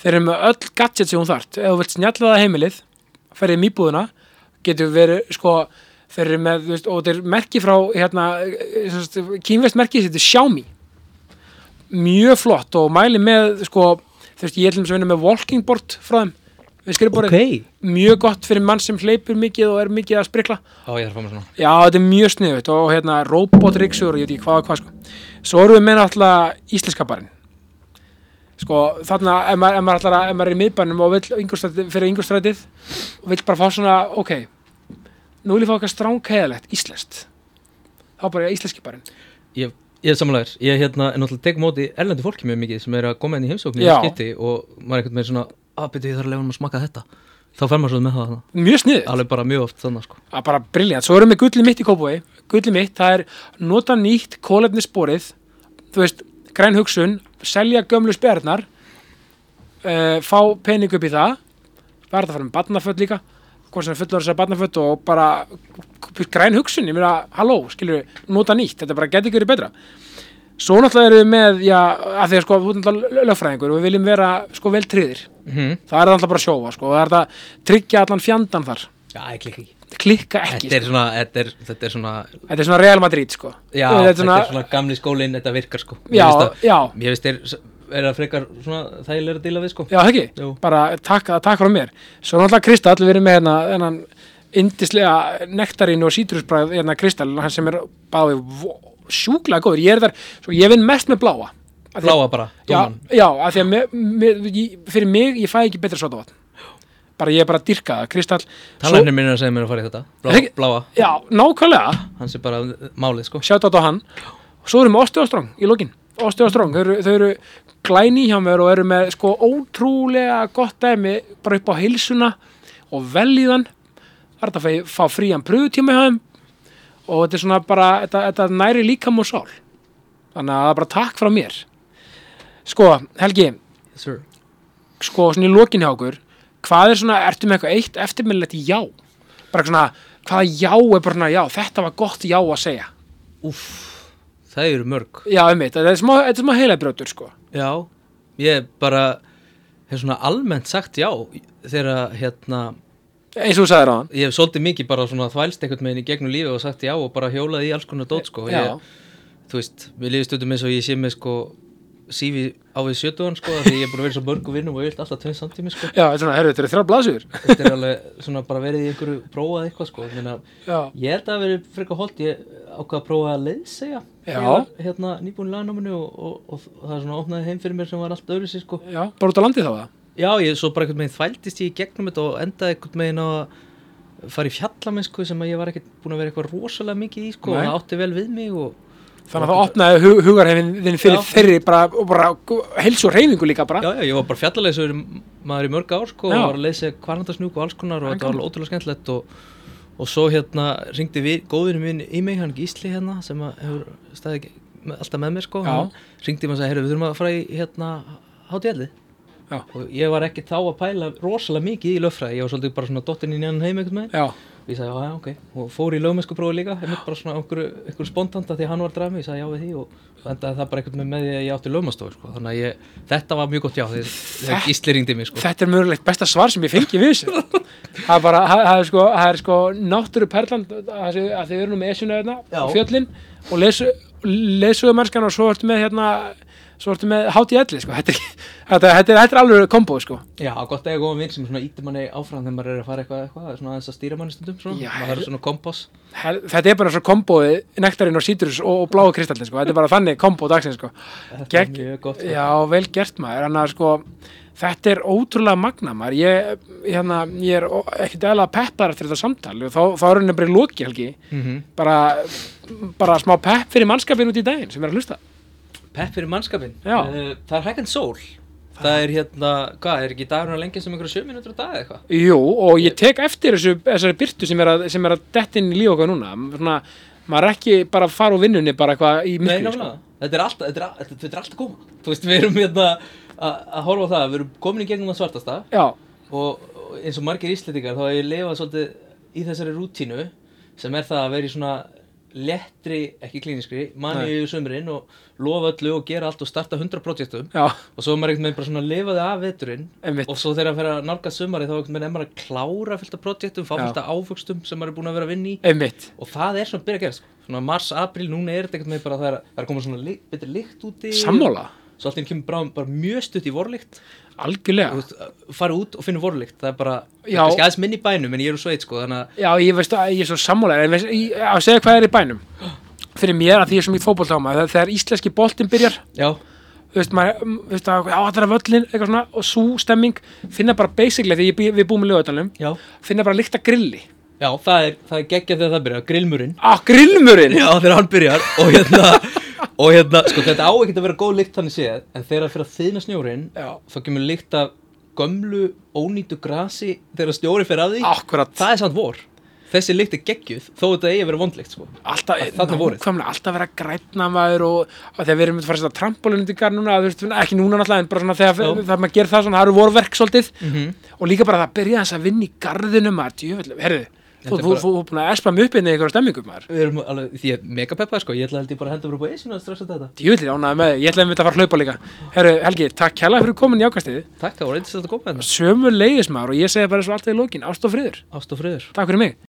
[SPEAKER 1] þeir eru með öll gadget sem hún þart ef þú vilt snjalla það heimilið ferðið mýbúðina getur verið sko þeir eru með, þú veist, og þeir merki frá hérna, kínvest merki þetta er Xiaomi mjög flott og mæli með sko, þú veist, ég ætlum svo að vinna með walking board frá þeim, við skrifborið
[SPEAKER 2] Ok,
[SPEAKER 1] mjög gott fyrir mann sem hleypur mikið og er mikið að sprikla
[SPEAKER 2] á ég þarf að fá mér svona
[SPEAKER 1] Já, þetta er mjög sniðut og hérna robotryggsur og ég veit ekki hvað og hvað sko. Svo erum við með náttúrulega íslenska barinn. Sko, þarna, ef maður, ef maður, ætlar að, ef maður er í miðbænum og vill yngurstrætið, fyrir yngurstrætið og vill bara fá svona, ok, nú vil ég fá eitthvað stránkæðalegt, íslenskt. þá bara er íslenski barinn
[SPEAKER 2] Ég, ég er samanlegar, ég hérna, er náttúrulega tek móti erlendu fólki mjög mikið sem er að koma inn í heimsóknir
[SPEAKER 1] Já.
[SPEAKER 2] í skipti og maður er eitthvað með svona að byrja ég þarf að lega um að smaka þetta þá fer maður svo með það þarna.
[SPEAKER 1] mjög sniðið,
[SPEAKER 2] alveg bara mjög oft þannig sko.
[SPEAKER 1] að bara briljant svo erum við gullið mitt í kópói, gullið mitt það er nota nýtt kólefnissporið þú veist, græn hugsun selja gömlu sperðnar uh, fá pening upp í það það er þetta að fara með barnaföld líka hvort sem er fullur þessar barnaföld og bara græn hugsun, ég meina, halló skilur við, nota nýtt, þetta bara geti ekki verið betra svo náttúrulega erum við með já, að því að sko, þú ert náttúrulega lögfræðingur og við viljum vera sko vel triðir
[SPEAKER 2] mm -hmm.
[SPEAKER 1] það er náttúrulega bara að sjófa sko, og það er þetta að tryggja allan fjandan þar
[SPEAKER 2] Já, ég klikka ekki
[SPEAKER 1] klikka ekki,
[SPEAKER 2] Þetta er svona, þetta er, þetta er svona,
[SPEAKER 1] Þetta er svona Real Madrid sko
[SPEAKER 2] já,
[SPEAKER 1] Þetta er svona,
[SPEAKER 2] gamli skólinn, þetta virkar sko
[SPEAKER 1] Já, já.
[SPEAKER 2] Ég veist þér, er það frekar svona þægilega að díla við sko
[SPEAKER 1] Já, það ekki,
[SPEAKER 2] Jú.
[SPEAKER 1] bara takk, takk frá mér Svo náttúrulega Kristall, við erum með hérna hennan indislega nektarín og sítrusbræð hérna Kristall, hann sem er báði sjúklega góður, ég er þar svo ég vinn mest með bláa Af því-
[SPEAKER 2] Bláa bara,
[SPEAKER 1] Já,
[SPEAKER 2] dóman
[SPEAKER 1] já, af því að me, me, ég, fyrir mig, ég fæ ekki betra sotavatn bara ég er bara að dyrka það, Kristall
[SPEAKER 2] Talarnir minn um er að segja mér að fara í þetta
[SPEAKER 1] Er
[SPEAKER 2] Bláa,
[SPEAKER 1] ekki-
[SPEAKER 2] bláa
[SPEAKER 1] Já, nákvæmlega
[SPEAKER 2] hans er bara uh, málið sko
[SPEAKER 1] sjátt á hann svo erum við Osti og Strong í lokin Osti og Strong, þau eru, þau eru glæni hjá mér og eru með sko ótrúlega gott dæmi bara upp á heilsuna og velíðan það er þetta að fæ- fá frían pröfutíma hjá þeim og þetta er svona bara þetta, þetta næri líkam og sál þannig að það er bara takk frá mér sko, Helgi,
[SPEAKER 2] Sir.
[SPEAKER 1] sko svona í lokin hjá okkur hvað er svona, ertu með eitthvað eitt eftirminnilegt já bara svona, hvaða já er bara svona já, þetta var gott já að segja
[SPEAKER 2] Úff, það eru mörg
[SPEAKER 1] Já, einmitt, þetta er smá, þetta er smá heilabrjótur sko.
[SPEAKER 2] Já, ég bara hef svona almennt sagt já þegar hérna
[SPEAKER 1] eins og þú sagðir á hann
[SPEAKER 2] ég hef svolítið mikið bara svona þvælst einhvern meginn í gegnum lífi og sagt já og bara hjólaði í alls konar dót sko
[SPEAKER 1] Já.
[SPEAKER 2] ég, þú veist, mér lífið stundum eins og ég sé með sko sífi á við sjötugan sko af því ég er búin að vera í svo mörgu vinnum og ég vilt alltaf tveim samtími sko
[SPEAKER 1] Já, þetta er svona, herru, þetta eru þrjá blasur
[SPEAKER 2] þetta er alveg svona bara verið í einhverju prófað eitthvað sko Minna,
[SPEAKER 1] Já,
[SPEAKER 2] ég held að verið frekar holdt ég ákvað að prófa að leiðsegja
[SPEAKER 1] Já.
[SPEAKER 2] Ég var, hérna nýbúin laganáminu og, og, og, það er svona opnaði heim fyrir mér sem var allt öðru sko
[SPEAKER 1] já, bara út á landi þá það
[SPEAKER 2] Já, ég svo bara einhvern veginn þvældist ég í gegnum þetta og endaði einhvern veginn á að fara í fjallamennsku sem að ég var ekkert búin að vera eitthvað rosalega mikið í sko
[SPEAKER 1] Nei.
[SPEAKER 2] og það átti vel við mig og
[SPEAKER 1] Þannig að það opnaði hug, hugarheiminn þinn fyrir
[SPEAKER 2] Já.
[SPEAKER 1] þeirri bara, og bara heilsu og reyningu líka bara
[SPEAKER 2] já, já, ég var bara fjallaleysuður maður í mörg ár sko
[SPEAKER 1] Já.
[SPEAKER 2] og var að leysa kvarnandasnjúk og alls konar og
[SPEAKER 1] Hann
[SPEAKER 2] þetta var alveg ótrúlega skemmtilegt og, og svo hérna ringdi við, góðinu minn í mig, hann Gísli hérna sem að hefur staðið með, alltaf með mér sko
[SPEAKER 1] Já.
[SPEAKER 2] hann ringdi mig og sagði, heyrðu, við þurfum að fara í hérna hátjæli
[SPEAKER 1] Já.
[SPEAKER 2] og ég var ekki þá að pæla rosalega mikið í löffræði, ég var svolítið bara svona dottin í nýjan heim einhvern veginn
[SPEAKER 1] Já,
[SPEAKER 2] og ég sagði, já, já, ok, og fór í lögmennsku prófi líka einmitt bara svona einhverju, einhverju spontanta því að hann var að draga mig, ég sagði já við því og og endaði það bara einhvern veginn með því að ég átti lögmanstofu sko. þannig að ég, þetta var mjög gott já þegar þegar Gísli ringdi mig sko.
[SPEAKER 1] þetta er mörgulegt besta svar sem ég fengi við þessu Það er bara, það það er sko, það er sko náttúru perlan að þið eru nú með esjuna hérna
[SPEAKER 2] Já.
[SPEAKER 1] og fjöllin og lesu, lesuðu mennskan og svo ertu með hérna svo ertu með hátt í elli sko Þetta er, þetta, þetta er, þetta er alveg kombo sko
[SPEAKER 2] já, gott eða góðan vinn sem svona ítir manni áfram þegar maður er að fara eitthvað, eitthvað svona aðeins að stýra manni stundum svona,
[SPEAKER 1] Já,
[SPEAKER 2] maður er svona kompass
[SPEAKER 1] Hel- þetta er bara svo kombóið nektarinn og sítrus og, og bláu kristallin sko. þetta er bara þannig kombó dagsins sko.
[SPEAKER 2] þetta
[SPEAKER 1] Gegn-
[SPEAKER 2] er mjög gott sko.
[SPEAKER 1] já, vel gert maður Anna, sko, þetta er ótrúlega magna maður ég, hérna, ég er ó- ekkert eðalega peppar eftir þetta samtal og þá, þá er henni bara í loki helgi
[SPEAKER 2] Mhm.
[SPEAKER 1] bara, bara smá pepp fyrir mannskapin út í daginn sem er að hlusta
[SPEAKER 2] pepp fyrir mannskapin,
[SPEAKER 1] Já.
[SPEAKER 2] Eh, það er hægand sól það er hérna, hvað, er ekki dagurinn að lengja sem einhverju sjö mínútur á dag eða eitthvað
[SPEAKER 1] Jú, og ég tek eftir þessu, þessari byrtu sem er að, sem er að detti inn í líf okkar núna Svona, maður er ekki bara að fara úr vinnunni bara eitthvað í
[SPEAKER 2] Nei,
[SPEAKER 1] myrkri sko.
[SPEAKER 2] náttúrulega, þetta er alltaf, þetta er, al- þetta, þetta er alltaf koma Þú veist, við erum hérna að að horfa á það, við erum komin í gegnum að svartasta
[SPEAKER 1] já,
[SPEAKER 2] og, og eins og margir íslendingar þá hef ég lifað svolítið í þessari rútínu sem er það að vera í svona lettri, ekki klíniskri, manni í sömurinn og lofa öllu og gera allt og starta 100 projektum
[SPEAKER 1] já,
[SPEAKER 2] og svo er maður einhvern veginn bara svona lifaði af veturinn
[SPEAKER 1] Einmitt.
[SPEAKER 2] og svo þegar að vera að nálga sumari þá einhvern veginn er maður að klára fylgta projektum, fá
[SPEAKER 1] Já.
[SPEAKER 2] fylgta áfugstum sem maður er búin að vera að vinna í
[SPEAKER 1] einmitt
[SPEAKER 2] og það er svona að byrja að gera sko. svona mars, april, núna er þetta eitthvað með bara það er, það er að koma svona ly, betri lykt úti
[SPEAKER 1] Sammála,
[SPEAKER 2] svo allt í einu kemur bara, bara mjög stutt í vorlykt
[SPEAKER 1] algjörlega
[SPEAKER 2] Þú veist, farið út og finnur vorlykt það er bara, það
[SPEAKER 1] Já.
[SPEAKER 2] er kannski aðeins minni í bænum en ég er úr sveit sko, þannig að
[SPEAKER 1] Já, ég veist að ég er svo sammálega en veist, ég, að segja hvað er í bænum fyrir mér að því ég er svo mikið fótbolt á maður þegar íslenski boltinn byrjar
[SPEAKER 2] já,
[SPEAKER 1] þú veist, maður, mm, þú veist að áhættara völlin eitthvað svona og svo stemming finna bara basically því ég, bý- við búum í lögutanum
[SPEAKER 2] já,
[SPEAKER 1] finna bara líkt að grilli
[SPEAKER 2] Já, það er, það er geggjað þegar það byrjar, grillmurinn
[SPEAKER 1] Á, Ah, grillmurinn!
[SPEAKER 2] Já, þegar hann byrjar og hérna, og hérna, sko þetta á ekkert að vera góð lykt þannig séð En þegar það fyrir að þyðna snjórin,
[SPEAKER 1] Já.
[SPEAKER 2] þá kemur lykt af gömlu, ónýtu grasi þegar snjóri fer að því
[SPEAKER 1] Akkurat.
[SPEAKER 2] Það er samt vor Þessi lykt er geggjuð, þó þetta eigi að vera vondlykt, sko
[SPEAKER 1] alltaf,
[SPEAKER 2] þarna vorið.
[SPEAKER 1] nákvæmlega, alltaf vera grænna maður og, og þegar við erum að fara að setja trampolunindingar núna, þú veist, ekki núna náttúrulega en bara svona þegar
[SPEAKER 2] Já.
[SPEAKER 1] það maður gerir það svona, það eru vorverk svolítið og líka bara það byrja þess að vinna í garðinu maður, djöfull, herðu þú
[SPEAKER 2] Þetta er
[SPEAKER 1] þú-
[SPEAKER 2] bara-
[SPEAKER 1] þú er búin að espa mig upp inn í einhverja stemmingum maður,
[SPEAKER 2] Við erum alveg, því ég er mega peppað, sko, ég ætla held ég bara að henda mér upp á esinu að stressa þetta
[SPEAKER 1] djöfull, ánæði með þig. ég ætlaði að þetta að fara að hlaupa líka, herðu, Helgi, takk kæla fyrir komin í ákastiði,
[SPEAKER 2] Takk, það var eitthvað að koma hérna
[SPEAKER 1] sömu leiðis maður og ég segi bara svo alltaf í lokin, ást og friður,
[SPEAKER 2] Ást og friður
[SPEAKER 1] takk fyrir mig